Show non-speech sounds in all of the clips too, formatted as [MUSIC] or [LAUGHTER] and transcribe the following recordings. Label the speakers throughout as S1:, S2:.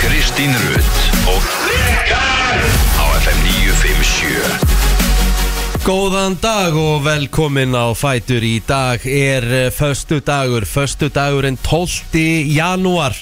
S1: Kristín Rutt og Rikar á FM 957
S2: Góðan dag og velkomin á Fætur í dag er eh, föstu dagur, föstu dagurinn 12. janúar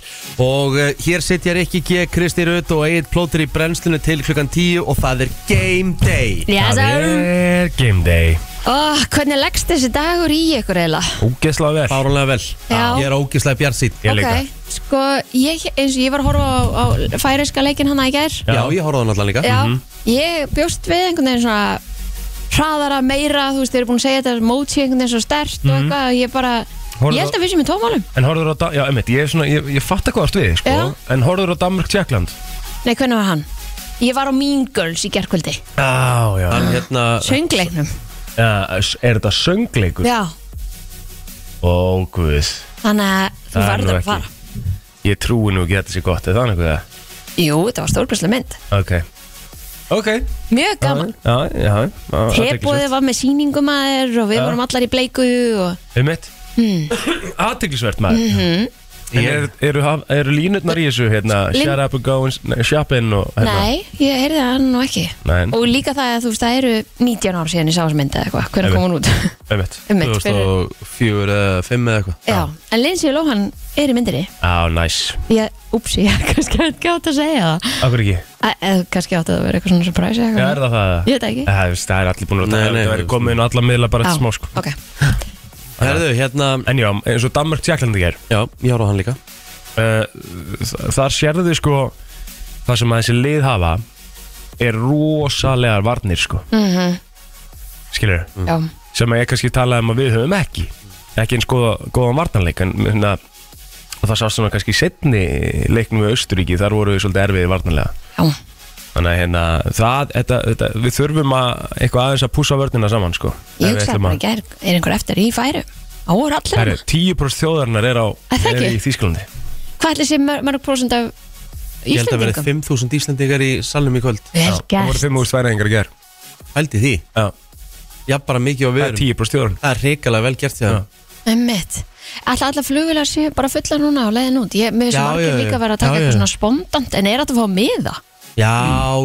S2: og eh, hér sitja Rikki G, Kristi Rutt og Egil Plóter í brennslunni til klukkan 10 og það er Game Day
S3: Yes,
S4: Það
S3: sir.
S4: er Game Day
S3: Ó, hvernig leggst þessi dagur í ykkur eiginlega?
S4: Úgeslega vel
S2: Fáránlega vel,
S3: Já.
S2: ég er ógislega bjarsýn
S4: Ég líka.
S3: sko, ég, eins og ég var að horfa á, á færiska leikin hana í gær
S2: Já, ég horfði á hann allan líka
S3: Já,
S4: Mhm.
S3: ég bjóst við einhvern veginn svona hraðara, meira, þú veist, þeir eru búin að segja þetta móti einhvern veginn svo stert og eitthvað og ég bara,
S4: Horfðu
S3: ég
S4: á-
S3: held að við séum í tómálum
S4: En horfður á Dan- Já, einmitt, ég, er svona, ég, ég fatt að hvað átt við sko.
S3: Já.
S4: En horfður á Danmark-Tjekkland
S3: Nei, hvernig var hann? Ég var á Mean Girls í gerkvöldi,
S4: Já, já
S2: Hann hérna,
S3: söngleiknum
S4: ja, Er þetta söngleikur?
S3: Já,
S4: Ó, guð
S3: þannig að þú
S4: Það er nú
S3: varður að
S4: ekki.
S3: fara
S4: Ég trúi nú ekki að þetta sé gott Er það nekuð það?
S3: Jú, þetta var stórbæslega mynd
S4: Ok Ok
S3: Mjög gaman,
S4: Já, já, já
S3: hefbóðið var með sýningum aðeir og við
S4: Já.
S3: vorum allar í bleiku og
S4: Einmitt
S3: Hmm.
S4: [COUGHS] Aðteglisvert maður mm
S3: Mhm.
S4: -hmm. er, eru, haf- eru línutnar í þessu hérna,
S3: Lin-
S4: Shut up and go and s- nei, shopping og, hérna,
S3: Nei, ég heyrði það nú ekki
S4: Nei.
S3: Og líka það að þú veist, það eru 19 ár síðan ég sá þessu mynd eða eitthvað Hvernig
S4: Einmitt.
S3: kom hún út?
S2: [LAUGHS]
S4: Einmitt
S3: Einmitt,
S2: 2004
S3: fyrir,
S2: eða 5 eða eitthvað
S3: já, en Lindsay Lohan er í myndinni
S4: Á, næs
S3: Ég, úpsi, ég [LAUGHS] kannski ekki átt að segja það
S4: Akkur ekki?
S3: Æ, Eða kannski átt að vera eitthvað svona surprise eða
S4: Já, er
S3: eitthvað.
S4: það það?
S3: Ég veit það ekki.
S4: Það er- Það er allir búin að um
S2: Nei, nei,
S4: það
S2: þú
S4: er
S2: veist.
S4: komið inn á alla miðla bara
S3: Já,
S4: þetta smá sko
S3: ok
S2: [LAUGHS] Herðu, hérna,
S4: En já, eins og Danmark Tjekklandi ger
S2: já, ég horfði á hann líka
S4: uh, Þar sérðu þið sko Það sem að þessi lið hafa Er rosalegar varnir sko mm Skilur
S3: Já,
S4: Sem að ég kannski talaði um að við höfum ekki Ekki eins góða, góðan varnarleik En hérna Og það sást svona kannski setni leiknum við Östuríki Þar voru við svolítið erfiði varnarlega
S3: já,
S4: Þannig að hérna, það, þetta, þetta, við þurfum að eitthvað aðeins að púsa vörnina saman sko
S3: ég
S4: Ef við
S3: hugsaði
S4: ætlum
S3: bara
S4: að-
S3: í gær Er einhver eftir í færu? Á, er allir
S4: Herru,
S3: hana
S4: 10% þjóðarinnar er, á,
S3: Er það
S4: er
S3: ekki?
S4: í Þýsklandi
S3: Hvað ætli sé mör- mörg prosent af
S2: Ég held að verið
S3: Íslendingum?
S2: 5000 Íslendingar í salnum í kvöld
S3: Vel
S4: Það voru
S3: gert
S4: 5.000 færiðingar í ger
S2: Hældi því,
S4: Já,
S2: já, bara mikið og
S4: það
S2: við
S4: er
S2: erum
S4: 10% þjóðarinnar
S2: Það er reikalega vel gert því
S4: Já.
S3: Einmitt. Alltaf alla flugulega séu bara fulla núna og leiðin út. Ég, mér finnst
S2: Já,
S3: margir
S2: já, já.
S3: líka að vera að
S2: Já,
S3: taka
S2: já.
S3: eitthvað svona spontant en er þetta að fá miða?
S2: Já,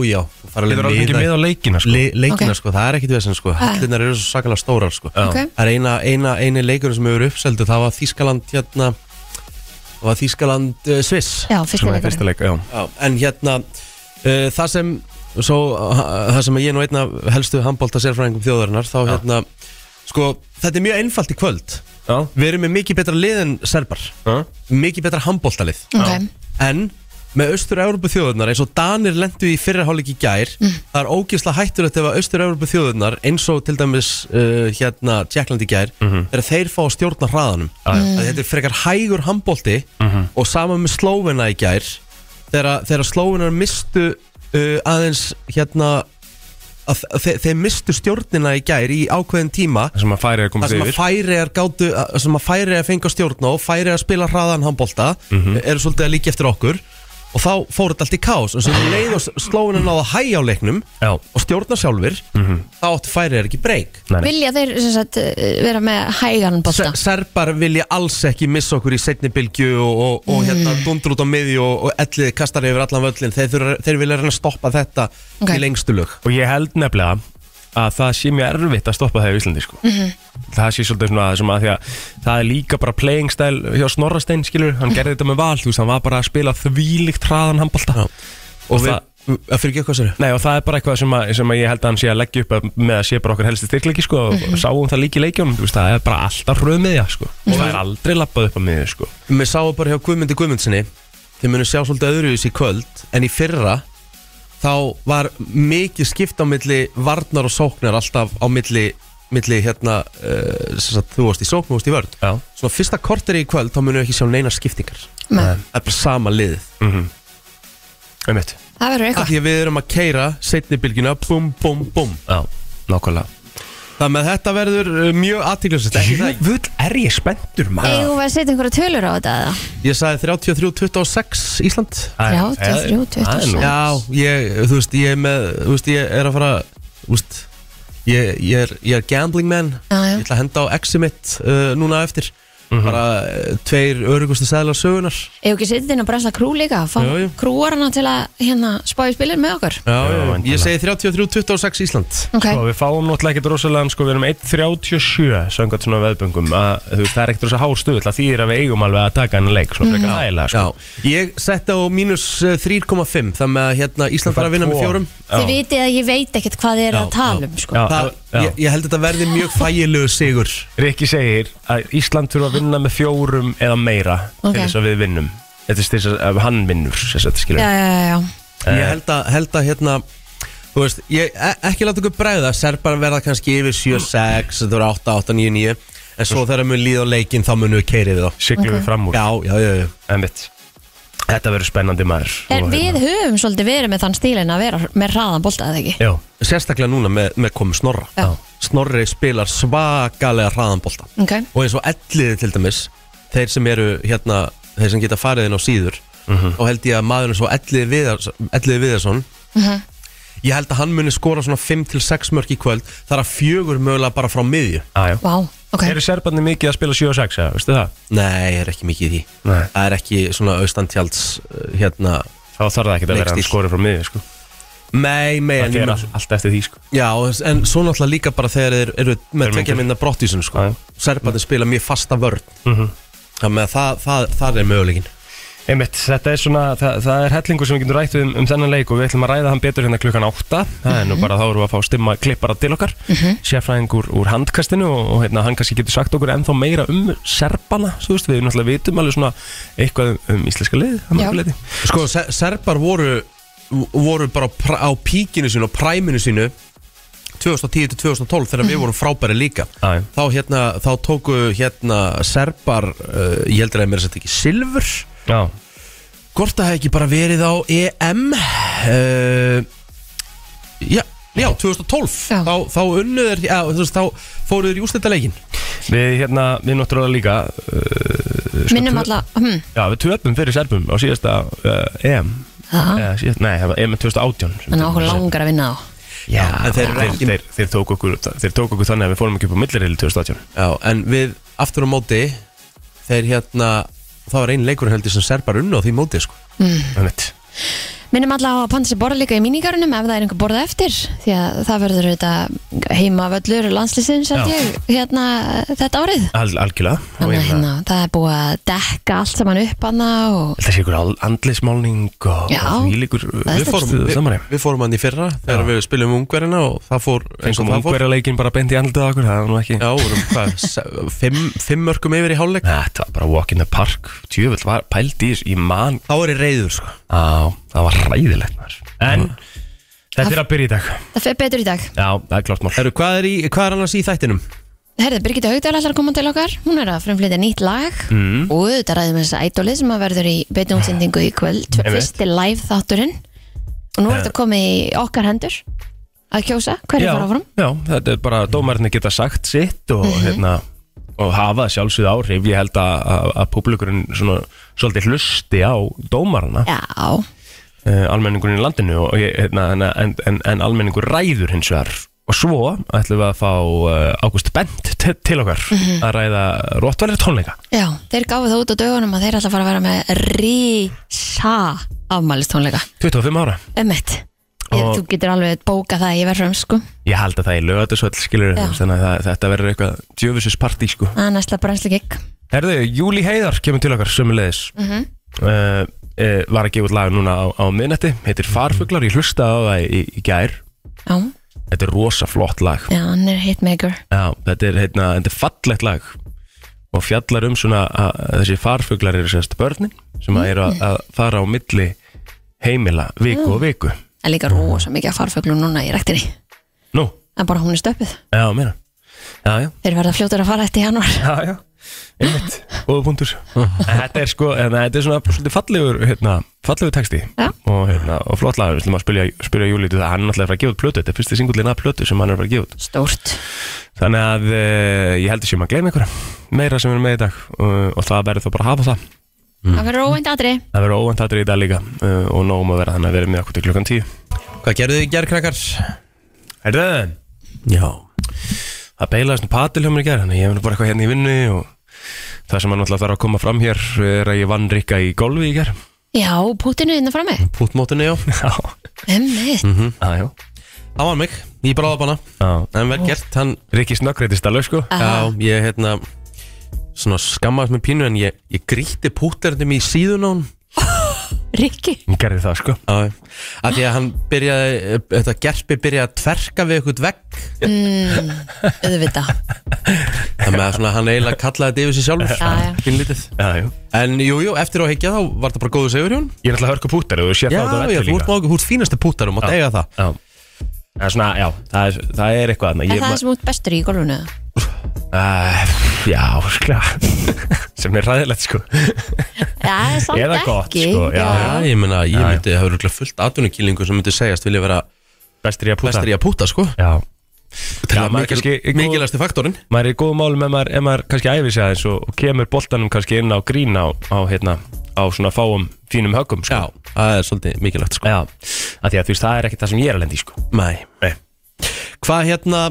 S2: já, þú fara
S4: Við
S2: alveg
S4: erum alveg ekki
S2: miða-
S4: með á leikina sko.
S2: le leikina
S3: Ok.
S2: sko, það er ekkit vesen sko Hellunar eru svo sakalega stórar sko
S4: Já.
S3: Ok.
S2: Það er eina, eina, eini leikurinn sem hefur verið uppseldur það var Þískaland hérna það var Þískaland uh, Sviss
S3: Já, fyrst
S4: Sem
S3: er
S4: er fyrsta
S3: leikurinn.
S4: leik, já
S2: Já, en hérna uh, það sem svo, uh, það sem ég er nú einna helstu handbólta sérfræðingum þjóðarinnar þá hérna, sko, þetta er mjög einfalt í kvöld
S4: Já,
S2: Við erum með mikið betra lið en serbar
S4: já,
S2: mikið betra handbóltalið
S3: Ok.
S2: en með austur-európu þjóðurnar eins og Danir lendu í fyrraháleik í gær það er ógeðslega hættulegt ef að austur-európu þjóðurnar eins og til dæmis uh, hérna Tjekkland í gær mm er að þeir fá að stjórna hraðanum mm. þetta er frekar hægur handbólti og sama með Slóvena í gær þegar, að- þegar Slóvenar mistu uh, aðeins hérna að þe þeir mistu stjórnina í gær í ákveðin tíma
S4: það sem að færið er
S2: Það
S4: komið
S2: sem að
S4: yfir
S2: færiðar gátu Það sem að færiðar fengi á stjórna og færiðar spila hraðan handbolta
S4: Mhm.
S2: eru svolítið að líka eftir okkur og þá fór þetta allt í kás og sem leið og slóinu náða hæg á leiknum
S4: Já, Mhm.
S2: og stjórna sjálfur þá áttu færiðar ekki breyk
S4: nei, nei.
S3: Vilja þeir sem sagt, eh, vera með hægan bolta?
S2: Serbar vilja alls ekki missa okkur í setni bylgju og, og, og hérna
S3: Mm.
S2: dundur út á miði og, og ellið kastar yfir allan völlin þeir, þurfa- þeir vilja reyna að stoppa þetta
S3: Ok.
S2: í lengstu lög
S4: Og ég held nefnilega að það sé mjög erfitt að stoppa það í Íslandi sko.
S3: Mhm,
S4: Það sé svolítið svona sem að því að það er líka bara playing style hjá Snorrastein skilur, hann gerði þetta með val þú veist, hann var bara að spila þvílíkt hraðan handbalta og,
S2: og við,
S4: það
S2: að fyrir ekki eitthvað sér
S4: Nei og það er bara eitthvað sem, að, sem að ég held að hann sé að leggja upp að- með að sé bara okkar helsti styrkleiki sko og
S3: Mhm.
S4: sáum það líka í leikjónum, þú veist það er bara alltaf röðmiðja sko og það
S3: Mhm.
S4: er aldrei lappað upp að miðju sko
S2: Mér sáum bara hjá Guðmundi Guðmundsinni Þið munum sjá svolítið öðruvis í kvöld En í fyrra Þá var mikið skipt á milli Varnar og sóknar alltaf á milli Milli hérna uh, sem sagt, Þú varst í sókn, þú varst í vörn
S4: Já,
S2: Svona fyrsta korteri í kvöld þá munum við ekki sjá neina skiptingar
S3: Nei,
S2: Það er bara sama liðið
S4: Mhm. einmitt
S3: það verður
S2: Af
S3: eitthvað.
S2: Því að við erum að keira setni bylgina Bum, bum, bum
S4: Já, nákvæmlega
S2: Þannig að þetta verður uh, mjög aðtíklusist
S4: Jöfull er ég spenntur
S3: Eigum við að setja einhverja tölur á þetta eða?
S2: Ég sagði 33-26 Ísland
S4: Það er-
S3: 33,
S4: það er nú-
S3: 26.
S2: Já, ég, þú veist, ég er með Þú veist, ég er að fara Þú veist, ég, ég, er, ég er gambling man
S3: Já, já.
S2: Ég ætla að henda á exi mitt uh, núna á eftir
S4: Mhm.
S2: bara eh, tveir örugustu sæðlar sögunar
S3: Ef ekki setið inn á Bresla Krú líka Fá
S2: Jú, jú.
S3: krúarana til að hérna, spá í spilin með okkur
S2: já,
S4: já, væntanlega.
S2: Eh, ég segi 33-26 Ísland
S3: Ok,
S4: Sko, við fáum náttúrulega ekkert rosalega, sko, við erum 1.37 söngat svona veðböngum að, þú veist, það er ekkert rosalega hár stuðull að því er að við eigum alveg að taka hann leik, svona
S3: Mhm.
S4: frekar hægilega, sko.
S2: já. ég setta á mínus eh, 3,5 þannig að hérna, Ísland var að vinna með fjórum
S4: Já.
S3: þið vitið að ég veit ekkert hvað þið er að tala um sko.
S4: Já,
S2: Það,
S4: já.
S2: ég, ég held að þetta verði mjög þægilegu sigur
S4: Rikki segir að Ísland þurfa að vinna með fjórum eða meira
S3: Ok.
S4: til þess að við vinnum Þetta er til þess að hann vinnur þess að
S3: Já,
S4: skilja
S3: já, já, já
S2: Ég held að, held að hérna Þú veist, ég, e- ekki láta ykkur bregða Serbar verða kannski yfir 7-6 Þú verður 8-8-9-9 En svo þegar mun líða á leikinn þá munum við keirið þá
S4: Siglum við fram úr
S2: Já, já, já, já
S4: Einmitt. Þetta verður spennandi maður
S3: En
S4: Og
S3: við
S4: hérna-
S3: höfum svolítið verið með þann stílinn að vera með hraðan bolta eða ekki
S4: Já,
S2: Sérstaklega núna með, með komu Snorra
S3: Já. Mm.
S2: Snorri spilar svakalega hraðanbolta
S3: Ok,
S2: Og eins og elliði til dæmis Þeir sem eru hérna Þeir sem geta farið inn á síður
S4: Mhm.
S2: Þá held ég að maður eins og elliði, Viðars, elliði Viðarsson
S3: mhm.
S2: Ég held að hann muni skora svona 5-6 mörg í kvöld Þar að fjögur mögulega bara frá miðju
S4: já, já
S3: vá, ok
S4: Eru serbarnir mikið að spila 7 og 6, eða, veistu það?
S2: Nei, ég er ekki mikið í því
S4: Nei.
S2: Það er ekki svona austantjalds uh, hérna
S4: Þá þarf það ekki að vera að hann
S2: Leikstíll.
S4: skori frá miðið, sko
S2: Nei, mei en,
S4: Það er all- allt eftir því, sko
S2: Já, en svo náttúrulega líka bara þegar þeir eru
S4: Þeir
S2: með tvekja
S4: mikið.
S2: minna brottísun sko.
S4: Já. Mhm.
S2: Serbarnir spila mjög fasta vörn Þannig að það, það, það er möguleikin
S4: Einmitt, þetta er svona, það, það er hellingur sem við getum rætt við um, um þennan leik og við ætlum að ræða hann betur hérna klukkan 8 það er nú bara þá erum við að fá stimma klippara til okkar sérfræðingur úr handkastinu og, og hérna, hann kannski getur sagt okkur ennþá meira um serbana, svo veist, við náttúrulega vitum alveg svona eitthvað um, um íslenska lið að mörgu
S3: Já.
S4: leyti.
S2: Sko, Se- Serbar voru voru bara á pr- á píkinu sínu og præminu sínu 2010-2012 þegar
S3: Mhm.
S2: við vorum frábæri líka
S4: Já, já.
S2: þá, hérna, þá tóku hérna Serbar, uh, ég heldur að mér sætti ekki Silfur
S4: Já,
S2: Hvort það hefði ekki bara verið á E EM uh, Já, já, 2012
S3: Já.
S2: Þá, þá unnuður, já, þú veist, þá fóruður í úrslitaleikin
S4: við hérna, við náttúrulega líka uh, sko,
S3: Minnum
S4: tvö-
S3: alltaf, hm,
S4: Já, við töpum fyrir serbum á síðasta uh, EM
S3: það
S4: eh, síðast, Nei, það var EM 2018 sem
S3: Þannig
S4: við
S3: að okkur
S4: töpum.
S3: langar að vinna þá
S4: Já,
S2: en þeir
S4: þeir,
S2: eru
S4: þeir,
S2: ekki-
S4: þeir, þeir, tóku okkur, þeir tóku okkur þannig að við fórum ekki upp á millirili 2018
S2: Já, en við aftur á móti Þeir hérna, það var einn leikur heldur sem serbar unnu á því móti, sko
S4: Mm. Einmitt.
S3: Minnum alltaf að panta sér borða líka í míningarunum ef það er einhver borða eftir því að það verður þetta heima völlur landslýsins held
S4: Já.
S3: ég hérna þetta árið
S4: Al, algjörlega Og
S3: Þannig að
S4: hérna,
S3: hérna, það er búið að dekka allt saman upp hana og
S4: Það sé ykkur al- andlismálning og
S3: Já.
S4: því líkur
S3: er
S4: Við fórum
S2: við,
S4: samari
S2: við fórum hann í fyrra
S4: Já.
S2: þegar við spilum ungverina og það fór eins og
S4: Fengum
S2: það fór
S4: ungverja leikin bara beint í andlitið á okkur Það var nú ekki
S2: Já, vorum hvað,
S4: [LAUGHS]
S2: se- fimm, fimm mörgum yfir í hálfleik
S4: Þetta var bara walk in the park Tjöfull var pælt í þessu í mann
S2: Þá er ég reyður, sko
S4: Á, það var ræðilegt maður En þetta er að byrja í dag
S3: það fer betur í dag.
S4: Já, það er klart mál
S2: Heru, hvað, er í, hvað er annars í þættinum?
S3: Herði, Birgitta Haugdal ætlar að koma til okkar, hún er að frumflytja nýtt lag mm. og þetta ræðum þess að ædolið sem að verður í beitnumsendingu í kvöld,
S4: Einmitt. Eh.
S3: fyrsti live þátturinn og nú er þetta komið í okkar hendur að kjósa, hverju
S4: já,
S3: fara áfram? Mhm.
S4: já, þetta er bara dómarinn geta sagt sitt og hérna og hafa sjálfsögð áhrif ég held að, að, að publikurinn svona svolítið hlusti á dómarana
S3: Já,
S4: uh, almenningurinn í landinu og, ég, hérna, en, en, en, en almenningur ræður hins vegar og svo ætlum við að fá uh, Ágúst Bent til, til okkar
S3: Mhm.
S4: að ræða róttvælir tónleika
S3: já, þeir gáfu það út á dögunum að þeir ætla að fara að vera með risa afmælistónleika,
S4: 25 ára
S3: ömmett og...
S4: Og-
S3: þú getur alveg bóka það, ég verð fram sko
S4: ég held að það er lögatisvöld skilur
S3: Já.
S4: þannig að það, þetta verður eitthvað djöfusis partí sko
S3: það er næstlega brennslu gig
S4: Herðu, Júli Heiðar kemur til okkar sömulegis mm -hmm. eh, Var að gefa út lag núna á, á miðnætti Heitir Farfuglar, ég hlustaði á það í, í gær
S3: já,
S4: Þetta er rosa flott lag
S3: já, hann er hitmaker
S4: Já, þetta er, heitna, þetta er fallegt lag Og fjallar um svona að, að Þessi farfuglar eru sérst börnin Sem að eru að, að fara á milli heimila Viku og viku
S3: það er líka rosa mikið að farföglu núna í rektinni
S4: Nú,
S3: en bara hún er stöpið
S4: já, meina Já, já
S3: Þeir verða fljótur að fara eftir januar
S4: Já, já, einmitt, góða punktur En Þetta er sko, en þetta er svona svolítið fallegur, hérna, fallegur texti
S3: Já.
S4: og, hérna, og flott lagur, við ætlum að spyrja, spyrja Júli til það, hann er náttúrulega að fara að gefa út plötu, þetta er fyrsti singullin að plötu sem hann er að fara að gefa út
S3: Stórt
S4: Þannig að e, ég heldur sem að gleyma ykkur meira sem við erum með í dag og, og það verður þá bara að hafa það Mm.
S3: Það verður óvænt aðri
S4: Það verður óvænt aðrið í dag líka uh, og nógum að vera þannig að vera með okkur til klukkan tíu
S2: Hvað gerðu þið í gerkrakkar?
S4: Herðu,
S2: Já
S4: það beilaðist nú patil hjá mér í gerð, þannig að ég er nú bara eitthvað hérna í vinnu og Það sem hann alltaf þarf að koma fram hér er að ég vann Rikka í golfi í ger
S3: Já, pútinu innan frammi
S2: Pútmótinu, já
S4: [LAUGHS] Já, Mhm.
S3: Emmið
S4: Ah, já,
S2: Það var mig, ég bráða bara
S4: já
S2: En vel gert, hann
S4: Rikki snöggreitist alveg sko
S2: Já, ég hérna Svona skammaðist með pínu en ég, ég gríti pútlerndum í síðun á hann
S3: Rikki
S4: Hann gerði það sko
S2: Já, af því að hann byrjaði Þetta gerpi byrjaði að tverka við eitthvað vegg
S3: Mm, Öðvita
S2: Þannig að svona, hann eiginlega kallaði þetta yfir sig
S3: Já, já.
S2: sjálfur Pínlítið
S4: Já, já
S2: En jú, jú, eftir á higgja þá var þetta bara góðu segur hjá hann
S4: Ég er alltaf hörku pútar og þú sér
S2: Já,
S4: það á
S2: já,
S4: velli
S2: þú ert
S4: líka
S2: mágur, þú ert fínasti pútar og mátt eiga það
S4: Já Það er svona, já, það er, það er eitthvað annað
S3: Er það sem út bestur í golfinu?
S4: Uh, já, [LAUGHS] skla Sem er ræðilegt sko
S3: Já, samt
S4: Eða
S3: ekki
S4: gott, sko, já.
S2: Já, ég meina, ég
S4: Já, já.
S2: myndi, það verður örugglega fullt atvinnukýlingu sem myndi segjast vilja vera
S4: Bestur í að púta
S2: bestir í að púta, sko
S4: Já,
S2: Til að
S4: maður
S2: mikil,
S4: kannski-
S2: mikilæsti faktorinn
S4: maður er í góðum málum ef maður, ef maður kannski æfir sig aðeins og, og kemur boltanum kannski inn á grín á, á, hérna, á svona fáum fínum höggum sko.
S2: Já, það er svolítið mikilvægt, sko
S4: Já, af því að þú veist, það er ekkert það sem ég er að lendi sko.
S2: Nei
S4: Nei.
S2: Hvað hérna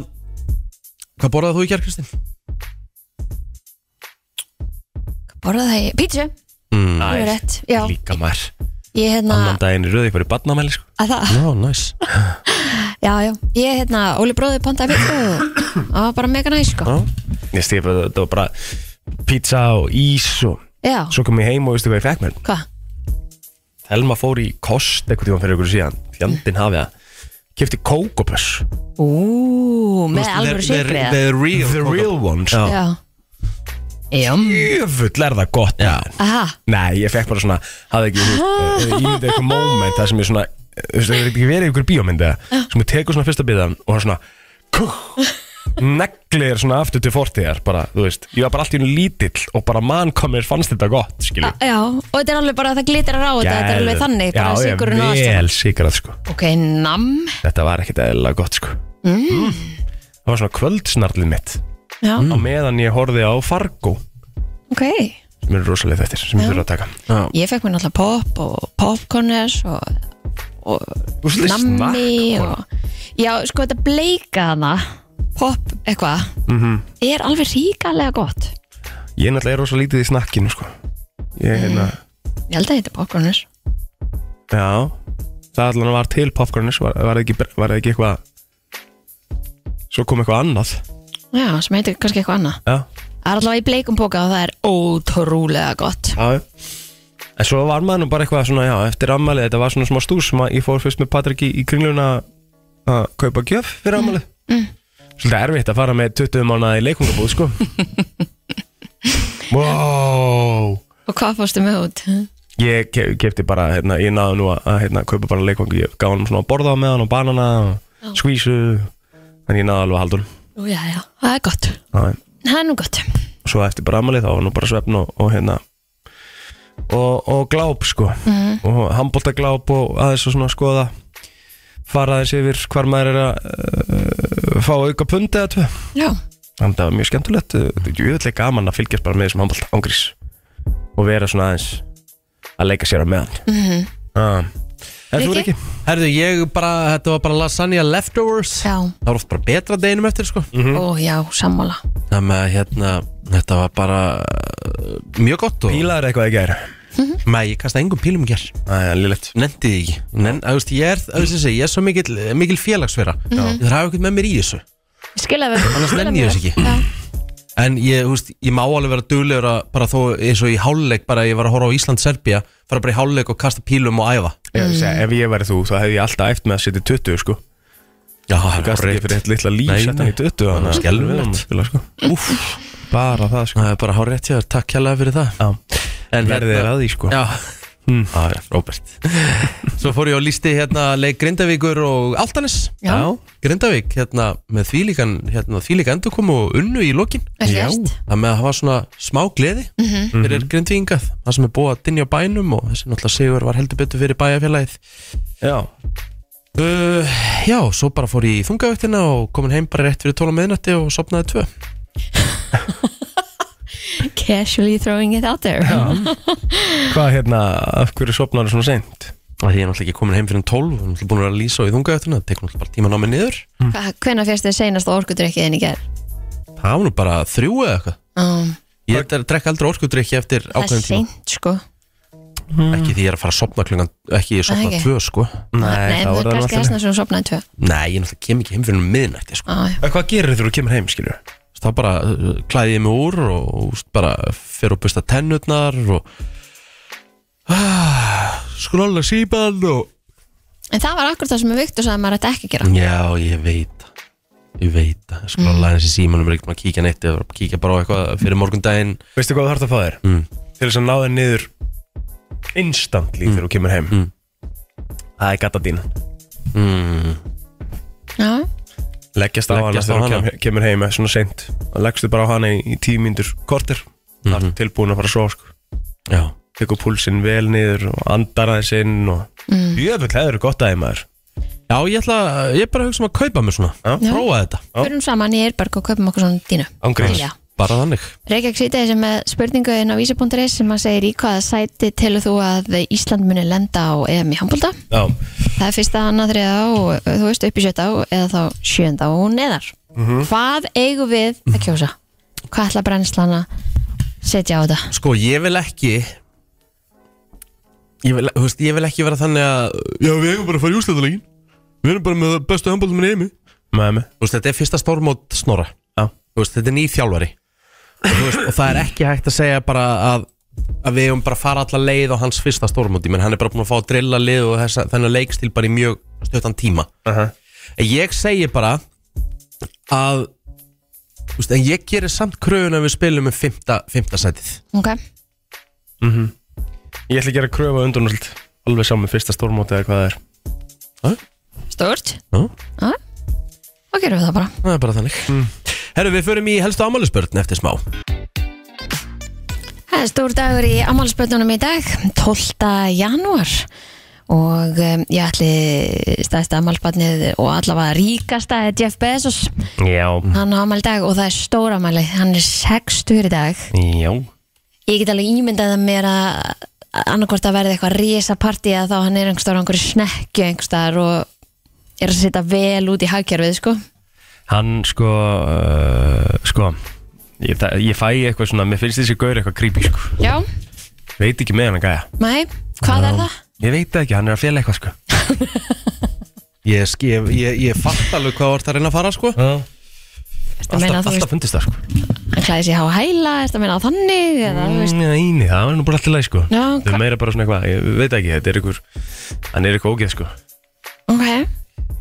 S2: Hvað borðað þú í kjær, Kristinn?
S3: Borða það í pítsu
S2: Mm.
S3: Það er rétt, já
S4: Líka maður,
S3: Ég hérna
S4: annan daginn í röðu ykkur í badnamæli sko.
S3: að það,
S2: Já, næs
S3: Já, já Ég hérna, Óli bróði pantaði pítsu og það var bara mega næs, sko
S2: Já.
S4: Ég stíf að þetta var bara pizza og ís og
S3: Já,
S4: svo kom ég heim og veistu hvað ég fekk mér
S3: hvað?
S4: Helma fór í kost eitthvað tíma fyrir ykkur síðan Fjandinn hafið að Kifti kókopöss
S3: Ú, með alveg sykri
S2: The real
S4: The real ones
S2: Já.
S3: Já Jum
S4: Jöfull er það gott
S2: Já.
S3: Aha,
S4: Nei, ég fekk bara svona hafði ekki ímyndið eitthvað moment það sem ég svona, eh, þú veist, það hefur ekki verið í ykkur bíómyndi sem ég tekur svona fyrsta bíðan og hann svona kúh, neglir svona aftur til fortíðar bara, þú veist, ég var bara allt í hún lítill og bara mann kom mér fannst þetta gott, skilju
S3: a- Ah, já Og þetta er alveg bara að það glitrar á þetta Þetta er alveg þannig, bara
S4: Já, ég
S3: sykurinn og allt
S4: vel
S3: saman.
S4: sigrað, sko
S3: Ok, nam
S4: Þetta var ekkit eðlilega gott, sko mm. Mm. Það var svona kvöldsnarlið mitt
S3: Já,
S4: á meðan ég horfði á Fargo
S3: ok
S4: sem eru rosalega þettir, sem ég þurfa að taka
S3: Ég fekk mér náttúrulega pop og popcorners og, og
S4: Þú svolítið
S3: nammi
S4: snakk,
S3: og Já, sko þetta bleika hana pop eitthvað er alveg ríkalega gott
S4: Mhm. Ég náttúrulega er rosalega lítið í snakkinu, sko Ég, hérna,
S3: Ég held að þetta er popcorners
S4: Já Það allan var til popcornis Var, var, það ekki, var það ekki eitthvað Svo kom eitthvað annað
S3: Já, sem heitir kannski eitthvað annað
S4: Já,
S3: Það er allavega í bleikum póka og það er ótrúlega gott
S4: já En svo var maður nú bara eitthvað svona Já, eftir afmælið Þetta var svona smá stús sem að ég fór fyrst með Patrik í, í kringluna Að kaupa gjöf
S3: Mm,
S4: fyrir afmælið Svolítið erfitt að fara með 20 mánuði í leikungabúð
S3: [LAUGHS]
S4: sko Wow
S3: Og hvað fórstu með út?
S4: Ég ke- kefti bara, hérna, ég náði nú að- að hérna, kaupa bara leikvangi, ég gaf hann svona að borða á meðan og banana og skvísu en ég náði alveg að halda hann
S3: Nú, já, já, það er gott
S4: Já, já.
S3: Það er nú gott
S4: og svo eftir bara amalið þá var nú bara svefn og, og hérna og, og gláp sko og handbóltagláp og aðeins og svona skoða fara aðeins yfir hvar maður er að uh, fá auka pundi eða tvö
S3: Já,
S4: þannig að það var mjög skemmtilegt uh, þetta er jöðlega gaman að fylgjast bara með þessum handbólta ángrís og vera svona aðeins að leika sér á meðan mm
S3: Mhm.
S4: -hmm. en þú er
S3: Riki?
S4: ekki
S2: Herðu, ég bara, þetta var bara lasagna leftovers
S3: já,
S2: Það var oft bara betra deginum eftir, sko
S4: Mhm.
S3: ó já, sammála
S2: Þannig að hérna, þetta var bara uh, Mjög gott og
S4: pílaður eitthvað ekki er
S2: Nei, ég kasta engum pílum í gerð
S4: aðeins lillett
S2: Nendi því ekki Nen, að, þú veist, Ég er, að, þú veist, ég er svo mikil, mikil félagsfera Ég þarf að hafa eitthvað með mér í þessu
S3: Ég skilja við
S2: Annars
S3: skila
S2: nenni ég
S3: við.
S2: þess ekki.
S3: Já,
S2: En ég, þú veist, ég má alveg vera duglegur að bara þó eins og í háluleik bara ég var að horfa á Ísland-Serbía fara bara í háluleik og kasta pílum og æfa
S4: ef ég væri þú þá hefði ég alltaf æft með að setja 20 sko
S2: Já, það
S4: gast ekki fyrir eitt litla líf
S2: Nei,
S4: sett hann
S2: nei.
S4: í döttu
S2: Það er skelfilegt.
S4: spila, sko. Úff, bara það sko
S2: Það er bara hár rétt hjá þér, takk hérlega fyrir það
S4: já.
S2: En hérna-
S4: verðið er að því sko
S2: Já, [LAUGHS]
S4: Mm.
S2: ah, ja, Robert Svo fór ég á listi hérna leik Grindavíkur og Altanes
S3: Já.
S2: Grindavík hérna með þvílíkan hérna, þvílíka endurkomu og unnu í lokin
S3: vel gert.
S2: Það með að hafa svona smá gleði
S4: Mhm.
S2: fyrir Grindvíkingað Það sem er búið að dynja á bænum og þessi náttúrulega sigur var heldur betur fyrir bæjarfélagið
S4: já.
S2: Uh, já, svo bara fór ég í þungavöktina og komin heim bara rétt fyrir 12 á miðnætti og sopnaði tvö
S3: Casually throwing it out there [LAUGHS]
S4: hvað hérna, af hverju sopnar svona seint
S2: Það því ég er náttúrulega ekki komin heim fyrir 12 og náttúrulega búin að vera að lýsa á í þungavöktina það tekur náttúrulega bara tíma að ná mig niður
S3: Hva- Hvenær fyrst þið seinasta orkudrykkið þinn í gerð?
S2: Það var nú bara þrjú eða eitthvað
S3: Um,
S2: Ég er að drekka aldrei orkudrykki eftir
S3: það er
S2: ákveðin tíma
S3: seint sko
S2: Ekki því ég er að fara að sopna klungan Ekki ég sopna
S3: Ekki.
S2: tvö sko
S3: Nei,
S4: þá
S3: það
S4: er
S3: er
S4: það
S3: kannski
S4: alltaf
S3: þessna sem hún sopnaði tvö
S2: Nei, ég náttúrulega kem ekki heim fyrir um miðnætti sko.
S3: Á, já.
S4: En Hvað gerir þú kemur heim, skilur?
S2: Þá bara uh, klæði ég mig úr og úst, bara fer og busta tennutnar og [SIGHS] ah, skróla sípan og
S3: En það var akkur það sem Viktor sagði að maður ætti ekki að gera
S2: Já, ég veit það. Ég veit það Skróla aðeins í símanum er ekkert maður að kíkja neitt eða kíkja bara á eitthvað fyrir morgundaginn
S4: Veistu hvað þú þarf að fá þér?
S2: Mm.
S4: Til þess að ná þér niður instantly
S2: Hmm.
S4: þegar þú kemur heim Það er gata dín
S2: mm,
S3: Já,
S4: Leggjast á hana
S2: Leggjast á
S4: þegar þú
S2: hana.
S4: kem, kemur heim eh, svona seint og leggstu bara á hana í, í tíu mínútur korter mm -hmm. tilbúin að fara að sofa sko.
S2: Já,
S4: tekur púlsinn vel niður og andar aðeins inn og mm. jöfull hefur gott aðeins maður
S2: Já ég ætla Ég er bara að hugsa um að kaupa mig svona
S4: Já.
S2: Prófa þetta
S3: förum saman í Eirberg og kaupum okkur svona dínu
S4: Ángríns.
S3: Já.
S2: Bara þannig
S3: Reykjavík sýtaði sem með spurningu inn á vísi.is sem að segir í hvaða sæti telur þú að Ísland muni lenda á EM í handbólda
S4: Já,
S3: Það er fyrsta, annað, þriða og eh, þú veist upp í sjötta og eða þá sjönda og neðar
S4: Mhm.
S2: Mm.
S3: Hvað eigum við að kjósa? Hvað ætla brennslana setja á þetta?
S2: Sko, ég vil ekki Ég vil, þú veist, ég vil ekki vera þannig að Já, við eigum bara að fara í úrslitalegin Við erum bara með bestu handbóltum í heimi Þú
S4: með mig
S2: veist, þetta er fyrsta stórmót snorra
S4: Já.
S2: Þú veist, þetta er nýr þjálfari og, þú veist, og það er ekki hægt að segja bara að að við eigum bara að fara alla leið á hans fyrsta stórmóti menn hann er bara búin að fá að drilla lið og þessa, þennan leikstil bara í mjög stöttan tíma
S4: uh -huh.
S2: En ég segi bara að þú veist, en ég gerir samt kröfun að við spilum með fymta, fymta sætið
S3: Ok,
S4: Mhm. Ég ætla að gera kröfu undurnöld alveg saman með fyrsta stórmóti eða hvað það er
S3: stórt
S2: Já.
S3: Já. Þá gerum við það bara
S2: Það er bara þannig
S4: Mm.
S2: Herru, við förum í helstu ámálisbörn eftir smá
S3: Það er stór dagur í ammálspötunum í dag, 12. janúar og um, ég ætli stæðst ammálspötnið og allavega ríkasta er Jeff Bezos,
S4: Já,
S5: Mm.
S3: hann á ammál dag og það er stór ammali, hann er 60 í dag.
S4: já
S3: Ég get alveg ímyndað að mér að annarkvort að verði eitthvað risa partí að þá hann er einhverstaðar á einhverju snekju einhverstaðar og er að setja vel út í hagkjörfið sko.
S4: Hann sko uh, sko ég, það- ég fæ eitthvað svona, mér finnst þessi gaur eitthvað creepy sko
S3: Já,
S4: Veit ekki með hann að gæja
S3: mæ, hvað er það?
S4: Ég veit það ekki, hann er að fjalla eitthvað sko
S2: [LAUGHS] Ég, sk- ég, ég, ég fatt alveg hvað þú ert að reyna að fara sko
S3: Ertu
S4: Alltaf,
S3: að meina að þú
S4: alltaf
S3: veist,
S4: fundist það sko
S3: hann klæði sér há hæla, ertu að meina á þannig
S4: Mm.
S3: eða þú veist
S4: Neini, það var nú bara alltaf leið sko
S3: Já,
S4: Það
S3: hva-
S4: er meira bara svona eitthvað, ég veit ekki, þetta er ykkur Hann er eitthvað ógeð sko
S3: Ok,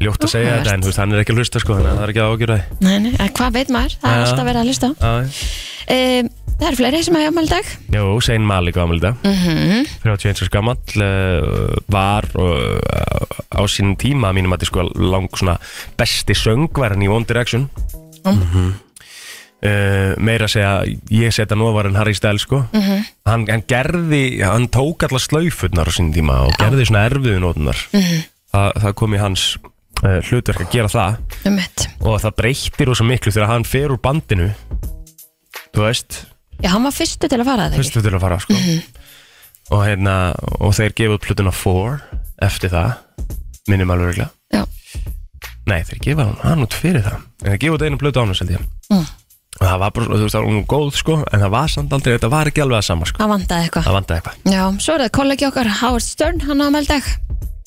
S4: Ljótt að segja
S3: Áhugavert.
S4: þetta, en þú veist, hann er ekki að hlusta sko Þannig að það er ekki að ágjöra
S3: Nei, nei, að hvað veit maður? Það er
S4: Já.
S3: alltaf verið að hlusta.
S4: það
S3: Um, það er fleiri sem hafa afmæli í dag.
S4: Jó, Sein Malik á amalda mm -hmm.
S3: Mhm.
S4: 31 og skamall uh, var uh, á sínum tíma að mínum að þetta sko lang svona besti söngvarinn í One Direction
S3: Mm.
S4: uh, meira að segja ég setja nóvar en Harry Styles sko hann, hann gerði, hann tók alla slaufurnar á sínum tíma og gerði svona erfiðu nótunar Þa, það kom í hans uh, hlutverk að gera það
S3: Um mitt.
S4: og það breytir og svo miklu þegar hann fer úr bandinu þú veist
S3: Já, hann var fyrstu til að fara það ekki. Mhm.
S4: fyrstu til að fara sko. og hérna og þeir gefa upp plötuna 4 eftir það, minnum alveg regla
S3: Já.
S4: nei þeir gefa hann, hann út fyrir það en þeir gefa út einu plötu ánum seldi
S3: Mm.
S4: og það var bara, þú veist það var hún góð sko en það var samt aldrei, þetta var ekki alveg að sama sko
S3: Hann vandaði eitthvað.
S4: það vandaði eitthvað
S3: Já, svo er það kollegi okkar, Howard Stern, hann hafa afmæli í dag.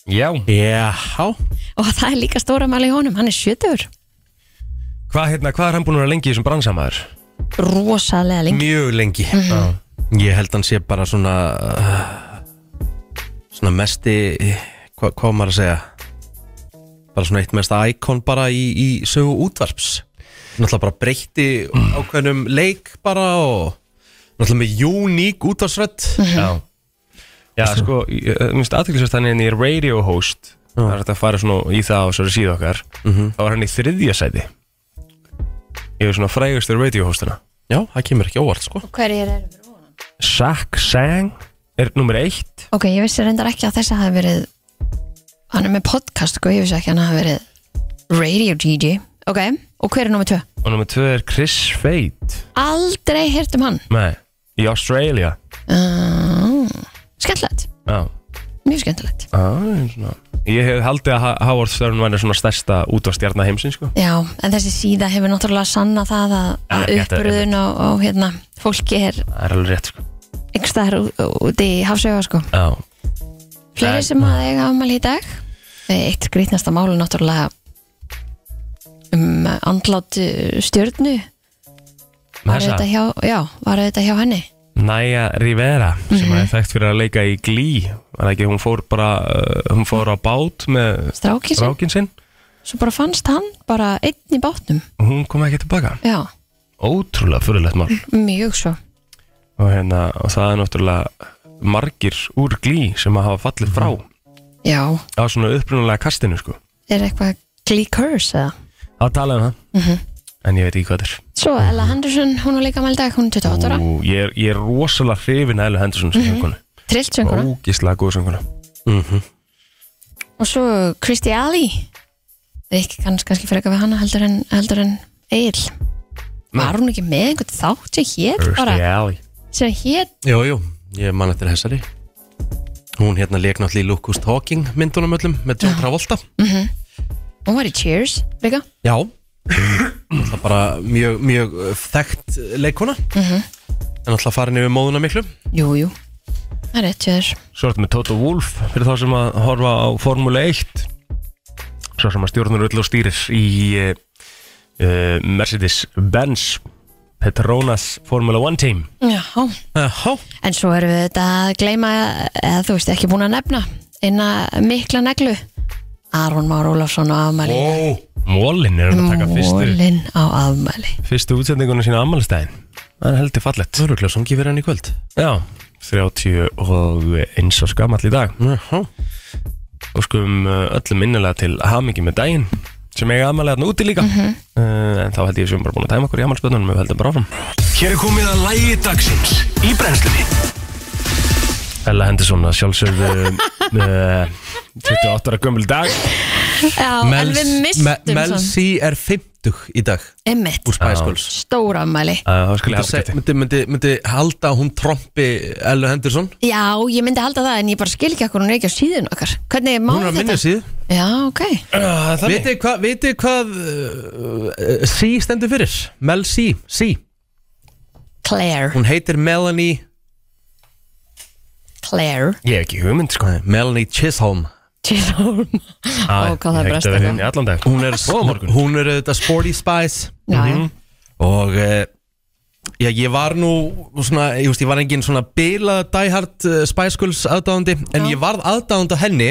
S4: já,
S2: Já,
S3: Og það er líka stóra mæli í honum, hann er sjötur.
S4: hvað hérna, hvað er hann búin að vera lengi í þessum bransamæður
S3: Rosalega lengi. Mhm.
S2: mjög lengi Ég held hann sé bara svona uh, svona mesti hva, hvað á maður að segja bara svona eitt mesta íkon bara í, í sögu útvarps náttúrulega bara breytti ákveðnum leik bara og náttúrulega með uník útvarsrödd
S4: já
S3: Mhm.
S4: já sko, ég- eh, minnst aðtækisvært hann er henni radio host það er hægt að fara svona í það á svo síðu okkar
S2: Mhm.
S4: þá var hann í þriðja sæti ég er svona frægustur radio hostana
S2: Já, það kemur ekki óvart sko
S3: Hverjir eru fyrir honum?
S4: Sack Sang er nummer eitt
S3: Ok, ég vissi reyndar ekki að þess að hafa verið, hann er með podcast, sko, ég vissi ekki að hann hafa verið radio DJ. Ok, og hver er nummer tvö?
S4: og nummer tvö er Chris Fate
S3: Aldrei hirt um hann.
S4: Nei, í Australia
S3: Uh, skemmtilegt,
S4: Já,
S3: mjög skemmtilegt.
S4: ah, svona Ég hef haldið að Ha- Howard Stern væri svona stærsta útvarstjarnar heimsins sko.
S3: Já, en þessi síða hefur náttúrulega sanna það að,
S4: Ja,
S3: að
S4: þetta er
S3: uppbröðun og, og hérna, fólki er
S4: Það er alveg rétt sko.
S3: einhvers staðar ú- úti í hafsauga sko.
S4: Já,
S3: Fleiri sem að eiga afmæli í dag Eh, Eitt skrýtnasta málu náttúrulega um andlát uh, stjörnu var
S4: þessa?
S3: auðvitað hjá, já, var auðvitað hjá henni
S4: Naya Rivera sem
S3: Mhm.
S4: mm er þekkt fyrir að leika í Glee var það ekki, hún fór bara uh, hún fór á bát með
S3: strákin sinn,
S4: strákin sinn
S3: svo bara fannst hann bara einn í bátnum
S4: og hún kom ekki tilbaka
S3: já,
S4: ótrúlega fyrirlegt mál
S3: mjög svo
S4: [LAUGHS] og, hérna, og það er náttúrulega margir úr Glee sem að hafa fallið frá
S3: já,
S4: á svona upprunalega kastinu sko
S3: er eitthvað Glee Curse eða
S4: það talaði um það en ég veit ekki hvað þetta er
S3: Mhm. svo Ella Henderson, hún var líka afmæli í dag hún er 28 ára,
S4: Ú, ég, er- ég er rosalega hrifin að Elu Henderson
S3: Mhm.
S4: sem söngunu
S3: trillt sönguna
S4: ógislega góð söngunu Mhm.
S3: og svo Christy Alley við ekki kannski, kannski fyrir eitthvað við hana heldur en, heldur en Egil var hún ekki með einhvern þátt sem hétt bara sem hétt
S2: Jú, jú, ég man eftir þessari Hún hérna leik náttúrulega í Lucas Talking myndunum öllum með John Travolta
S3: Mhm. Hún var í Cheers líka
S2: Já Það er bara mjög, mjög uh, þekkt leikona
S4: Mhm.
S2: En alltaf farin yfir móðuna miklu
S3: Jú, jú Það er rétt hjá þér
S4: Svo er þetta með Toto Wolff fyrir þá sem að horfa á Formule 1 Svo sem að stjórnur öll og stýrir í uh, Mercedes-Benz Petronas Formula 1 team
S3: Já
S2: Há,
S3: En svo erum við þetta að gleyma eða þú veist ekki búin að nefna einna mikla neglu Aron Már Ólafsson á afmæli
S4: Mólin er hann að taka fyrstu,
S3: Mólin á afmæli
S4: fyrstu útsendinguna sína ammálistæðin Það er heldur fallett
S2: Þoruglega sungi verið hann í kvöld
S4: Já, 30 og eins og skamall í dag
S2: Há,
S4: og skum öllum minnilega til hamingi með daginn sem eiga aðmælega þarna úti líka uh, en þá held ég sem bara búin að tæma okkur í aðmælspöðunum við heldum bara áfram
S1: Hér er komið að lægi dagsins í brennslunni
S4: Ella Henderson að sjálfsögðu uh, 28 ára gömul dag
S3: Já, en við mistum
S2: Mel
S3: svona
S2: C er 50 í dag
S3: Emmitt,
S2: úr Spice Girls
S3: stór afmæli
S4: Það uh, skulle
S2: myndi,
S4: ég
S2: seg,
S4: afgæti
S2: myndi, myndi, myndi halda að hún trompi Ella Henderson
S3: Já, ég myndi halda það en ég bara skil ekki okkur hún er ekki á síðun okkar Hvernig má
S2: Hún er á minni
S3: þetta?
S2: síð
S3: Já, ok Ah,
S2: Vitið þið hvað, vitið þið hvað uh, C stendur fyrir? Mel C, C
S3: Claire,
S2: Hún heitir Melanie
S3: Claire
S4: Ég hef ekki hugmynd sko
S2: Melanie Chisholm
S3: Chisholm Ó,
S4: Ég hef
S3: hvað það brast
S4: ekki verið
S3: þetta.
S4: inn í allan dag
S2: Hún er, hún er auðvitað Sporty Spice Mhm.
S3: Já, já
S2: Og uh, já, ég var nú svona, ég, veist, ég var engin svona bilað Die Hard uh, Spice Girls aðdáðandi En
S3: Já.
S2: ég varð aðdáðandi á henni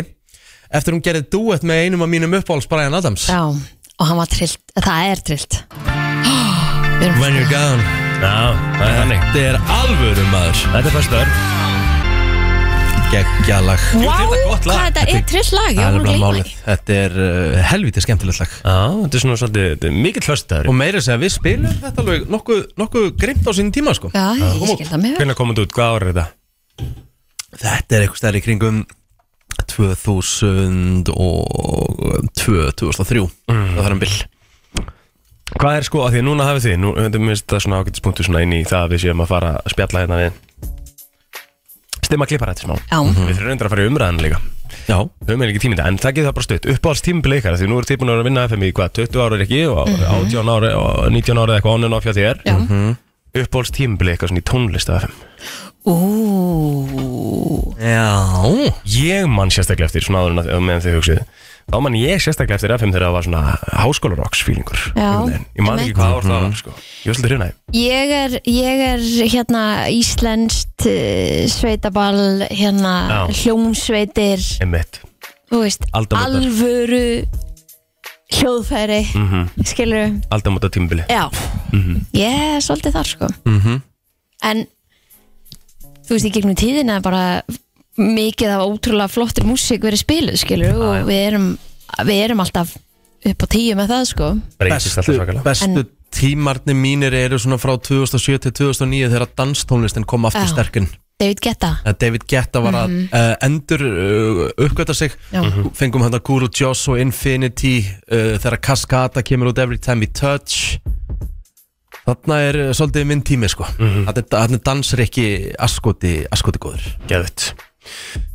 S2: Eftir hún gerði duett með einum af mínum uppáhalds Brian Adams
S3: Já, og hann var trillt, það er trillt Við erum
S2: When you're gone
S4: Já, það er þannig
S2: Þetta er alvöru maður
S4: Þetta er fyrstur
S2: Gekkjalag
S3: Vá,
S2: gott
S3: hvað
S2: lag.
S3: þetta er trillt lag, ég var nú
S2: bara
S3: gleyma
S2: málið Þetta er uh, helvítið skemmtilegt lag
S4: Já, þetta er svona svolítið þetta er mikill fyrstur
S2: Og meira að segja við spilum þetta alveg nokkuð, nokkuð grimt á sinni tíma sko
S3: Já, ég skil það mjög vel.
S4: Hvernig kom þetta Hérna út? Hvað ára er þetta?
S2: Þetta er eitthvað stærri kringum 2002-2003 Það var um bill
S4: Hvað er sko, að því að núna hafið þið nú, Þetta minnst það svona ágætispunktu svona inn í það að við séum að fara að spjalla hérna við Stimma klippar þetta smá Mhm.
S3: Já.
S2: Mhm.
S4: Við þurfum reyndar að fara í umræðan líka
S2: Já,
S4: höfum við ekki tími í þetta, en það getur það bara stutt uppáhalds tímabil ykkar, því nú eru þið búin að vera að vinna FM í hvað, 20 ára er ekki og 18 ára og 19 ára eða eitthvað onnum áfjá þér
S3: Mhm. Já.
S4: uppáhalds tímabil ykkar svona í tónlist af FM
S3: Ú,
S2: já.
S4: ég man sérstaklega eftir svona áður en að- meðan þið hugsið þá man ég sérstaklega eftir FM þegar það var svona háskólarocks fílingur
S3: Já,
S4: ég man ekki
S3: einmitt.
S4: hvað ár það var sko. ég var svolítið hrifnaði
S3: ég er, ég er hérna íslenskt uh, sveitaball, hérna
S4: Já.
S3: hljómsveitir,
S4: einmitt,
S3: þú veist,
S4: Aldamótar.
S3: alvöru hljóðfæri,
S2: Mhm.
S3: mm -hmm.
S4: Mhm.
S3: skilur
S4: aldamóta tímabili Mhm.
S3: Já, ég er svolítið þar sko En þú veist, í gegnum tíðina er bara mikið af ótrúlega flottir músík verið spiluð, skilur og við erum, við erum alltaf upp á tíu með það sko
S4: breytist alltaf
S2: Bestu,
S4: svakalega
S2: bestu tímarni mínir eru svona frá 2007 til 2009 þegar danstónlistin kom aftur
S3: Já.
S2: sterkinn
S3: David Guetta
S2: að David Guetta var að uh, endur uh, uppgöta sig
S3: Mhm. Já. Mhm.
S2: fengum hann að Guru Joss og Infinity uh, þegar Cascada kemur út Every Time We Touch þarna er uh, Mhm. svolítið minn tími sko þarna er, þarna er dansrikki askoti, askoti góður
S4: geðut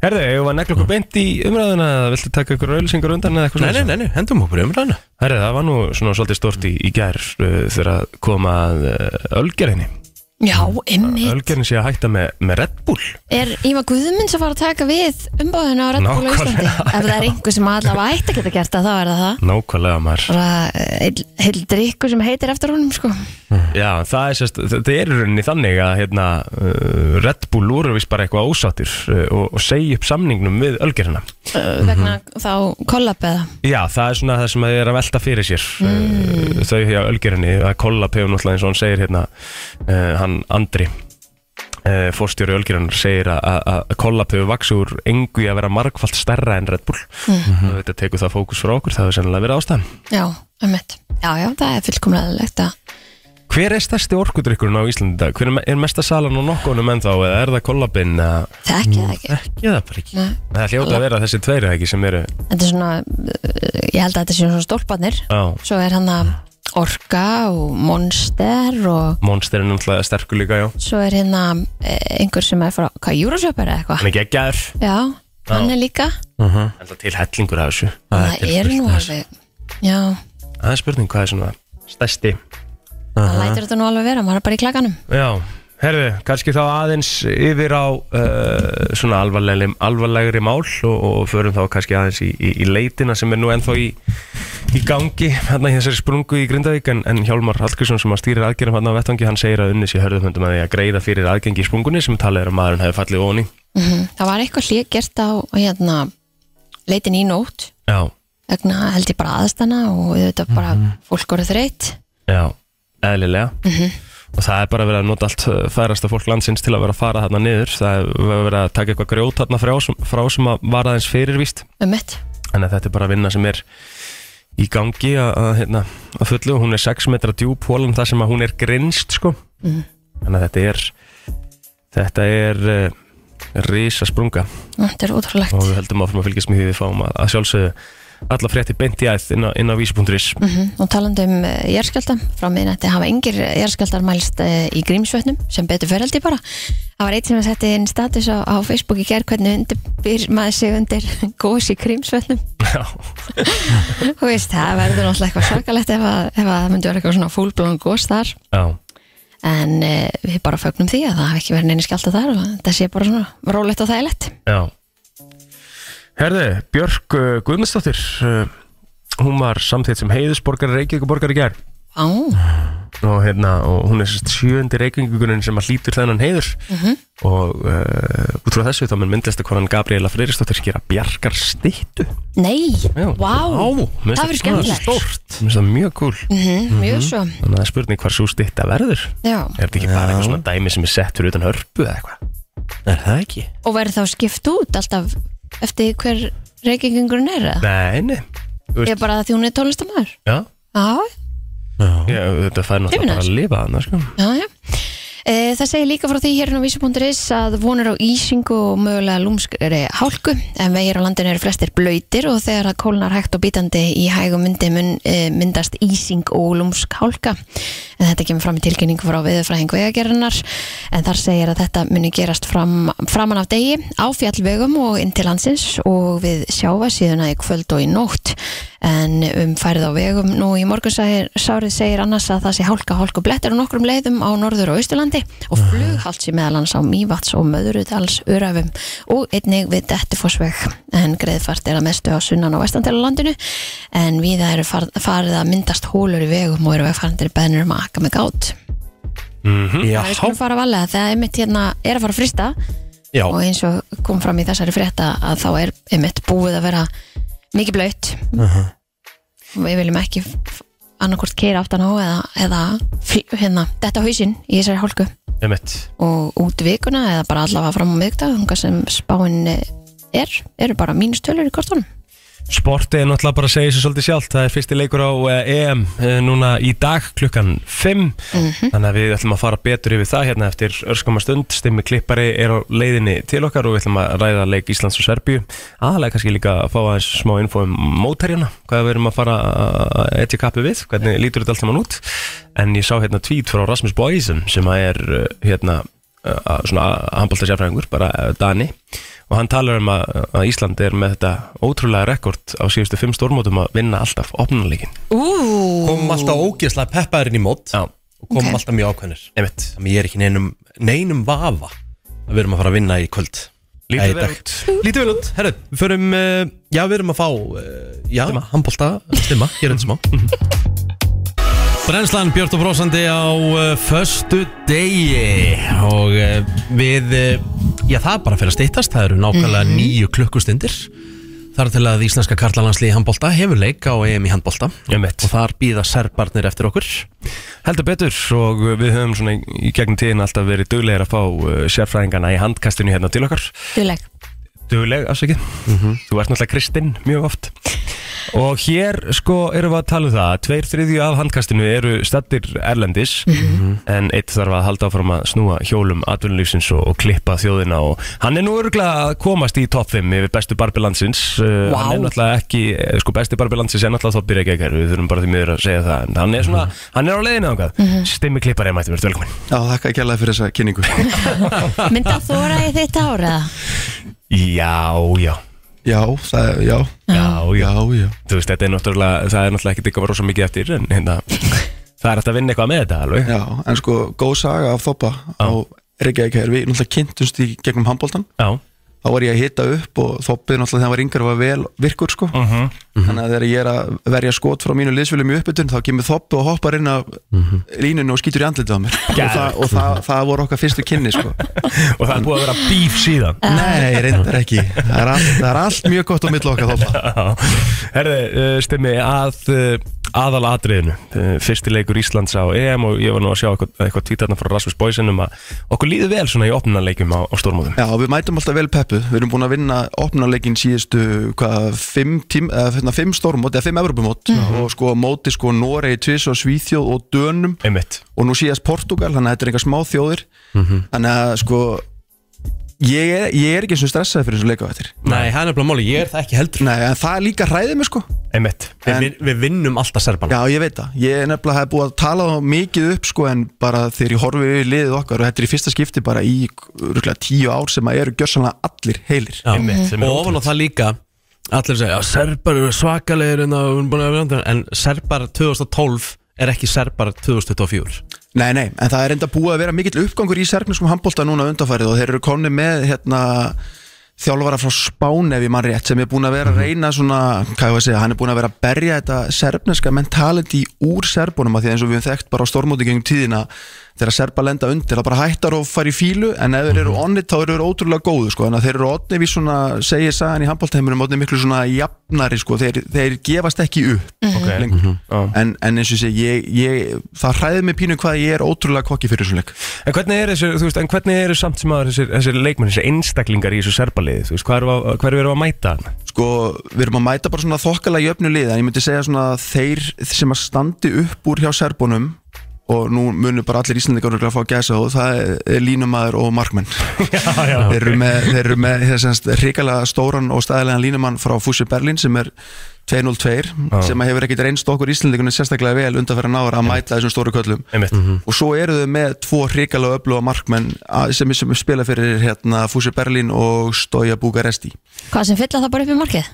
S4: Herðu, ég var negla okkur beint í umræðuna eða viltu taka ykkur auðlýsingar undan eða eitthvað
S2: Nei, nei,
S4: svoleiðis?
S2: nei, nei, hendum okkur umræðina
S4: Herðu, það var nú svona svolítið stort í, í gær uh, þegar að koma að uh, ölgerinni
S3: Já, ymmið
S4: Ölgerin sé að hætta með, með Red Bull
S3: Er Íma Guðmunds að fara að taka við umbóðinu á Red Bull á Íslandi?
S4: Nákvæmlega.
S3: Ef það er einhver sem allavega ætti að geta gert það, þá er það það
S4: Nákvæmlega maður
S3: Bara eh, heil, heil drikku sem heitir eftir honum, sko
S2: Mhm.
S4: Mm. Já, það er sérst, þetta er í rauninni þannig að hérna, uh, Red Bull úr vist bara eitthvað ósattir uh, og, og segja upp samningnum við Mhm. ölgerina
S3: Uh, vegna þá kollab eða
S4: Já, það er svona það sem þau er að velta fyrir sér mm. þau hjá ölgerinni að Kollab hefur náttúrulega eins og hann segir hérna uh, hann Andri uh, fórstjóri ölgerinnar segir að- að að Kollab hefur vaksið úr engu í að vera margfalt stærra en Red Bull
S3: Mm.
S4: og þetta tekur það fókus frá okkur, það hefur sennilega verið ástæðan
S3: Já, ummitt Já, já, það er fullkomlega eðlilegt að
S4: Hver er stærsti orkudrykkurinn á Íslandi í dag? Hver er, me- er mesta salan á nokkonum ennþá eða er það Kollabinn? eða-
S3: þekki það ekki
S2: Ekki það bara ekki
S3: Nei.
S4: Það hljóta að vera þessi tveir eða ekki sem eru
S3: Þetta er svona, uh, ég held að þetta séu svona stólparnir
S4: Já.
S3: Svo er hann að Orka og Monster og
S4: Monster er náttúrulega sterkur líka, já
S3: svo er hérna eh, einhver sem er frá, hvað, Júrasjöpar eða eitthvað
S4: Hann er geggjaður
S3: Já, hann er líka
S4: Alltaf til hellingur af þessu
S3: Það er nú alveg Já,
S4: Það er spurning hvað er svona stærsti
S3: það lætur þetta nú alveg vera, maður er bara í klaganum
S4: Já, herðu, kannski þá aðeins yfir á uh, svona alvarlegri, alvarlegri mál og, og förum þá kannski aðeins í, í, í leitina sem er nú ennþá í, í gangi hérna í þessari sprungu í Grindavík en, en Hjálmar Hallgrímsson sem að stýrir aðgerðum hérna á vettvangi hann segir að unni sér hörðufundum að því að greiða fyrir aðgengi í sprungunni sem talið er að maðurinn hefði fallið ofan í
S3: Mhm, Það var eitthvað hlið gert á hérna, leitin í nótt
S4: Já,
S3: vegna held ég bara aðstana og þetta bara fólk voru þreytt
S4: já, eðlilega Og það er bara verið að nota allt uh, færasta fólk landsins til að vera að fara þarna niður. Það er verið að taka eitthvað grjót þarna frá, sem- frá sem að var aðeins fyrirvíst.
S3: um mitt
S4: Þannig að þetta er bara vinna sem er í gangi að, að, hérna, að fullu og hún er 6 metra djúb hólan þar sem að hún er grinst sko. Þannig að þetta er þetta er uh, risa sprunga
S3: Þetta er ótrúlegt
S4: og við höldum áfram að fylgjast með því við fáum að, að sjálfsögðu alla frétti beint í æð inn á, inn á vísi.is
S3: Mhm. og talandi um uh, jarðskjálta frá miðnætti hafa yngir jarðskjáltar mælst uh, í grímsvötnum sem betur fyrir held ég bara það var eitt sem að setja inn status á, á Facebook í gerð hvernig undirbýr maður sig undir [LAUGHS] gós í grímsvötnum [LAUGHS]
S4: Já,
S3: Þú veist, það verður náttúrulega eitthvað svakalegt ef að, ef að það myndi vera eitthvað svona fúlblón gós þar
S4: já,
S3: en uh, við bara fögnum því að það hafi ekki verið neini skjálta þar og það sé bara svona rólegt og þægilegt
S4: já Herði, Björk uh, Guðmundsdóttir uh, hún var samþýtt sem heiðusborgar Reykjavíkuborgar í gær
S3: Á,
S4: og, hérna, og hún er sérst sjöundi reykvingugunin sem að hlýtur þennan heiður
S3: Mhm.
S4: og uh, út frá þessu þá mun myndlistakonan Gabriela Freyristóttir skera bjargar stittu
S3: nei,
S4: Já.
S3: vá það verður skemmtilegt
S4: stórt Mér finnst það mjög cool
S3: Mhm, mjög svo,
S4: Þannig að það er spurning hvar svo stitta verður
S3: já
S4: Er þetta ekki bara eitthvað svona dæmi sem er sett fyrir utan hörpu eða eitthvað
S2: Er það ekki?
S3: Og verður þá skipt út alltaf eftir hver reykingungurinn er eða?
S4: Nei, nei Þú
S3: Ég er bara að því hún er tónlistamæður.
S4: Já,
S3: Já,
S4: já þetta fær náttúrulega
S3: Hrifin af
S4: bara að lifa þannig sko.
S3: já, já. E, það segir líka frá því hérna á vísu.is að vonur á ísingu og mögulega lúmskri hálku en vegir á landinu eru flestir blöytir og þegar það kólnar hægt og bítandi í hægum myndi mun, e, myndast ísing og lúmsk hálka en þetta kemur fram í tilkynningu frá viðurfræðing vegagerðunar en þar segir að þetta muni gerast fram, framan af degi á fjallvegum og inn til landsins og við sjáva síðuna í kvöld og í nótt en um færð á vegum nú í morgunsárið segir annars að það sé hálka hálku blettir á nokkrum leiðum á norður og austurlandi og flughalt sé meðal hans á Mývats og Möðurudals urafum og einnig við Dettifossveg en greiðfært er að mestu á sunnan og vestan til á landinu en við það eru farið, farið að myndast hólur í vegum og eru vegfærandir beðnir um að akka með gát
S1: Mhm.
S2: Já,
S3: það er skulum fara valega þegar einmitt hérna er að fara að frista
S2: já,
S3: og eins og kom fram í þessari frétta að þá er einmitt búið að vera mikið blöytt Mhm. og við viljum ekki annarkort keira aftan á eða, eða fl- hérna, detta á hausinn í þessari hálku
S4: Einmitt.
S3: og út vikuna eða bara allavega fram á miðgdag þunga sem spáin eh, er, eru bara mínustölur í kortunum
S4: Sportið er náttúrulega bara að segja sér svolítið sjálft Það er fyrsti leikur á eh, EM eh, núna í dag klukkan 5 Þannig að við ætlum að fara betur yfir það hérna eftir örskama stund Stimmi Klippari er á leiðinni til okkar og við ætlum að ræða leik Íslands og Serbíu Aðalega kannski líka að fá aðeins smá info um mótærjana Hvað við erum að fara að etja kappi við Hvernig lítur þetta allt saman út En ég sá hérna tweet frá Rasmus Boysen sem að er eh, hérna eh, svona handbóltasjafræðingur, bara eh, Dani og hann talar um að, að Ísland er með þetta ótrúlega rekord á síðustu fimm stórmótum að vinna alltaf opnuleikin
S3: Ú,
S2: komum alltaf ógeðslega peppaðurinn í mót
S4: Já,
S2: og komum
S3: Ok.
S2: alltaf mjög ákveðnir
S4: einmitt
S2: þannig að ég er ekki neinum, neinum vafa að við erum að fara að vinna í kvöld
S4: Lítið
S2: Nei, í
S4: vel
S2: dag.
S4: út.
S2: Lítið vel út, herru, við förum uh, Já, við erum að fá, uh, já, handbólta Stimma, hér
S1: [LAUGHS]
S2: enn smá
S1: Mhm.
S2: Brennslan Björn og Brósandi á uh, Föstu degi Og uh, við uh, Já, það er bara fyrir að styttast Það eru nákvæmlega
S6: Mhm.
S2: níu klukkustundir Þar til að Íslenska karlalandsliði handbólta Hefur leik á EM í handbólta
S4: Einmitt.
S2: Og þar býða serbarnir eftir okkur
S4: Heldur betur og við höfum svona í gegnum tíðin alltaf verið duglegir að fá uh, sérfræðingana í handkastinu hérna til okkar
S6: [LAUGHS]
S3: duðleg
S4: Dugleg, afsakið
S6: Mhm.
S4: Þú ert náttúrulega kristinn mjög oft Og hér sko erum við að tala um það að Tveir þriðju af handkastinu eru stattir erlendis
S6: Mhm.
S4: En eitt þarf að halda áfram að snúa hjólum atvinnulífsins og, og klippa þjóðina Og hann er nú örgulega að komast í topp 5 yfir bestu barbi landsins uh,
S3: Vá.
S4: Hann er náttúrulega ekki, eh, sko besti barbi landsins er náttúrulega þoppir ekki ekkert Við þurfum bara því miður að segja það En hann er svona, hann er á leiðinu ángað mm -hmm. Stimmi klippar er mættum, verður velkomin
S6: Mhm. Já, þakka ekki alveg fyrir þessa
S4: [LAUGHS]
S6: kynningu
S3: Mynda þóra í þitt ára
S4: Já, já,
S6: Já, það er, já,
S4: já, já
S6: já, já
S4: þú veist, þetta er náttúrulega, það er náttúrulega ekkert eitthvað rosa mikið eftir en hérna, það er hægt að vinna eitthvað með þetta alveg
S6: Já, en sko, góð saga af þoppa á Reykjavík er við náttúrulega kynntumst í gegnum handbóltan
S4: Já,
S6: þá var ég að hita upp og þoppið náttúrulega þegar hann var yngar var vel virkur sko
S4: Mhm.
S6: þannig að þegar ég er að verja skot frá mínu liðsfélum í uppbytun þá kemur þoppið og hoppar inn af línunni og skýtur í andlitið á mér og, það, og það, það voru okkar fyrstu kynni sko
S4: [LAUGHS] og það er búið að vera bíf síðan
S6: Nei, reyndar ekki það er, allt, það er allt mjög gott á milli okkar þoppa
S4: Herði, uh, stemmi að uh, aðal atriðinu uh, fyrsti leikur Íslands á EM og ég var nú að sjá eitthvað, eitthvað tvítarna frá Rasmus Boysen um að okkur líður vel svona í opnunarleikum á, á stórmóðum
S6: Já, við mætum alltaf vel peppu Við erum búin að vinna opnarleikin síðustu hvað, fimm, tím, eða, hérna, fimm stórmót eða fimm Evropamót
S4: Mhm.
S6: og sko á móti sko Noregi, Tvís og Svíþjóð og Dönum
S4: Einmitt, Mhm.
S6: og nú síðast Portugal, þannig að þetta er einhver smá þjóðir þannig að sko ég er, ég er ekki eins og stressaði fyrir þessu leika á eftir
S2: Nei, það er nefnilega máli, ég er það ekki heldur
S6: Nei, en það líka hræði mig sko
S4: einmitt
S2: Við, við, við vinnum alltaf serbarnir
S6: Já, ég veit það, ég er nefnilega hef búið að tala þá mikið upp sko en bara þegar ég horfi við liðið okkar og þetta er í fyrsta skipti bara í rúklega tíu ár sem að eru gjörsanlega allir heilir
S2: Já.
S4: Einmitt, sem er
S2: og ofan á
S4: ótrúlegt.
S2: það líka allir segja að serbar eru svakalegir hérna, en, að, búin að vera andra." en serbar 2012 er ekki serbar 2024
S6: Nei, nei, en það er enda búið að vera mikill uppgangur í serfniskum handbólta núna undanfærið og þeir eru komni með hérna, þjálfara frá Spán ef ég mann rétt sem er búin að vera að reyna svona, hvað ég var að segja, hann er búin að vera að berja þetta serfniska mentality úr serbunum að því að eins og við höfum þekkt bara á stormóti gengum tíðina þegar serba lenda undir það bara hættar og fara í fílu en ef þeir eru onnit þá eru þeir ótrúlega góðu sko, en þeir eru onnit við svona, segir sagan í handbóltaheimunum onnit miklu svona jafnari sko, þeir, þeir gefast ekki upp
S4: Ok.
S6: lengur
S4: Já.
S6: Mhm. en, en eins og sé, ég, ég, það hræði mig pínu hvað ég er ótrúlega kokki fyrir svona leik
S4: En hvernig eru þessir, þú veist, en hvernig eru samt sem aður þessir, þessir leikmenn, þessir einstaklingar í þessu serbaliði, þú veist, hvað eru að, hver eru að mæta hann?
S6: Sko, við erum að mæta bara svona þokkalega jöfnu lið en ég myndi segja svona að þeir sem að standi upp úr hjá serbunum og nú munur bara allir íslendingar örugglega að fá gæsa og það er línumæður og markmenn
S4: [LAUGHS] Já, já,
S6: þeir eru með, þeir eru með þessast hrikalega stóran og staðilegan línumann frá Fúsi Berlin sem er 202 sem að hefur ekkit reynst okkur íslendingunum sérstaklega vel undanferðan náður að mæta þessum stóru köllum
S4: einmitt
S2: Mhm.
S6: og svo eru þau með tvo hrikalega öfluga markmenn að- sem, sem spila fyrir hérna, Fúsi Berlin og Stoja Búgaresti
S3: Hvað sem fylla það bara upp í markið?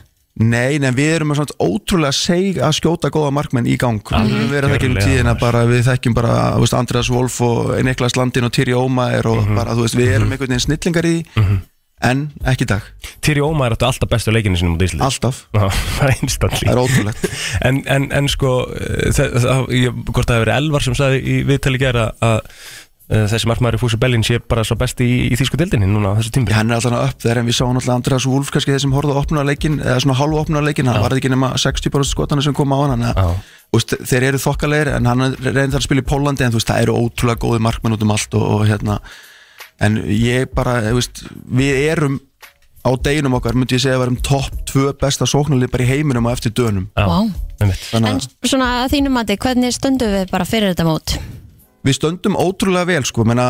S6: Nei, nei, við erum með svona ótrúlega seg að skjóta góða markmenn í gang Við verðum ekki um
S4: Algjörlega,
S6: tíðina
S4: maður.
S6: bara, við þekkjum bara þú veist, Andreas Wolf og Niklas Landin og Tyri Ómaer og bara, þú veist, við erum einhvern veginn snillingar í því
S4: Mhm.
S6: En ekki í dag,
S4: Týri Ómar áttu alltaf bestu leikinu sinni mútið Íslið
S6: alltaf,
S4: [LAUGHS] Það er
S6: það er
S4: einstakling
S6: ótrúlegt
S4: [LAUGHS] en, en, en sko eh, það, það, ég, Hvort það hefur verið Elvar sem sagði í viðtali gera að eh, þessi markmaður í Fúsi Bellin sé bara svo besti í, í þýsku dildinni núna á þessu tímpi
S6: Já, hann er alltaf upp þegar en við sáum alltaf Andreas Wolf kannski þeir sem horfðu að opna leikin eða svona hálfa opna leikin, hann varði ekki nema 60% skotana sem koma á hann þannig að,
S4: Já.
S6: þú veist, þeir eru þokkalegir en hann reynir þar að spila í Pólandi en þú veist, það eru ótrúlega góði markmenn út um allt og, og hérna en ég bara, þú veist, við erum á deginum okkar, myndi ég segja að við erum topp tvö besta sóknarlið bara í heiminum og eftir dönum
S4: Já,
S3: Vá.
S4: einmitt.
S6: þannig
S3: En
S6: að
S3: svona að þínum mati, hvernig stöndum við bara fyrir þetta mót?
S6: við stöndum ótrúlega vel sko, menna,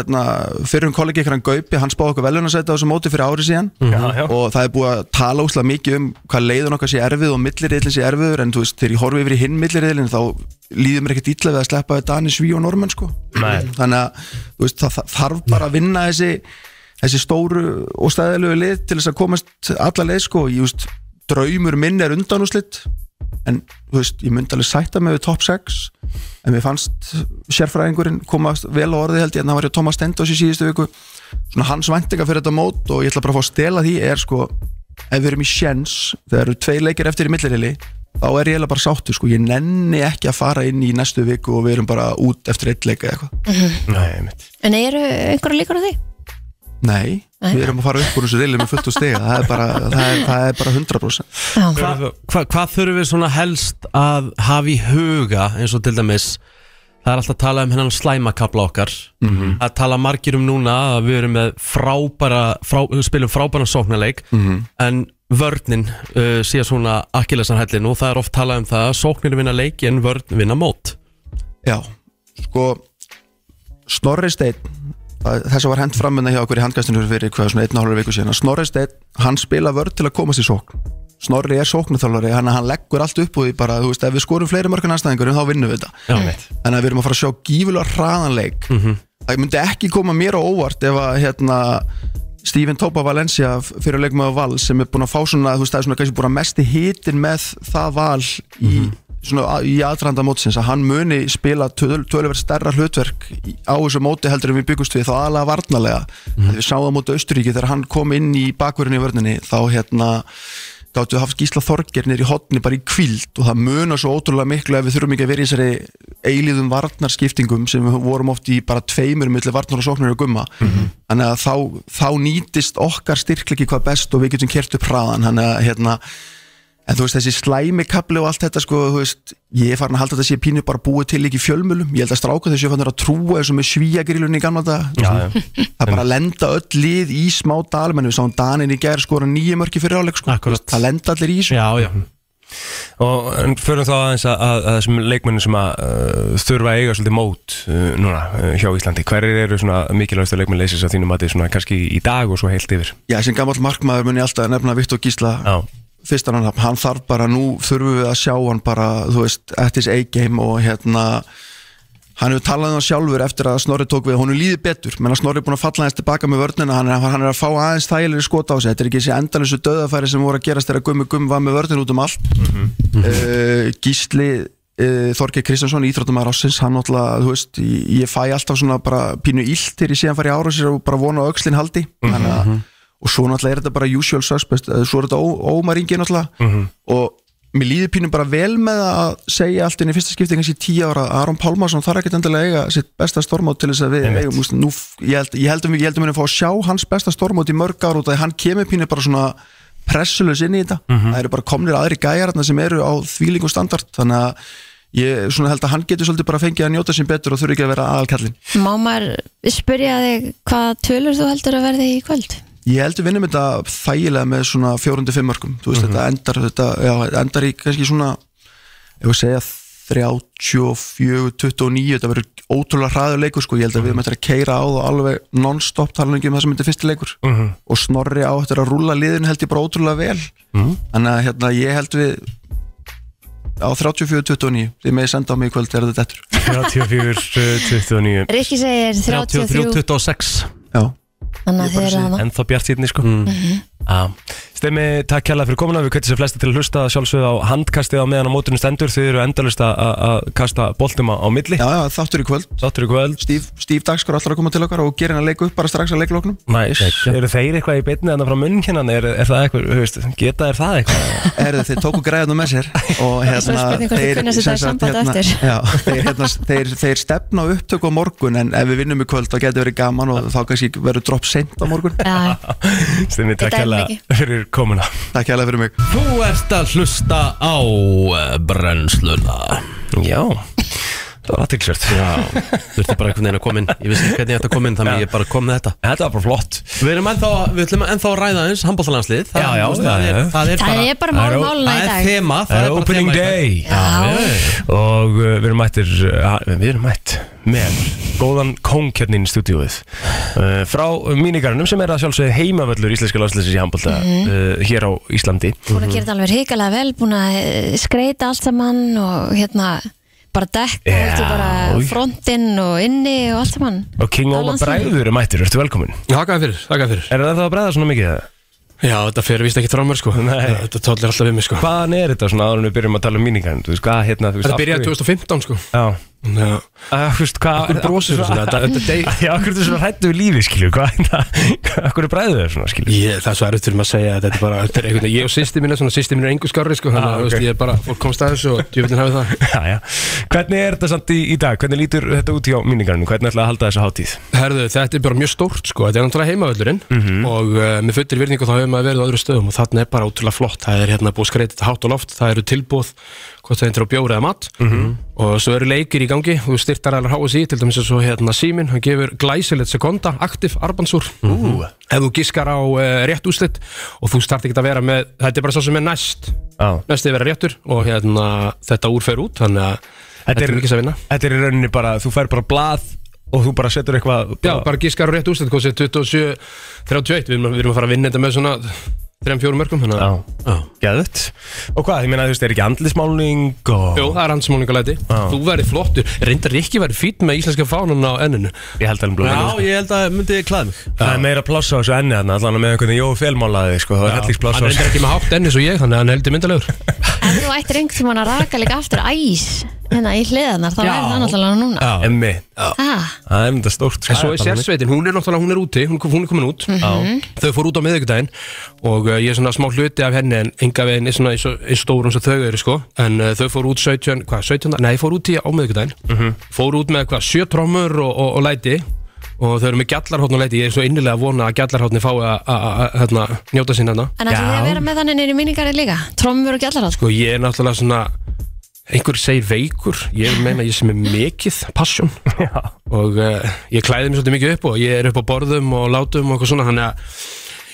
S6: hérna, fyrir um kollegi ykkur hann Gaupi, hann spáði okkur velunasæti á þessu móti fyrir ári síðan
S4: Já, já.
S6: og það er búið að tala úslega mikið um hvað leiðun okkar sé erfið og millirriðlinn sé erfiður en þú veist, þegar ég horfi yfir í hinn millirriðlinn þá líður mér ekkert illa við að sleppa við Dani Sví og Norman sko
S4: Nei.
S6: þannig að þú veist, það það þarf bara að vinna þessi þessi stóru og staðilegu lið til þess að komast alla leið sko, ég veist, draumur minn er undanúslitt en þú veist, ég myndi alveg sætta mig við top 6 en mér fannst sérfræðingurinn komast vel á orði held ég en það var hjá Thomas Stendos í síðustu viku svona hans vendinga fyrir þetta mót og ég ætla bara að fá að stela því er sko, ef við erum í sjens þegar eru tvei leikir eftir í millirili þá er ég eiginlega bara sáttu sko, ég nenni ekki að fara inn í næstu viku og við erum bara út eftir eitt leika eða eitthvað
S4: Nei, mitt
S3: Mhm. En eru einhverja líkur á því?
S6: Nei,
S3: Nei.
S6: við erum að fara upp úr þessu dilið með fullt og stiga það er bara, það er, það er bara 100%
S3: Já,
S2: Hva, hva, hvað þurfum við svona helst að hafa í huga eins og til dæmis það er alltaf að tala um hennan slæmakabla okkar
S6: Mhm.
S2: að tala margir um núna að við erum með frábæra frá, við spilum frábæra sóknarleik
S6: Mhm.
S2: en vörnin uh, sé svona akkilesarhællin og það er oft talað um það að sóknir vinna leiki en vörn vinna mót
S6: Já, sko Snorri Steinn það- þess að var hent framunna hjá okkur í handgastinu fyrir hvað svona einn og hálfur viku síðan að Snorri Steinn, hann spila vörð til að komast í sókn Snorri er sóknuþjálfari, hann, hann leggur allt upp úr því bara, þú veist, ef við skorum fleiri mörgum anstæðingur þá vinnum við þetta
S2: Já, mm.
S6: þannig að við erum að fara að sjá gífulega hraðanleik það myndi ekki koma mér á óvart ef að hérna Stephen Topa Valencia fyrir að leik með Val sem er búin að fá svona, þú veist, það er svona kannski búin að mesti hitin með það Val í, svona, a- í aðranda mótsins að hann muni spila töl, tölverð stærra hlutverk í- á þessu móti heldur en við byggust við þá aðalega varnalega mm við sáum það móti Östuríki þegar hann kom inn í bakverðinni í vörninni þá hérna gáttu haft Gísla Þorger nýri hotni bara í kvíld og það munar svo ótrúlega miklu ef við þurfum ekki að vera í þessari eilíðum varnarskiptingum sem við vorum oft í bara tveimur millir varnar og sóknir og gumma þannig að þá, þá nýtist okkar styrklegi hvað best og við getum kert upp hraðan þannig að hérna En þú veist þessi slæmi kapli og allt þetta sko, þú veist, ég er farin að halda þetta sé pínu bara búið til ekki í fjölmjölum, ég held að stráka þessu fannir að trúa þessu með svíjagrilunni í gamla dag
S4: Já, já.
S6: það bara lenda öll lið í smá dalum en við sáum Danin í gær skora nýju mörki fyrir áleik sko,
S2: Akkurat.
S6: það lenda allir í þessu
S2: já, já.
S4: Og en förum þá aðeins að, að, að þessum leikmennum sem að uh, þurfa að eiga svolítið mót uh, núna uh, hjá Íslandi Hverjir eru svona mikilvægastu leikmenn leysins að þínum að þið svona kannski í dag og svo heilt yfir?
S6: Já, sem gammal markmaður mun ég alltaf að nefna Viktor Gísla
S4: Já,
S6: fyrst hann, hann þarf bara, nú þurfum við að sjá hann bara, þú veist, eftir his A-game og hérna hann hefur talað um það sjálfur eftir að Snorri tók við honum líði betur, menn að Snorri er búin að falla aðeins tilbaka með vörnina, hann er, hann er að fá aðeins þægilegri skota á sig, þetta er ekki þessi endalösu döðafæri sem voru að gerast þegar gummi gummi var með vörnin út um allt
S3: Mhm.
S4: Mhm.
S6: uh, Gísli uh, Þorgeir Kristjánsson, íþróttumæður ássins hann náttúrulega, þú veist, ég, ég fæ alltaf svona bara pínu illt þegar ég sé hann fara í ára sér og bara vona á öxlin haldi þannig að og svo náttúrulega er þetta bara usual suspect eh, svo er þetta Ó- Ómar Ingi náttúrulega
S4: Mhm.
S6: og mér líður pínum bara vel með að segja allt inn í fyrsta skipti kannski í tíu ára að Aron Pálmarsson þarf ekkert endilega að eiga sitt besta stormót til þess að við eigum, þú veist, nú, f- ég held ég held að við- ég held að mér að fá að sjá hans besta stormót í mörg ár út af því hann kemur pínu bara svona pressulus inn í þetta það eru bara komnir aðri gæjarna sem eru á þvílingu standart þannig að ég svona held að hann getur svolítið bara fengið að njóta sín betur og þurfi ekki að vera aðalkallin
S3: Má maður spyrja þig hvað tölur þú heldur að verði í kvöld?
S6: Ég held við vinnum þetta þægilega með svona 4-5 mörgum, þú veist þetta endar þetta, já, þetta endar í kannski svona ef við segja 34 29, þetta verður ótrúlega hraður leikur sko, ég held að við möttum að keira á það alveg non-stop talangi um það sem þetta er fyrsti leikur
S4: Mhm.
S6: og snorri á þetta að rúla liðin held ég bara ótrúlega vel þannig að hérna ég held við á 34-29 þið meði senda á mig í kvöld þegar þetta dettur
S4: 34, 29
S3: Rikki segir 33
S2: 33-26
S6: Já,
S3: Þannig að
S6: Ég bara
S3: þið eru
S6: segi-
S3: hana
S4: En þá bjart sýtni sko mm Stemmi, takk kjærlega fyrir komuna Við kveitum sér flesti til að hlusta sjálfsögð á handkastið á meðan á móturinn stendur Þið eru endalust að- að að kasta boltum á, á milli
S6: já, já þáttur í kvöld
S4: Sáttur í kvöld
S6: Stíf, Stíf Dagskur allar að koma til okkar og gera hennar leik upp bara strax að leikloknum
S4: Næs, eru þeir eitthvað í beinni þannig frá munn hérna, er, er það eitthvað, þú veist, geta er það
S6: [LAUGHS]
S4: eitthvað?
S6: Erðu, þeir tóku græðunum með sér og
S3: Svo er
S6: hérna,
S3: spurning hvort þið kunna að setja
S6: sem sagt, hérna,
S3: samband eftir.
S6: já, þeir, hérna, þeir, þeir stefna á upptöku á morgun en ef við vinnum í kvöld þá getur verið gaman og þá kannski verður dropp seint á morgun
S3: Já,
S4: Stemmi, takk
S3: dæmum
S4: hérna
S3: ekki.
S4: fyrir komuna.
S6: Takk hérlega fyrir mig
S2: Þú ert að hlusta á eh, brennsluna
S4: Já, það var aðtilsvört.
S2: Þurfti bara einhvern veginn að koma inn Ég vissi ekki hvernig ég ætti að koma inn Þannig
S4: Já.
S2: ég bara kom með þetta
S4: Þetta var bara flott.
S2: Við erum ennþá, við ætlum ennþá að ræða eins handbóltalandslið
S4: Já, já,
S2: það,
S4: já,
S2: er,
S4: já.
S2: það er
S3: það
S2: bara
S3: er bara mál
S4: það er-
S3: máluna í
S2: Það er
S3: dag
S2: þema
S4: Það er opening day.
S3: Já.
S4: Og uh, við erum mættir, uh, við erum mætt með góðan kóng hérna inn í stúdíóið. Uh, frá mínigarnum sem er að sjálfsögðu heimavöllur íslenska landslýsins í handbólta uh, hér á Íslandi.
S1: Mhm.
S3: Búin að gera þetta alveg hrikalega vel Búin að eh, skreyta allt saman og hérna bara dekk og heldur bara
S4: Já.
S3: frontinn og inni og allt saman
S4: Og King
S3: Á
S4: Óma
S3: landsliðinu.
S4: Bræður er mættur, ertu velkomin
S1: Þakka þér fyrir, þakka þér fyrir
S4: Er það það að bræða svona mikið það?
S1: Já, þetta fer vist ekki frá mér sko
S4: Nei.
S1: Þetta tóllir alltaf við mig sko
S4: Hvaðan er þetta svona áður en við byrjum að tala um míningarinn? Þú veist hvað hérna, þú veist
S1: Þetta byrjaði 2015 sko
S4: Já,
S1: Já,
S4: að, þú veist hvað
S1: Akkur brosir
S4: [LAUGHS]
S1: þú svona? Þetta- þetta dey-
S4: Ah, Já, akkur er þetta svona hrættu við lífi, skilju Hvað [LAUGHS] Akkur er bræðu þau svona, skilju
S1: ég, það er svo erfitt fyrir mig að segja Þetta er bara, þetta er einhvern veginn Ég og sýsti mín er svona, sýsti mín er engu skarri sko Þannig
S4: Ah,
S1: að þú
S4: ok.
S1: veist, ég er bara, fólk komst að þessu og djúvillin hafið það
S4: Já, já [LAUGHS] Hvernig er þetta samt í, í dag? Hvernig lítur þetta út hjá míningarinn? Hvernig ætlaði að halda þessa hátíð?
S1: Herðu, þetta er bara mjög stórt sko, þetta er náttúrulega heimavöllurinn og uh, með fullir virðingu þá hefur maður verið á öðru stöðum og þarna er bara ótrúlega flott, það er hérna búið skreitit hátt og loft, það eru tilbúð hvort það er á bjóra eða mat og svo eru leikir í gangi og styrtar alveg HSI til dæmis að svo hérna Simin, hann gefur glæsilegt sekunda, aktiv arbansúr ef þú giskar á uh, rétt úslit og þú starti ekki að vera með, þetta er bara svo sem er næst,
S4: Já
S1: næst er vera réttur og hérna þetta úr fer út, þannig að þetta er mikið að vinna.
S4: Þetta er í rauninni bara, þú fær bara blað og þú bara setur eitthvað
S1: Já, bara gískar á rétt úrslit, hvað sé 27, 31, við erum, við erum að fara að vinna þetta með svona 3-4 mörgum, þannig að
S4: Já, já. Geðut Og hvað, ég meina, þú veist, er ekki andlismálning og
S1: Jó, það er hans málningalæti,
S4: Já.
S1: þú verði flottur, reyndar Rikki verði fýtt með íslenska fánan á enninu
S4: Ég held alveg
S2: Já,
S4: blöð
S2: ég held að myndi klæða mig
S4: Það er meira pláss á þessu enni þarna Allan með einhvern veginn Jói Fjellmálaði, sko Það er hellingspláss á
S1: Hann reyndar
S4: þessu
S1: ekki með hátt ennis og ég, þannig að hann er heldur myndalegur
S3: En þú ættir einhvern tímann að raka líka aftur æs hérna í hliðanar, þá er það náttúrulega núna
S4: Emmi
S3: ah,
S4: Það er mynda stórt
S1: En svo er sérsveitin, hún er náttúrulega, hún er úti, hún, hún er komin út
S3: Mhm.
S1: Þau fór út á miðvikudaginn og uh, ég er svona smá hluti af henni en enga veginn er svona eins og- eins stórum sem þau eru sko En uh, þau fór út 17, hvað, 17, nei, fór út í á miðvikudaginn
S4: Mhm.
S1: Fór út með hvað, 7 trommur og, og, og læti Og þau eru með gjallarhóttn og læti, ég er svo innilega að vona að gjallarhóttni fái að- að að- hérna, njóta sín hérna
S3: En ætlum þið að vera með þannig nýri minningarinn líka Trommur og gjallarhátt
S1: Sko ég er náttúrulega svona, einhver segir veikur, ég vil meina ég sem er mikið, passion
S4: Já
S1: og uh, ég klæði mér svolítið mikið upp og ég er upp á borðum og látum og eitthvað svona þannig að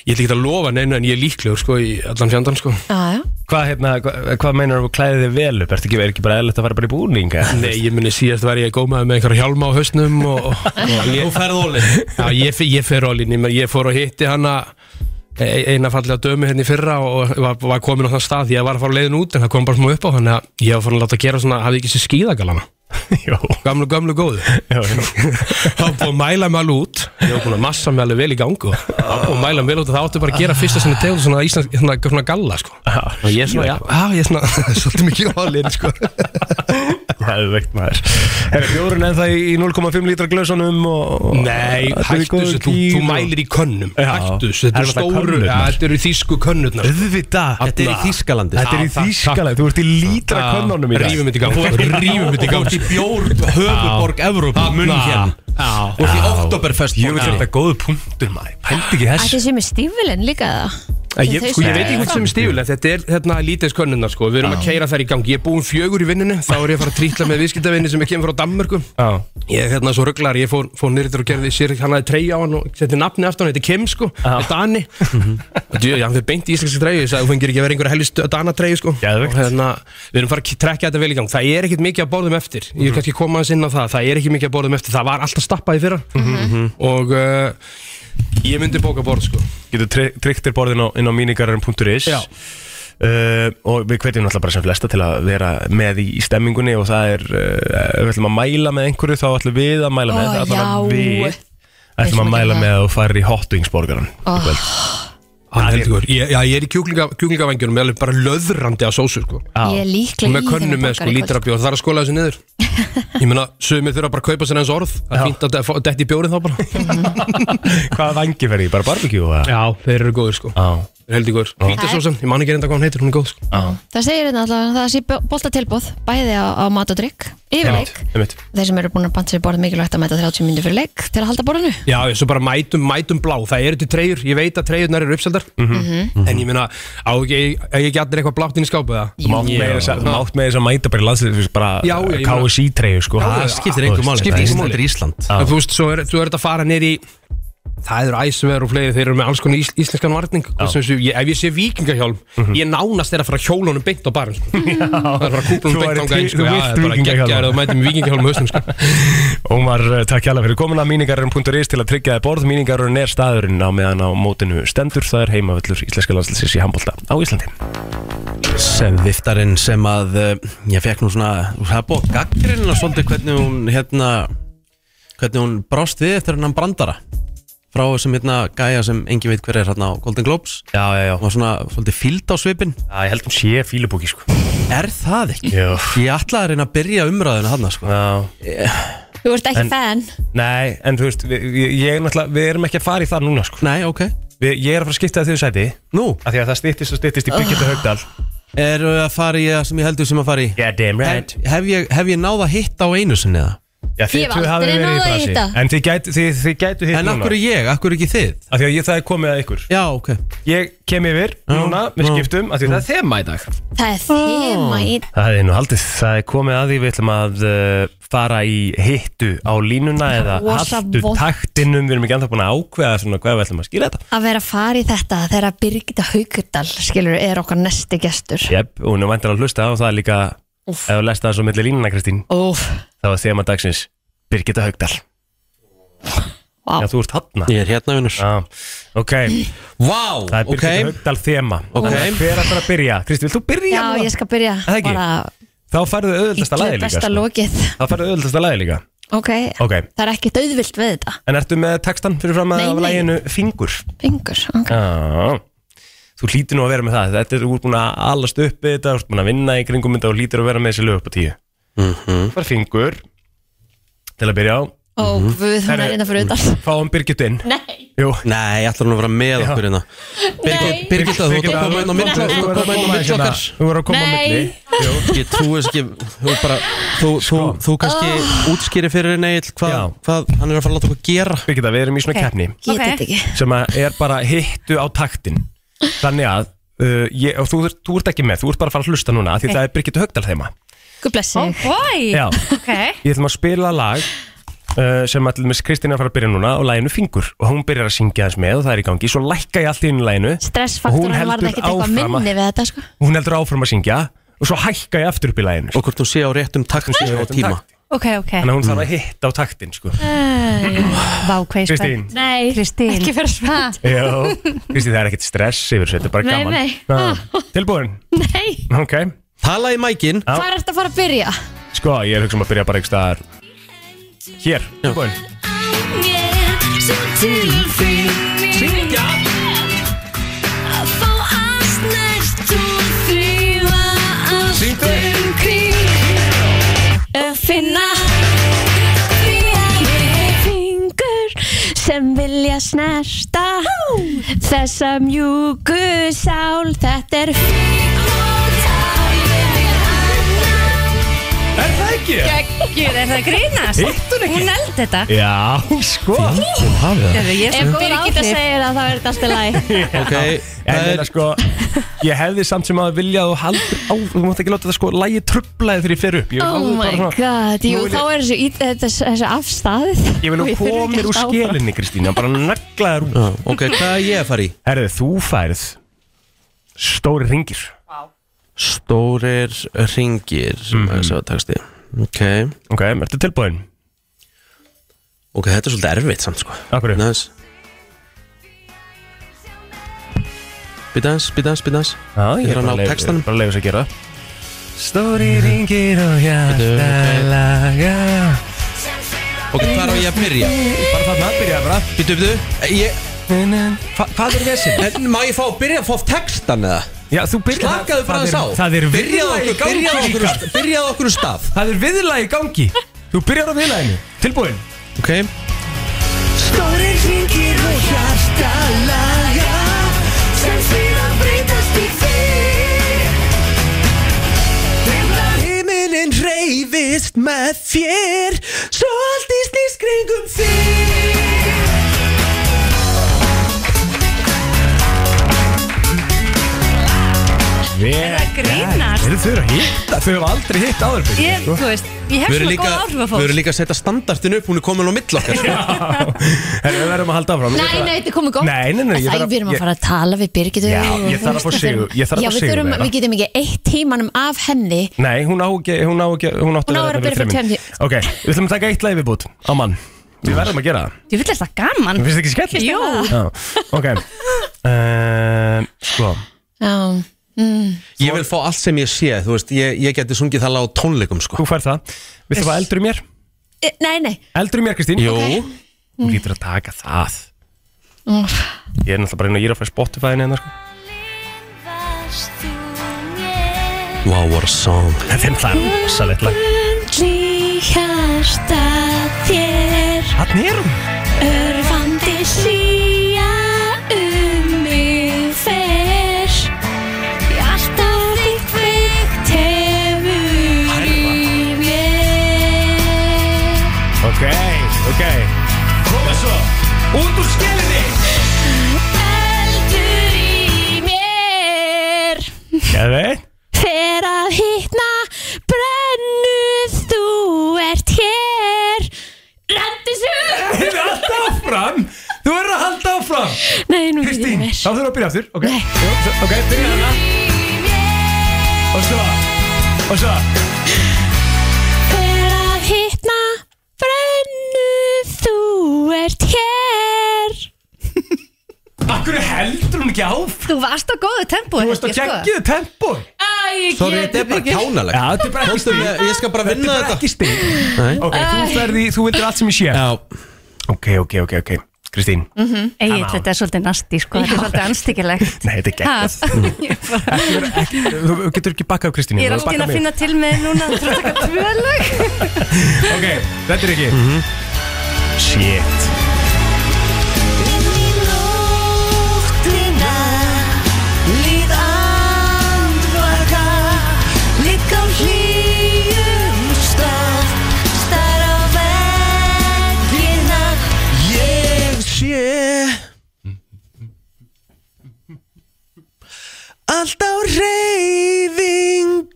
S1: ég ætla ekki að lofa neina en ég er líklegur sko í allan fjandann sko
S3: Já, já
S4: Hvað hérna, hva, hvað meinar þú klæðið þig vel upp? Ertu ekki, er ekki bara eðlilegt að fara bara í búninga?
S1: Nei, ég muni síðast var ég gómaði með einhverja hjálma á hausnum
S4: [LAUGHS]
S1: og, og
S2: Þú
S1: ég,
S2: færð óli
S1: já, ég, fer- ég fer ólinni, ég fór og hitti hana e- eina fallega dömu hérna í fyrra og var, var komin á þann stað, ég var að fara leiðin út en það kom bara smá upp á hann að ég var farin að láta gera svona, hafði ekki sér skíðagalana
S4: [LAUGHS] Jó,
S1: gamlu, gamlu góðu
S4: [LAUGHS] já,
S1: [LAUGHS]
S4: já.
S1: Það var búið að mæla mig alveg út Ég var búin að massa mig alveg vel í gangu Það var búið að mæla mig vel út og það átti bara að gera fyrsta sinni tegund svona íslensk, svona, svona galla sko Og ég er svona, já, já, ég er svona [LAUGHS] Svolítið mikið álinn sko
S4: Það er veikt maður. Er bjórun ennþá í í 0,5 lítra glösunum og... og-
S1: Nei,
S4: Þetta er í
S1: hættu
S4: góðu
S1: þessu, þú,
S4: gír
S1: þú
S4: og-
S1: mælir í könnum
S4: Já.
S1: Hættu þessu, þetta
S4: Er
S1: eru
S4: þetta
S1: stóru
S4: könnurnar?
S1: ja, Þetta eru þýsku könnurnar
S2: Auðvitað Þetta er í Þýskalandi
S4: Þetta er í
S1: Já, takk, Ah,
S4: Þýskalega, þú ert í lítra könnunum í dag.
S1: Rífum þetta í gang Rífum þetta í
S4: [LAUGHS]
S1: gang Ah.
S2: Þú ert í bjór höfuborg Evrópu munn
S1: hérna.
S2: hér Þú ert í Oktoberfest
S4: Ah. Jú, þetta er þetta góðu punktur maður. Pældi ekki
S3: Ætti
S4: þessu.
S3: sem er stífilinn líka það
S1: Ég, sko, ég veit ekki hvað sem er stífulega, þetta er hérna lítils könnunnar sko, við erum að keira þær í gangi, ég er búinn fjögur í vinninu, þá er ég að fara að trýtla með viðskiptavinni sem er kemur frá Danmörku,
S4: Já.
S1: Ég er hérna svo rugglar, ég fór, fór nýrður og gerði sér, hann hafði treyja á hann og setti nafni aftur, hann heiti Kim sko, er Dani og djú, hann fyrir beint í íslenski treyju, ég sagði, þú fengir ekki að vera einhverja helvist Dana treyju sko
S4: Geðveikt.
S1: og hérna, við erum fara að trekja þetta vel í gang, það er ekkit mikið að borðum eftir,
S4: Mhm.
S1: ég er kannski koma aðeins inn á það, það er ekki mikið að borðum eftir, það var alltaf stappað í fyrra og uh, ég myndi bóka borð sko
S4: Getur tri- tryggt þér borðin á, inn á mínigarinn.is
S1: Já.
S4: Uh, og við hvetjum náttúrulega bara sem flesta til að vera með í, í stemmingunni og það er, uh, ef við ætlum að mæla með einhverju þá ætlum við að mæla
S3: Ó,
S4: með það er allavega
S3: já.
S4: við ætlum
S3: ætlum
S4: að
S3: að
S4: mæla
S3: gera
S4: með að þú farir í hotwingsborgaran oh.
S1: Hann heldur góður. Ég, já, ég er í kjúklinga, kjúklingavængjunum með alveg bara löðrandi af sósu sko.
S3: Ég
S1: Og
S3: er líklega
S1: með könnu með sko, lítra bjór, það er að skóla þessu
S3: [LAUGHS]
S1: niður Ég meina, sögumir þurfa bara að kaupa sér eins orð Það er fínt að de- fá- detti í bjórið þá bara
S4: [LAUGHS] Hvaða vangi fer í? Bara barbecue? eða?
S1: Já, þeir eru góður sko
S4: Já
S1: Þeir eru heldur góður Vítasósan, ég man ekki reynda hvað hann heitir, hún er góð sko
S3: Það segir þetta alltaf að það sé boltatilbóð bæði á, á mat og drikk yfirleik
S4: einmitt.
S3: Þeir sem eru búin að banta sér borð mikilvægt að mæta 30 minnir fyrir leik til að halda borðinu
S1: Já, ég svo bara mætum, mætum blá Það eru til treyjur, ég veit að treyjurnar eru uppseldar
S3: Mhm.
S1: En ég meina, á ekki, á ekki allir eitthvað blátt inn í skápu eða
S4: Mhm. Þú mátt með þess að- þú mátt með þess að mæta bara í landslið þú veist,
S1: Já,
S4: bara
S1: ég meina-
S4: KSI-treyju sko
S1: Já, já,
S2: Skiptir engu máli
S1: Skiptir engu máli.
S2: Þetta er Ísland
S1: En Þú veist, svo er, þú ert að fara nýr í Það eru æsver og fleiri, þeir eru með alls konar ís, íslenskan varning og sem sem, ég, Ef ég sé vikingahjálm, ég nánast er að fara kjólunum beint á barinn sko. Það er að fara
S4: Þú
S1: kúplunum beint
S4: væri
S1: á gæn
S4: til-
S1: sko.
S4: þú
S1: Já,
S4: vilt
S1: það er bara
S4: vikingahjálma.
S1: geggjaður að mæta með vikingahjálm hausnum sko.
S4: Ómar, eh, takk hjálpa fyrir komuna míningarinn.is til að tryggja þér borð míningarinn er staðurinn á meðan á mótinu stendur það er heimavöllur íslenska landslýsins í handbólta á Íslandi
S2: sem viftarinn sem að eh, ég fekk nú svona, það er búið gaggrinn og svolítið hvernig hún hérna, hvernig hún brást við eftir hennan brandara frá þessum hérna gæja sem engin veit hver er hérna á Golden Globes
S4: Já, já, já
S2: hún var svona svolítið fíld á svipin
S4: Já, ég held hún sé fílubóki, sko
S2: er það ekki?
S4: Já
S2: Ég ætlaði að reyna að byrja umræðuna hann sko.
S4: Já
S3: Þú ert ekki
S4: En-
S3: fan
S4: Nei, en þú veist, við, við- ég er náttúrulega, við erum ekki að fara í það núna, sko
S2: Nei, ok,
S4: við, Ég er að fara að skipta það þau sæti
S2: nú Ah.
S4: Af því að það styttist og styttist í Birgitta Haugdal
S2: eru að fara í það sem ég heldur sem að fara í
S4: Yeah, damn
S2: hef, hef, ég, hef ég náð að hitta á einu sinni eða?
S4: Já, þið
S3: Ég hef
S4: tvö hafið
S3: aldrei
S4: verið í
S3: náð að
S4: brasi.
S3: hitta.
S4: En þið gætu, þið, þið gætu hitt
S2: En
S4: núna
S2: akkur er ég, akkur er ekki þið?
S4: Af því að ég, það er komið að ykkur
S2: Já, ok
S4: Ég kem yfir núna, við
S2: já.
S4: skiptum Af því það er þema í dag
S3: Það er þema í
S4: Það er nú haldið, það er komið að því við ætlum að uh, fara í hittu á línuna eða
S3: Rosa
S4: haldu
S3: vont.
S4: taktinum, við erum ekki anþá búin að ákveða svona hvað við ætlum að skýra þetta.
S3: að vera að fara í þetta þegar Birgitta Haugardal skilur er okkar næsti gestur
S4: Jep, og hún er vantar að hlusta á það líka,
S3: Úff.
S4: ef þú lest það svo milli línuna Kristín,
S3: Óf,
S4: það var þema dagsins Birgitta Haugdal.
S3: vá,
S4: Já, þú ert hann.
S2: Ég er hérna vinnur
S4: Já, ok,
S2: Vá,
S4: það er
S2: ok
S4: Birgitta Haugdal þema.
S2: Ok.
S4: Hver ætlar að byrja? Kristín, vilt þú byrja?
S3: já
S4: núna?
S3: ég skal byrja
S4: Það ekki?
S3: bara
S4: Þá færðu auðvöldasta
S3: illu
S4: lagi líka.
S3: besta
S4: sko.
S3: lokið
S4: Þá færðu auðvöldasta lagi líka.
S3: ok,
S4: Ok,
S3: það er ekki döðvilt við þetta
S4: en ertu með textan fyrir fram
S3: Nei,
S4: að
S3: nei.
S4: laginu Fingur?
S3: Fingur, ok,
S4: Já Þú hlýtir nú að vera með það Þetta er úr búin að allast upp við þetta Þú ert búin að vinna í kringum þetta og hlýtir að vera með þessi lög upp á tíu
S2: Mhm.
S4: Það var fingur Til að byrja á
S2: Mhm.
S3: og við hún
S4: Herru,
S3: er innan fyrir utan
S4: [LAUGHS] Fáum Birgit inn
S3: nei,
S4: Jú
S2: Nei, ég ætla hún að vera með okkur hérna
S3: nei,
S2: Birgitta, þú ert
S4: Birgitta,
S2: að koma inn á milli
S4: þú
S2: Þú
S4: ert
S2: ert að koma inn á milli
S4: hérna-
S2: okkar
S4: Þú ert að koma á
S3: Nei.
S4: milli Jú. Sko.
S2: Ég trúi þess ekki Þú, bara, þú, þú, þú kannski útskýri fyrir henni Egill, hvað
S4: Já.
S2: hvað hann er að fara að láta okkur gera
S4: Birgitta, við erum í svona
S3: Ok.
S4: keppni
S3: get þetta ekki
S4: Sem að er bara hittu á taktin Þannig að uh, ég, og þú, ert- þú ert ekki með, þú ert bara að fara að hlusta núna af Því það er Birgitta Högdal þeima
S3: guð blessi
S7: Oh
S3: þig
S7: boy
S4: Já,
S7: Ok
S4: Ég ætlum að spila lag uh, sem allir með Kristín er að fara að byrja núna og laginu Fingur og hún byrjar að syngja þess með og það er í gangi svo lækka ég allt í einu laginu Og hún
S3: stressfaktorinn
S4: heldur
S3: varð ekkert eitthvað
S4: áfram að-
S3: minni við þetta sko
S4: og hún heldur áfram að syngja og svo hækka ég aftur upp í laginu sko.
S2: Og hvort hún sé á réttum taktum sé á
S4: Réttum
S2: tíma
S4: takti.
S7: Ok, ok
S4: Þannig að hún þarf að hitta á taktin sko.
S7: Vá, hvað ég
S4: Kristín,
S3: nei,
S7: Kristín.
S3: ekki fyrir spennt [LAUGHS]
S4: já, Kristín það er ekkert stress yfir þessu, þetta er bara
S3: Nei,
S4: gaman
S3: nei. Ah.
S4: Já. Tilbúin,
S3: nei,
S4: ok
S2: Tala í mækin
S4: Já.
S3: hvað er þetta að fara að byrja?
S4: Sko, ég er hugsa um að byrja bara einhver staðar Hér, tilbúin Syngja Syngdu
S3: finna fingur sem vilja snerta þessa mjúku sál þetta er
S4: Er það ekki?
S7: Gjör, er það að grínast?
S4: Hittu ekki?
S7: Hún held þetta
S4: Já, sko
S2: Hún hafi það
S7: Gerðu, Ég er
S3: ef
S7: svo góð á
S3: góð áhrif
S7: þig
S3: segir að það verður allt í
S7: [LAUGHS]
S4: [LAUGHS]
S3: lagi
S2: Ok,
S4: En
S2: það
S4: það
S2: er
S4: sko, ég hefði samt sem að vilja að þú haldur á, þú mátt ekki láta þetta sko lægi trublaði þegar ég fer upp Ég vil
S3: oh
S4: alveg bara
S3: my
S4: svona-
S3: god jú,
S4: Nú er
S3: þá
S4: ég-
S3: er þessu, ít- þetta- þessu afstæðið
S4: Ég vil
S3: Og
S4: nú
S3: þurfi ekki
S4: komir
S3: að
S4: úr
S3: halda áfram.
S4: skelinni Kristína, bara negla þér út
S2: Já, Ok, hvað er ég að fara í?
S4: Herðu, þú færð stóri ringir
S2: Stórir ringir
S4: Mhm.
S2: Þessi var texti Ok,
S4: Ok, ertu tilbúin?
S2: ok, þetta er svolítið erfitt samt sko
S4: Akkur er?
S2: Næs Bídans, bídans, bídans
S4: Já,
S2: Ég er að ná
S4: leyfa-
S2: textanum.
S4: Bara leiðis að gera Stóri ringir og hjarta laga
S2: Ok, hvað er á ég að byrja?
S4: Bara þarna að byrja bara
S2: Býtu, býtu Eh, Ég,
S4: Hva, Hvað er þessi?
S2: [LAUGHS] en má ég fá að byrja að fá textan eða?
S4: Já, þú byrja
S2: Slakaðu bara þess á
S4: Það er
S2: Byrjaðu
S4: viðlag í
S2: okkur,
S4: gangi
S2: byrjaðu okkur,
S4: líka.
S2: byrjaðu okkur um stað
S4: Það er viðlag í gangi Þú byrjar á viðlaginu Tilbúin
S2: Ok Himinin reyfist með þér Svo allt í snýst kringum þér
S4: Er
S7: að grínast?
S4: Eru þau að hitta? Þau hafa aldrei hitt áður sko. fyrir
S7: Ég, þú veist, ég hef
S2: Við erum
S7: svona
S2: líka,
S7: góð áhrif að
S2: við erum
S7: fólk
S2: líka að setja standartin upp Hún er komin á mill
S4: [LAUGHS]
S2: okkar sko.
S4: Herru, við verðum að halda áfram
S3: Nei, nei, þetta er komið gott
S4: Nei, nei, nei, ég
S3: Æ,
S4: þarf að-
S3: við erum að
S4: ég-
S3: fara að tala við Birgitu
S4: Já, ég þarf að fá sigur- ég þarf að fá
S3: Já, við,
S4: sigur hérna.
S3: þurfum,
S4: meira.
S3: við getum ekki eitt tímanum af henni
S4: Nei, hún á ekki, hún á ekki, hún átti
S3: Hún á að vera að byrja fyrir
S4: þremur.
S3: tveim-
S4: Ok, við ætlum að taka eitt lagi viðbútt á mann Við verðum að gera það
S7: Ég vil þetta gaman
S4: Mér finnst það ekki
S7: Jú.
S4: skemmt? Já,
S3: Ah.
S4: ok um, Sko,
S3: Já, mm.
S2: Ég ég vil fá allt sem ég sé Þú veist, ég, ég geti sungið það lag á tónleikum sko.
S4: Þú fær það Viltu fá eldur í mér?
S3: Eh, Nei, nei
S4: Eldur í mér, Kristín?
S2: Jú,
S3: Ok.
S4: Þú lítur að taka það
S3: Úff.
S4: Ég er náttúrulega bara inn og ég er að fara Spotify-inu hérna, sko.
S2: wow, what a song
S4: Þetta er náttúrulega rosalegt lag
S5: Í hjarta þér
S4: Hann er hún
S5: Örfandi hlýja um mig fer Alltaf þitt veikt hefur í mér
S4: Ok, ok Koma svo Út úr skilinni
S5: Eldur í mér
S4: Gæði
S5: Fer að hittna brennuð þú ert hér Rendis upp
S4: Þið er alltaf áfram Þú verður að halda áfram
S5: Nei, nú get ég
S4: Kristín,
S5: mér
S4: þá þurfum við að byrja aftur Ok,
S5: Nei.
S4: Jú, svo- ok, byrja hana Og svo Og svo
S5: Hver að hittna brennuð þú ert hér
S4: Akkur heldur hún ekki áfram
S7: Þú varst á góðu sko. tempó
S4: Þú veist að geggiðu tempo Já,
S2: Sorry, þetta er bara kjánalegt
S4: þetta er bara ekki
S2: Komstu
S4: stig
S2: með- Ég skal bara
S4: Þetta er
S2: vinna
S4: bara
S2: þetta
S4: ekki stig Ok, þú verði, þú vildir allt sem ég sé
S2: Já,
S4: Ok, ok, ok, ok Kristín,
S3: Mhm.
S7: Egil, þetta er svolítið nasti sko, þetta er svolítið anstíkilegt
S4: nei, þetta er geggjað
S7: [LAUGHS]
S4: Ekki verið- ekki- Þú þú getur ekki bakkað Kristín
S7: Ég er alltaf að finna til með þér núna Þú þarf að taka tvö lög
S4: Ok, þetta er ekki
S2: Mhm.
S4: Shit
S2: Ég sé Allt á reyfingu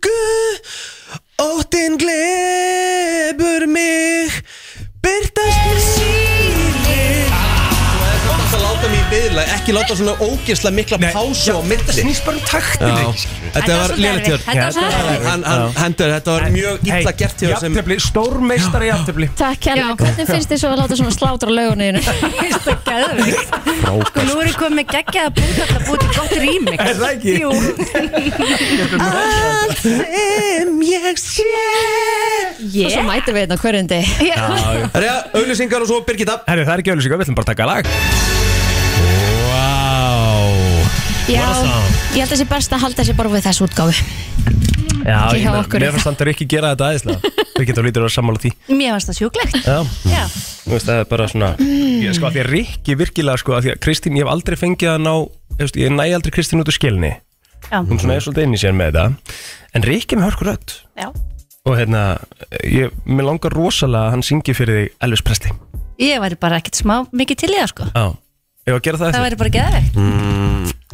S2: Óttinn glebur mig Byrtast mér sílir Þú hefði þátt að láta mig í viðlag Ekki láta svona ógeðslega mikla pásu á
S4: Þetta
S2: milli
S4: snýst bara um taktin
S2: Já, Þetta var lélitt hjörn
S7: Þetta var svolítið erfitt
S2: Hann, hann, hendur, þetta var mjög illa gert hjá þessum
S4: Jafntefli, stórmeistari jafntefli
S3: Takk hérna, hvernig finnst þið svo að láta svona slátra [LAUGHS] löguninu?
S7: Þetta er gæðvikt Sko, nú erum við komið með geggjaða búið Þetta búið til gott rímix
S4: [LAUGHS] Er það ekki?
S7: Jú,
S2: Allt sem ég sé
S3: Og svo mætum við hérna á hverjum deg
S2: Það er auðlýsingar og svo Birgitta
S4: Herri, það er ekki auðvitað, við ætlum bara að taka lag
S3: Já, ég held að sé best að halda sér bara við þessu útgáfu
S4: Já,
S3: Ekki hjá
S4: ég meina,
S3: okkur.
S4: mér fannst þannig ekki gera þetta aðeinslega Við getum lítur að sammála því
S7: mér varst það sjúklegt
S4: Já,
S7: Já,
S4: þú veist, það er bara svona Ég sko, að því að Rikki virkilega, sko, að því að Kristín, ég hef aldrei fengið að ná þú veist, Ég næ aldrei Kristín út úr skilni
S7: já,
S4: Hún svona er svolítið inn í sér með þetta En Rikki er með hörkur rödd
S7: já
S4: Og hérna, ég, mér langar rosalega að hann syngi fyrir þig Elvis Presti
S7: Ég væri bara ekkert smá mikið til í það sko
S4: Já Ég var að gera það
S7: Það
S4: eftir
S7: væri bara geðvegt
S2: Mm,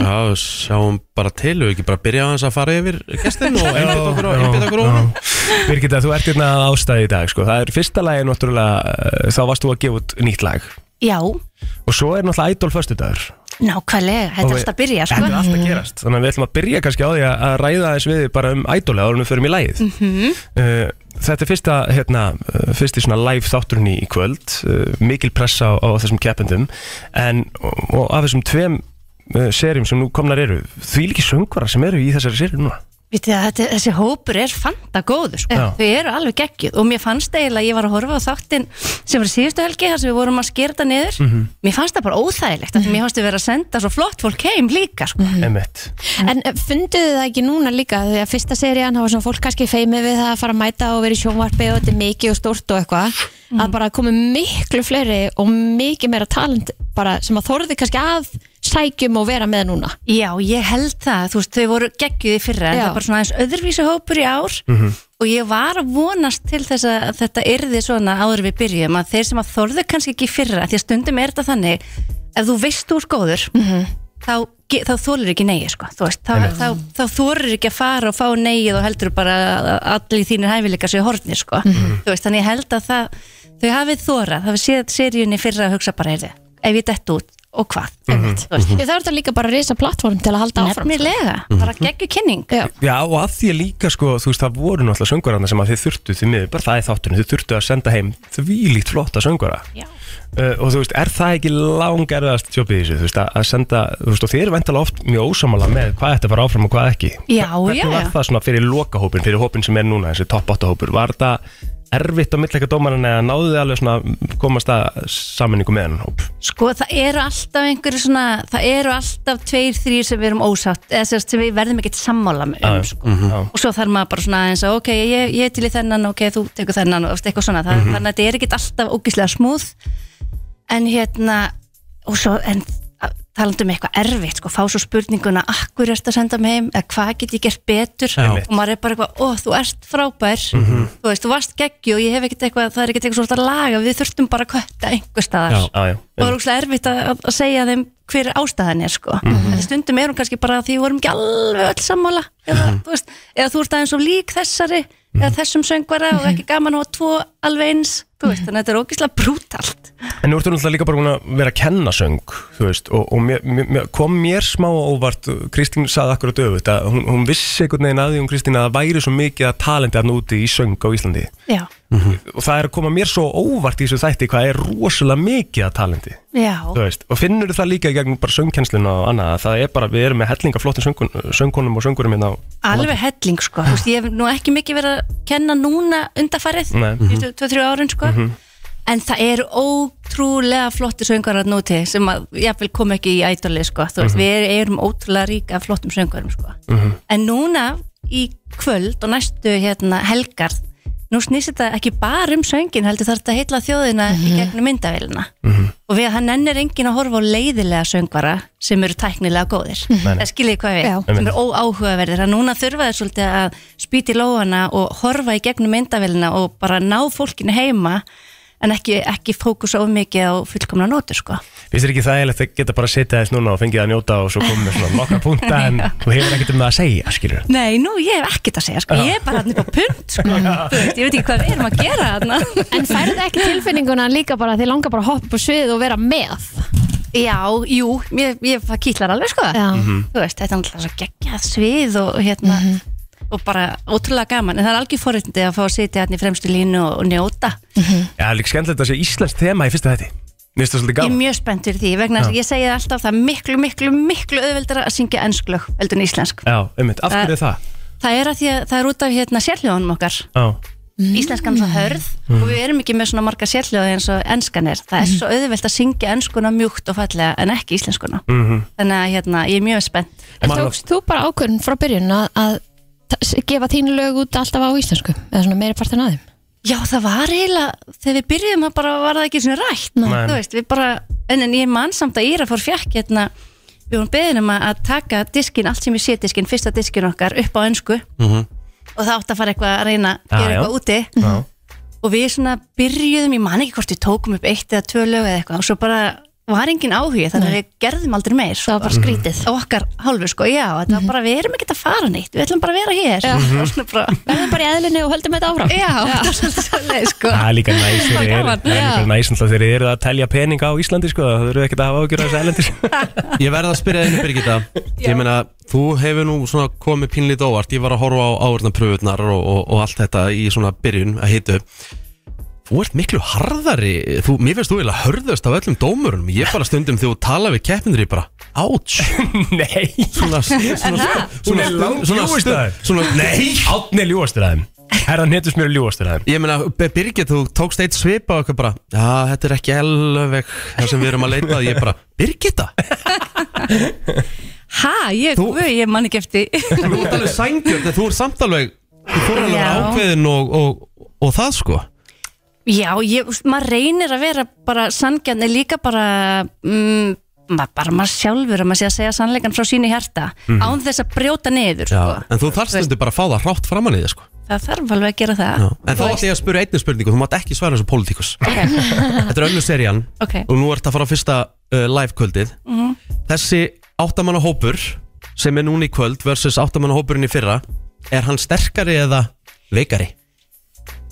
S2: Já, sjáum bara til og ekki bara byrja aðeins að fara yfir gestin og einbyrta okkur og einbyrta okkur og
S4: Birgitta, þú ert hérna að ástæði í dag sko. Það er fyrsta lagi náttúrulega eh, Þá varst þú að gefa út nýtt lag
S7: Já,
S4: Og svo er náttúrulega Idol föstudagur
S7: nákvæmlega, þetta
S4: Og
S7: er
S4: við-
S7: alltaf að byrja sko
S4: Þetta er alltaf að gerast Þannig að við ætlum að byrja kannski á því að að ræða aðeins við þig bara um Idol áður en við förum í lagið
S3: Mm.
S7: Mhm.
S4: uh, Þetta er fyrsta, hérna, uh, fyrsti svona live þátturinn í, í kvöld uh, Mikil pressa á, á þessum keppendum En, og, og af þessum tveim uh, serjum sem nú komnar eru Því líki söngvarar sem eru í þessari serjum núna
S7: Vitið að þetta, þessi hópur er fanta góður sko.
S4: Já.
S7: þau eru alveg geggjuð og mér fannst eiginlega, ég var að horfa á þáttinn sem var í síðustu helgi þar sem við vorum að skera þetta niður
S4: Mhm.
S7: mér fannst það bara óþægilegt mm -hmm. mér fannst þau vera að senda svo flott fólk heim líka sko.
S4: Emmett
S3: En eh, funduðu þið það ekki núna líka því að fyrsta serían hafa svona fólk kannski feimið við það að fara að mæta og vera í sjónvarpi og þetta er mikið og stórt og eitthvað
S7: Mm.
S3: að bara komi miklu fleiri og mikið meira talent bara sem að þorði kannski að sækjum og vera með núna
S7: Já, ég held það, þú veist, þau voru geggjuð í fyrra en
S3: Já.
S7: það er bara svona aðeins öðruvísu hópur í ár og ég var að vonast til þess að þetta yrði svona áður við byrjum að þeir sem að þorðu kannski ekki í fyrra því að stundum er þetta þannig ef þú veist þú er góður
S3: Mhm.
S7: þá, ge- þá þólir ekki neyið sko, þú veist þá, þá, þá þórir ekki að fara og fá neyið og heldur bara að allir þínir hæfileika séu hortni sko,
S3: Mm.
S4: Mhm.
S7: þú veist, þannig ég held að það, þau hafið þórað, hafið séð seríunni í fyrra að hugsa bara, heyrðu, ef ég dett út og hvað
S3: einmitt. Þú veist, Það Mhm. er þetta líka bara að risa plattform til að halda áfram sko.
S7: Nefnilega, bara geggju kynning
S3: Já.
S4: Já og að því að líka sko þú veist það voru náttúrulega söngvararna sem að þið þurftu því miður bara það er þátturinn þið þurftu að senda heim þvílíkt flotta söngvara
S7: Já.
S4: uh, og þú veist er það ekki langerðast jobb í þessu þú veist að, að senda þú veist og þið eru vantala oft mjög ósamala með hvað þetta var áfram og hvað ekki
S7: Já, já,
S4: hvernig var
S7: já.
S4: það svona fyrir lokahópin fyrir hópin sem er núna þessi topp 8 hópur var það erfitt á millega dómarinn eða náðu þið alveg svona komast að sammenningu með hennan hóp
S7: Sko það eru alltaf einhverju svona það eru alltaf tveir, þrýr sem við erum ósátt eða sem, sagt sem við verðum ekkert sammála um
S4: Mhm. Já,
S5: Ah.
S4: já.
S7: sko. og svo þarf maður bara svona aðeins að ok, ég, ég er til í þennan, ok, þú tekur þennan og eitthvað svona, Þa, þannig að þetta er ekkert alltaf ógislega smúð en hérna og svo, en að- talandi um eitthvað erfitt sko, fá svo spurninguna, akkur ertu að senda mig heim eða hvað get ég gert betur
S4: Einmitt.
S7: og maður er bara eitthvað, ó, þú ert frábær þú veist, þú varst geggju og ég hef ekkert eitthvað það er ekkert eitthvað svolítið að laga, við þurftum bara að kötta einhver staðar
S4: já,
S7: og það er úrslega erfitt að, að segja þeim hver ástæðan er sko en stundum er hún kannski bara að því við vorum ekki alveg öll sammála eða, þú veist, eða þú ert aðeins og lík þessari eða þessum söngvara og ekki gaman og tvo alveg eins þú veist, þannig að þetta er ógislega brútalt
S4: En nú ertu náttúrulega líka bara búin að vera að kenna söng þú veist, og, og mér, mér, mér- kom mér smá á óvart, Kristín saði akkur að döfu að hún, hún vissi einhvern veginn að því hún Kristín að það væri svo mikið að talandi að núti í söng á Íslandi
S7: já,
S4: og það er að koma mér svo á óvart í þessu þætti hvað er rosalega mikið að talandi
S7: já,
S4: þú veist, og finnur það líka í gegnum bara söngkennsluna og annað, að það er bara, við erum með hellinga flottum söngun, söngunum og söngurum hérna á
S7: alveg helling sko, þú veist, ég hef nú ekki mikið verið að kenna núna undarfærið
S4: Nei.
S7: síðustu 2-3 árin sko
S4: Mhm.
S5: Mhm.
S7: en það eru ótrúlega flotti söngarar núti sem að jáfnvel kom ekki í ædoli sko, þú veist, við erum ótrúlega ríka af flottum söngarum sko
S4: Mhm.
S7: en núna í kvöld og næstu hérna helgar nú snýst þetta ekki bara um söngin heldur þarf þetta að heitla þjóðina
S4: Mhm.
S7: í gegnum myndavélina og við að hann ennir enginn að horfa á leiðilega söngvara sem eru tæknilega góðir
S4: Mhm. Nei, nei.
S7: það skiljið hvað við,
S3: Já.
S7: sem er óáhugaverðir að núna þurfa þeir svolítið að spýti lóana og horfa í gegnum myndavélina og bara ná fólkinu heima en ekki, ekki fókusa of mikið á fullkomna nótur sko
S4: Finnst þér ekki þægilegt að geta bara að setja þess núna og fengið að njóta og svo komið með svona nokkra punta en þú hefur ekkert um það að segja, skilur
S7: Nei, nú ég hef ekkert að segja sko, ég er bara hann upp á punt sko, þú veist, ég veit ekki hvað við erum að gera hann
S3: En færðu ekki tilfinninguna líka bara að þið langar bara að hoppa á svið og vera með
S7: Já, jú, ég, ég það kýtlar alveg sko
S3: Já.
S7: þú veist, þetta er alltaf svo geggjað svið og hérna og bara ótrúlega gaman, en það er algjör forréttindi að fá að sitja hann í fremstu línu og, og njóta
S4: Já, líka skemmtilegt að sé Íslands þema í fyrsta þætti Mér finnst það svolítið
S7: Ég er
S4: gaman
S7: mjög spennt fyrir því, vegna þess að ég segi það alltaf það er miklu, miklu, miklu auðveldara að syngja ennsklög heldur en íslensk.
S4: Já, einmitt, af hverju er það?
S7: Það er að því að það er út af hérna sérljóðanum okkar,
S4: Já,
S7: íslenskan er svo hörð og við erum ekki með svona marga sérljóði eins og ennskan er. Það er svo auðveld að syngja ennskuna mjúkt og fallega en ekki íslenskuna.
S4: Mhm.
S7: Þannig að hérna, ég er mjög spennt.
S3: Tókst þú bara ákvörðun frá byrjun að, að ta- s- gefa þín lög út alltaf á íslensku eða svona meiri partin að þeim
S7: Já, það var eiginlega, þegar við byrjuðum að bara var það ekki svona rætt,
S4: Nei.
S7: þú veist, við bara, en, en ég mann samt að Íra fór fjekk hérna, við vorum beðin um að að taka diskin, allt sem við sé diskin, fyrsta diskin okkar upp á önsku og það átti að fara eitthvað að reyna að
S4: Já,
S7: gera
S4: já.
S7: eitthvað úti
S4: já,
S7: og við svona byrjuðum, ég man ekki hvort við tókum upp eitt eða tvö lög eða eitthvað og svo bara var engin áhugi þannig að við gerðum aldrei meir.
S3: það var bara Mhm. skrítið
S7: Á okkar hálfu sko, já, þetta var bara, við erum ekkert að fara neitt, við ætlum bara að vera hér. Það var svona bara,
S3: Mhm. verðum bara í eðlinu og höldum þetta áfram
S7: já, það var [LAUGHS] svolítið svolítið sko.
S4: það er líka næs þegar þið eru-
S7: gaman,
S4: Það er líka næs náttúrulega þegar þið eru að telja peninga á Íslandi sko, það þurfum ekki að hafa ágjörð þessi elendis
S2: Ég verða að spyrja þenni Birgitta Ég meina, þú hefur nú svona komið pínlítið óvart Ég var að horfa á áverðnapröfurnar og, og, og allt þetta í svona byrjun að hitu Þú ert miklu harðari þú, Mér finnst þú eiginlega hörðust af öllum dómurunum Ég bara stundum þegar þú tala við keppindur Ég bara, áts
S4: Nei,
S2: Svona, svona, svona,
S4: [LAUGHS] hún er langt
S2: svona,
S4: ljúastur
S2: stund- svona, nei
S4: Átni er ljúastur aðeim Herðan hétus mér ljúastur aðeim
S2: Ég meina, Be- Birgit, þú tókst eitt svipa og eitthvað bara, já, þetta er ekki alveg það sem við erum að leita að, ég bara, Birgitta?
S7: Hæ, ég,
S2: Þú-
S7: guð, ég man ekki eftir
S2: Þú ert alveg sængjörn, þú ert samt alveg, þú fór alveg
S7: Já.
S2: ákveðin og, og, og það sko.
S7: Já, ég, úst, maður reynir að vera bara sangjarni líka bara mm, maður, bara maður sjálfur að maður sé að segja sannleikan frá sínu hjarta
S4: Mhm.
S7: án þess að brjóta niður sko.
S2: En þú þarft stundu bara að fá það rátt framan í þig sko.
S7: það þarf alveg að gera það
S2: Já. En þá ætla ég að spyrja einnig spurningu, þú mátt ekki svara þessu
S7: [LAUGHS]
S2: pólitíkus. Þetta er önnu serían
S7: Ok, Mhm.
S2: og nú ert að fara á fyrsta uh, live-kvöldið. Þessi áttamanna hópur sem er núna í kvöld versus áttamanna hópurinn í fyrra, er hann sterkari eða veikari?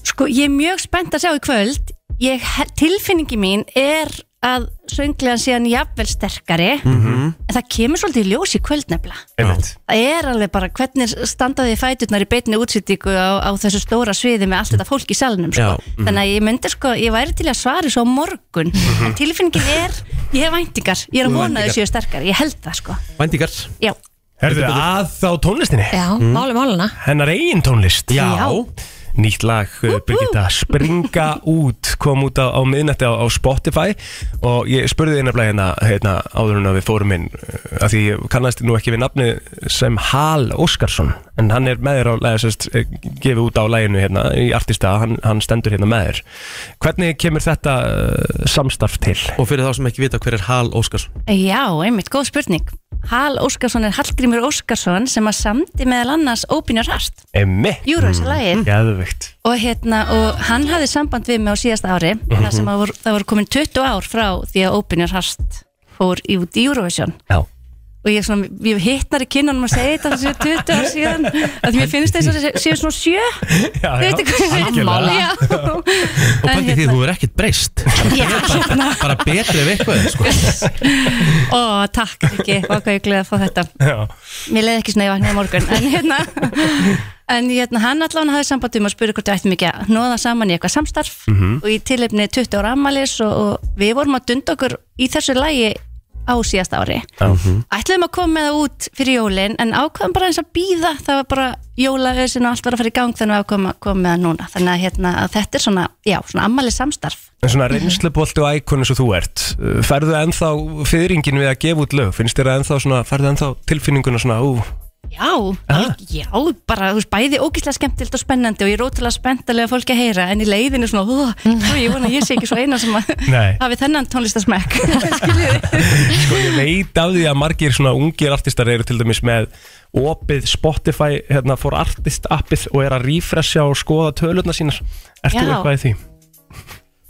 S7: sko ég er mjög spennt að sjá í kvöld ég, tilfinningi mín er að sönglegan sé hann jafnvel sterkari
S2: Mm.
S7: en það kemur svolítið í ljós í kvöldnefla
S4: Mhm. einmitt
S7: það er alveg bara hvernig standa því fæturnar í beinni útsýtingu á, á þessu stóra sviði með allt þetta fólk í salnum sko.
S2: Mm. Já, mhm.
S7: þannig að ég myndi sko, ég væri til að svara svo morgun, en
S4: Mhm.
S7: tilfinningin er ég hef væntingar, ég er að vona að þau séu sterkari ég held það sko,
S2: Væntingar
S7: já
S4: Herðu að þá tónlistinni Mhm.
S3: Já, mm. máli máluna
S4: Hennar eigin tónlist
S2: Já.
S4: Nýtt lag, uh, Birgitta, Springa út kom út á, á miðnætti á, á Spotify og ég spurði einabla hérna, hérna áður en að við fórum inn uh, af því ég kannast nú ekki við nafni sem Hal Óskarsson en hann er með þér á lagið sérst, gefið út á laginu hérna í artista, hann, hann stendur hérna með þér Hvernig kemur þetta uh, samstarf til?
S2: Og fyrir þá sem ekki vita hver er Hal Óskarsson
S7: Já, einmitt, góð spurning Hal Óskarsson er Hallgrímur Óskarsson sem að samti meðal annars Open Your Heart
S4: Emmi?
S7: Júruvísa
S4: Mm.
S7: lagið
S4: Geðvögt
S7: og, hérna, og hann hafði samband við mig á síðasta ári
S4: Mhm.
S7: þar sem að voru, það voru komin 20 ár frá því að Open Your Heart fór í út í Eurovision
S4: Já
S7: og ég, svona, ég hittnar í kinnunum að segja þetta þessi 20 ár síðan að mér finnst þess að séu svona sjö Þú
S4: Já, já,
S7: veitir hvað ég
S4: algjörlega.
S7: meina? Já.
S2: Og pælti því þú er ekkert breyst
S7: Já, hérna.
S2: Bara betri ef eitthvað er, sko.
S7: Ó, takk ekki, og hvað ég gleði að fá þetta
S4: [LAUGHS] Já.
S7: Mér leiði ekki svona ég vaknaði í morgun En hérna, en, hérna hann allan hafði samband um að spura hvort við ættum ekki að Nóða saman í eitthvað samstarf
S4: Mhm.
S5: Mhm.
S7: Og í tilefni 20 ára ammælis og, og við vorum að dunda okkur í þessu lagi á síðasta ári Ætluðum að koma með það út fyrir jólin En ákvæðum bara eins að býða Það var bara jólaösin og allt var að fara í gang Þannig að ákvæðum að koma með það núna Þannig að, hérna, að þetta er svona, já, svona ammælis samstarf
S4: En svona reynslubolti og ækon eins og þú ert uh, Færðu ennþá fyrringin við að gefa út lög? Finnst þér ennþá svona, færðu ennþá tilfinninguna svona ú,
S7: Já, al- já, bara þú veist, bæði ógislega skemmtilt og spennandi og ég er ótrúlega spennt að lega fólki að heyra en í leiðinu svona, ó, ó, ég vona að ég sé ekki svo eina sem að
S4: Nei.
S7: hafi þennan tónlistasmekk
S4: Sko ég veit af því að margir svona ungir artistar eru til dæmis með opið Spotify, hérna fór artist appið og er að refresha og skoða tölurnar sínar Ertu
S7: Já.
S4: eitthvað í því?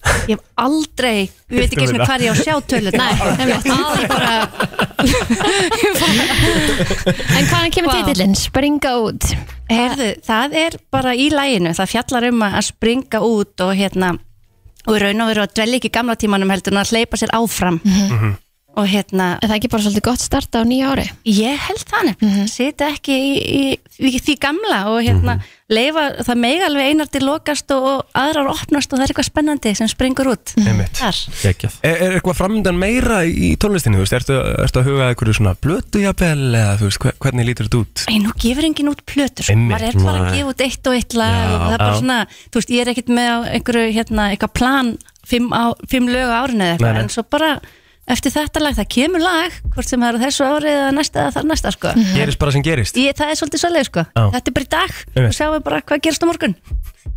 S7: [LAUGHS] Ég hef aldrei, ég veit ekki svona hvað ég á að sjá tölur Nei,
S3: Aðeins bara
S7: [LAUGHS]
S3: En hvaðan kemur
S7: Vá.
S3: titillinn? Springa út
S7: Herðu, það er bara í læginu, það fjallar um að að springa út og hérna og í raun og veru að dvelja ekki í gamla tímanum heldur en að hleypa sér áfram
S4: Mhm.
S7: og hérna,
S3: Er það ekki bara svolítið gott starta á nýja ári? Mhm.
S7: Ég held það nefnilega, sita ekki í, í, í því gamla og hérna
S4: Mhm.
S7: leifa, það mega alveg einar til lokast og, og aðrar opnast og það er eitthvað spennandi sem springur út
S3: Mhm.
S4: Einmitt.
S7: þar.
S2: Geggjað.
S4: Er, er eitthvað framöndan meira í tónlistinni? Þú veist, ertu, ertu að huga að einhverju svona blötu jafnvel eða þú veist, hver- hvernig lítur þetta út?
S7: Æ, nú gefur enginn út plötur, sko.
S4: Einmitt.
S7: maður er bara að gefa út eitt og eitt lag og það er bara
S4: já.
S7: svona, þú veist, ég er ekkit með á einhverju, hérna, eitthvað plan fimm, á, fimm lög á árinu eða
S4: Nei,
S7: eitthvað,
S4: nei.
S7: en svo bara eftir þetta lag, það kemur lag, hvort sem það er á þessu ári eða næsta eða þar næsta, sko.
S4: Gerist bara sem gerist?
S7: Ég, það er svolítið svolítið, sko.
S4: Já.
S7: Þetta er bara í dag
S4: Einmitt.
S7: og sjáum bara hvað gerst á morgun.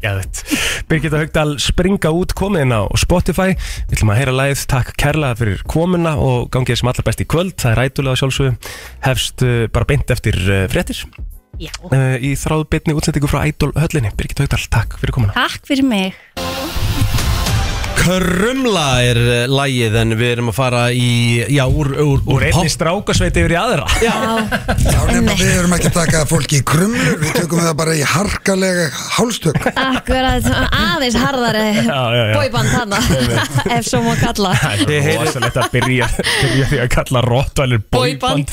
S4: Gæðut. Birgitta Haugdal springa út komin á Spotify. Við ætlum að heyra lagið. Takk kærlega fyrir komuna og gangið sem allra best í kvöld. Það er rætulega sjálfsögum. Hefst uh, bara beint eftir uh, fréttir
S7: Já.
S4: uh, í þráðbeinni útsendingu frá Idol höllinni. Birgitta Haugdal, takk fyrir komuna.
S7: Takk fyrir mig.
S2: Krumla er eh, lagið en við erum að fara í Já, úr, úr, úr,
S4: Úr einni
S2: pop-
S4: strákasveiti yfir í aðra. Já.
S8: Já, nefnum við erum ekki að taka fólki í krumlur, við tökum það bara í harkalega hálstök.
S3: Akkurat, aðeins harðari
S4: já, já.
S3: bóiband hana Ef svo má kalla
S4: [LAUGHS] Það er rosalegt að byrja, byrja því að kalla Rottweiler boyband.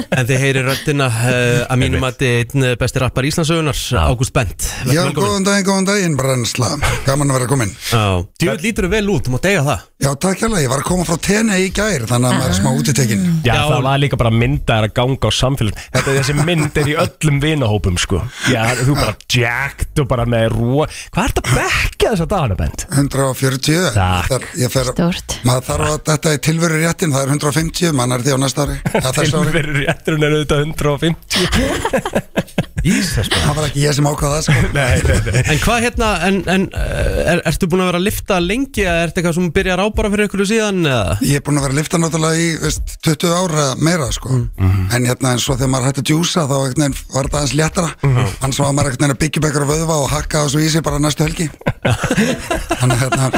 S2: En þið heyri röddina uh, að mínum að þið einn eh, besti rappar Íslandsögunar Ágúst Bent
S8: Já, góðan daginn, góðan daginn, brennsla. Gaman að vera komin.
S2: Djúð lítur þú vel út, þú mátt eiga það
S8: Já, takk hérlega, ég var að koma frá tenni í gær, þannig að maður er smá útitekinn.
S4: Já,
S2: Já.
S4: það var líka bara myndar að ganga á samfélag Þetta er þessi mynd er í öllum vinahópum sko. Já, þú bara jacked og bara með rúa Hvað er þetta að bekka þess að dagana, Bent?
S8: 140
S4: Takk.
S8: Þar- ég fer,
S3: Stórt.
S8: maður þarf að þetta er tilveru réttin það er 150, maður er því á næsta ári það, þessu ári.
S4: Tilverur réttur hún er auðvitað 150
S2: Ísas
S8: það var ekki ég sem ákvaða það sko.
S4: Nei, nei, nei
S2: En hvað hérna, en, en eh, er, ertu búin að vera að lifta lengi eða ertu eitthvað sem byrjar á bara fyrir ykkur síðan eða?
S8: ég er búin að vera að lifta náttúrulega í veist, 20 ára meira sko. en hérna eins og þegar maður hætti að djúsa þá einhvern veginn var þetta aðeins léttara annars var maður einhvern veginn að byggja upp einhverja vöðva og hakka þessu í sig bara næstu helgi þannig að hérna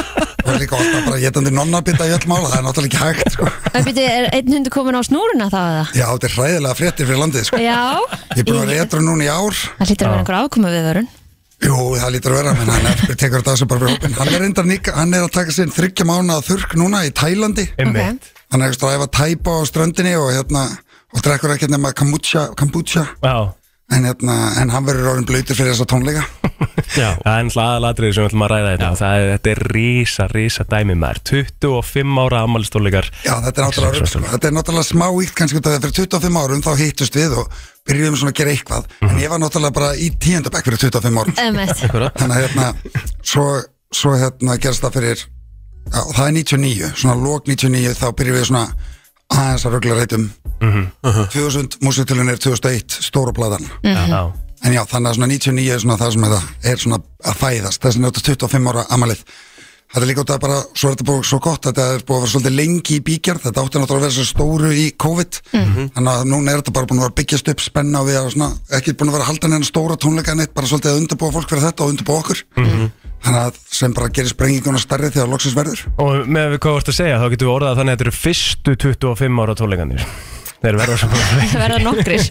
S8: var líka alltaf bara getandi nonnabita í öll mála það er náttúrulega ekki hægt sko.
S3: En byrju, er einn hundu komin á snúruna þá eða?
S8: já þetta er hræðilega fréttir fyrir landið sko.
S3: Já
S8: ég er búin að vera etru núna í ár
S3: Það hlýtur að vera einhver afkomu viðvörun
S8: Jú, það lítur að vera, menn hann er, tekur þetta að sig bara fyrir hópin. Hann er reyndar nýka, hann er að taka sinn þryggja mánuða þurrk núna í Tælandi.
S4: Einmitt.
S8: Hann er eitthvað að æfa tæpa á ströndinni og hérna, og drekkur ekkert nema kombucha, kombucha.
S4: Já
S8: En hérna, en hann verður orðin blöytur fyrir þessa tónleika.
S4: Já. Það er náttúrulega aðalatriði sem við ætlum að ræða þetta það er, Þetta er rísa, rísa dæmi maður 25 ára ammælistóleikar
S8: Já, þetta er náttúrulega, rugl, sko. þetta er náttúrulega smá ítt kannski út af því að fyrir 25 árum þá hittust við og byrjuðum svona að gera eitthvað. En ég var náttúrulega bara í tíundabæk fyrir 25 árum.
S3: Emmett,
S8: þannig að hérna svo, svo hérna gerst það fyrir já, það er 99, svona lók 99 þá byrjum við svona aðeins að ruggla reytum
S4: Mhm.
S8: 2000, músitilun er 2001, stóra bladan
S4: Já,
S8: en já, þannig að svona 99 er svona það sem þetta er svona að fæðast þess að njóta 25 ára amalið þetta er líka út að bara, svo er þetta búið svo gott þetta er búið að vera svolítið lengi í bíkjarð þetta átti náttúrulega að vera svo stóru í COVID þannig að núna er þetta bara búin að vera að byggjast upp spenna og við erum svona, ekki búin að vera að halda neina stóra tónleika en eitt, bara svolítið að undirbúa fólk fyrir þetta og undirbúa okkur þannig að sem bara gerir sprenginguna stærri þegar loksins verður
S4: Og með við hvað vorst að segja þá getum við orðað þannig að þetta eru fyrstu 25 ára tóleikanir Þeir verða svona
S3: það verða nokkrir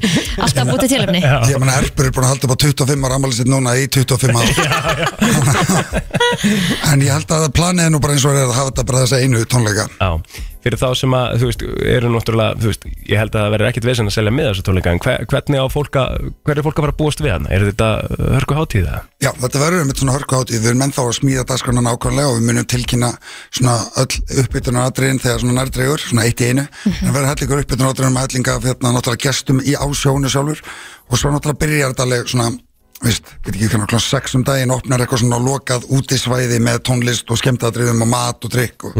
S3: Alltaf bútið tilöfni
S8: ég meina Erpur er búin að halda upp á 25 ára amalið sitt núna í 25 ára [LAUGHS] en ég held að planið er nú bara eins og er að hafa þetta bara þessa einu tónleika
S4: Já, fyrir þá sem að, þú veist, eru náttúrulega, þú veist, ég held að það verður ekkit vesen að selja með þessu tóleika, en hver, hvernig á fólk að, hver er fólk að fara að búast við hann? Er þetta hörku hátíða?
S8: Já, þetta verður einmitt svona hörku hátíð, við erum ennþá að smíða dagskrána nákvæmlega og við munum tilkynna svona öll uppbytunar atriðin þegar svona nærdreigur, svona eitt í einu, en verður hellingur uppbytunar atriðin með hellinga af hérna náttúrulega gestum í ásjónu sjálfur og svo náttúrulega byrjar þetta alveg svona, veist, veit ekki hvernig, klokkan 6 um daginn opnar eitthvað svona lokað útisvæði með tónlist og skemmtadriðum og mat og drikk og,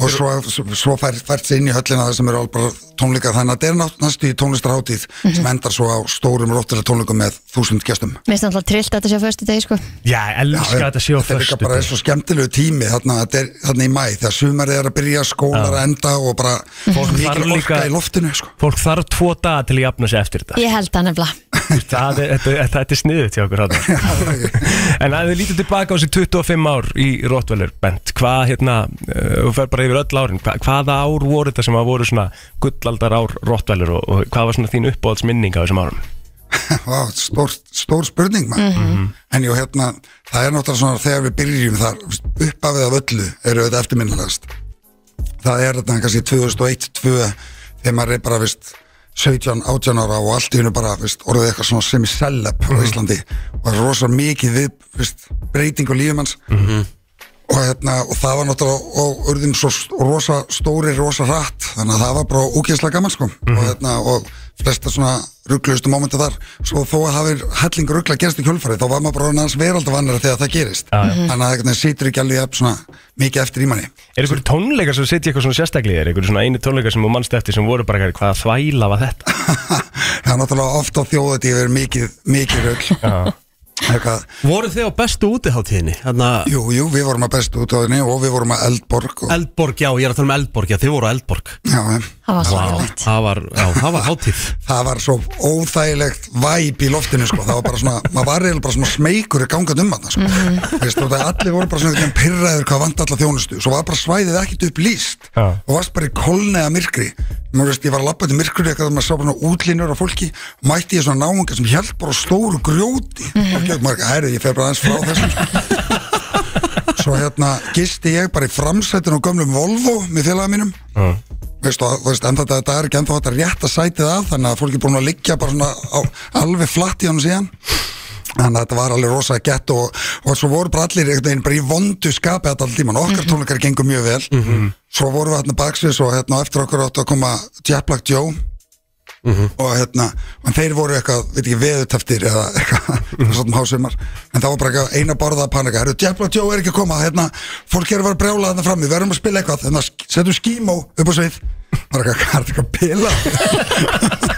S8: og svo, svo fær, fært sér inn í höllina það sem eru alveg bara tónleika þannig að þetta er ná- næstu í tónlistarhátíð sem endar svo á stórum róttilega tónleikum með þúsund gestum
S3: Mér finnst alltaf trillt að þetta sé á föstu degi sko
S4: Já, ég elska
S8: Já,
S4: þetta sjó
S8: Þetta er líka bara svo skemmtilegu tími þarna, þetta er, þarna í mæ þegar sumarið er að byrja, skólar að enda og bara
S4: Fólk
S8: mikil orka
S4: þarf líka-
S8: í loftinu sko. [LAUGHS]
S4: Fólk þarf tvo daga til að jafna sig eftir þetta.
S3: Ég held það nefnilega
S4: Það er, þetta, þetta er sniðut hjá okkur hátta. En að þið lítið tilbaka á þessi 25 ár í Rottweiler bent, hvað hérna, eh, þú fer bara yfir öll árin, hva, hvaða ár voru þetta sem að voru svona gullaldar ár Rottweiler og, og hvað var svona þín uppáhaldsminning á þessum árum?
S8: Vá, stór, stór spurning maður
S4: Mhm.
S8: En jú, hérna, það er náttúrulega svona þegar við byrjum þar, uppafið af öllu eru þetta eftirminnilegast Það er þetta kannski 2001-2002 þegar maður er bara, veist 17, 18 ára og allt í hennu bara veist, orðið eitthvað svona semi-sellab
S4: Mhm.
S8: á Íslandi og það er rosa mikið við veist, breyting á lífum hans
S4: Mhm.
S8: og, hérna, og það var náttúrulega og urðum svo st- rosa stóri rosa hratt, þannig að það var bara ógeðslega gaman sko, og, hérna, og flesta svona rugglustu mómenti þar svo þó að hafi helling ruggla gerst í kjölfarið þá var maður bara hans veraldavannara þegar það gerist þannig að það hérna, situr ekki alveg jafn svona, mikið eftir í manni
S4: Er einhverju tónleikar sem setja eitthvað svona sérstaklega í þér, einhverju svona einu tónleikar sem þú mannst eftir sem voru bara hvaða þvæla var þetta?
S8: það er náttúrulega oft á þjóðati yfir mikið, mikið rugg eitthvað
S2: Voru þið á bestu útiháttíðinni? Þannig að
S8: Jú, jú, við vorum að bestu út á þenni og við vorum að Eldborg og,
S2: Eldborg, já, ég er að tala um Eldborg, já, þið voru á Eldborg
S8: já, em.
S3: Það var svo
S2: Vá, það var, já, það var hátíð
S8: [LAUGHS] það var svo óþægilegt væp í loftinu sko, það var bara svona maður var eiginlega bara svona smeykur í gangað um hann sko.
S3: Mhm.
S8: veist þú, það allir voru bara svona einhvern veginn pirraður hvað vant alla þjónustu, svo var bara svæðið ekkit upp líst
S4: Já.
S8: og varst bara í kolnega myrkri Nú, veist, ég var að labba til myrkri eitthvað þegar maður sá bara svona útlínur af fólki mætti ég svona náunga sem held bara á stóru grjóti og gjög marga, herri, ég fer bara aðeins frá þessum sko. svo hérna gisti ég bara í framsættin og gömlum Volvo með félaga mínum veist, og, veist, en þetta, þetta er ekki ennþá þetta rétt að sætið að þannig að fólk er búin að liggja bara svona á, alveg flatt í hann síðan þannig að þetta var alveg rosa gett og, og svo voru bara allir einhvern veginn bara í vondu skapi þetta allir tíman, okkar tónleikar gengur mjög vel svo vorum við hérna baksins og hérna á eftir okkur áttu að koma Jet Black Joe
S4: Mhm.
S8: og hérna en þeir voru eitthvað, veit ekki, veðuteftir eða eitthvað svona hásumar en það var bara eitthvað eina borða að panika Herru, Jafla Joe er ekki að koma, hérna fólk er að vera að brjála þarna frammi, við erum að spila eitthvað þannig að setjum skímó upp á svið bara eitthvað, hvað er þetta eitthvað að bila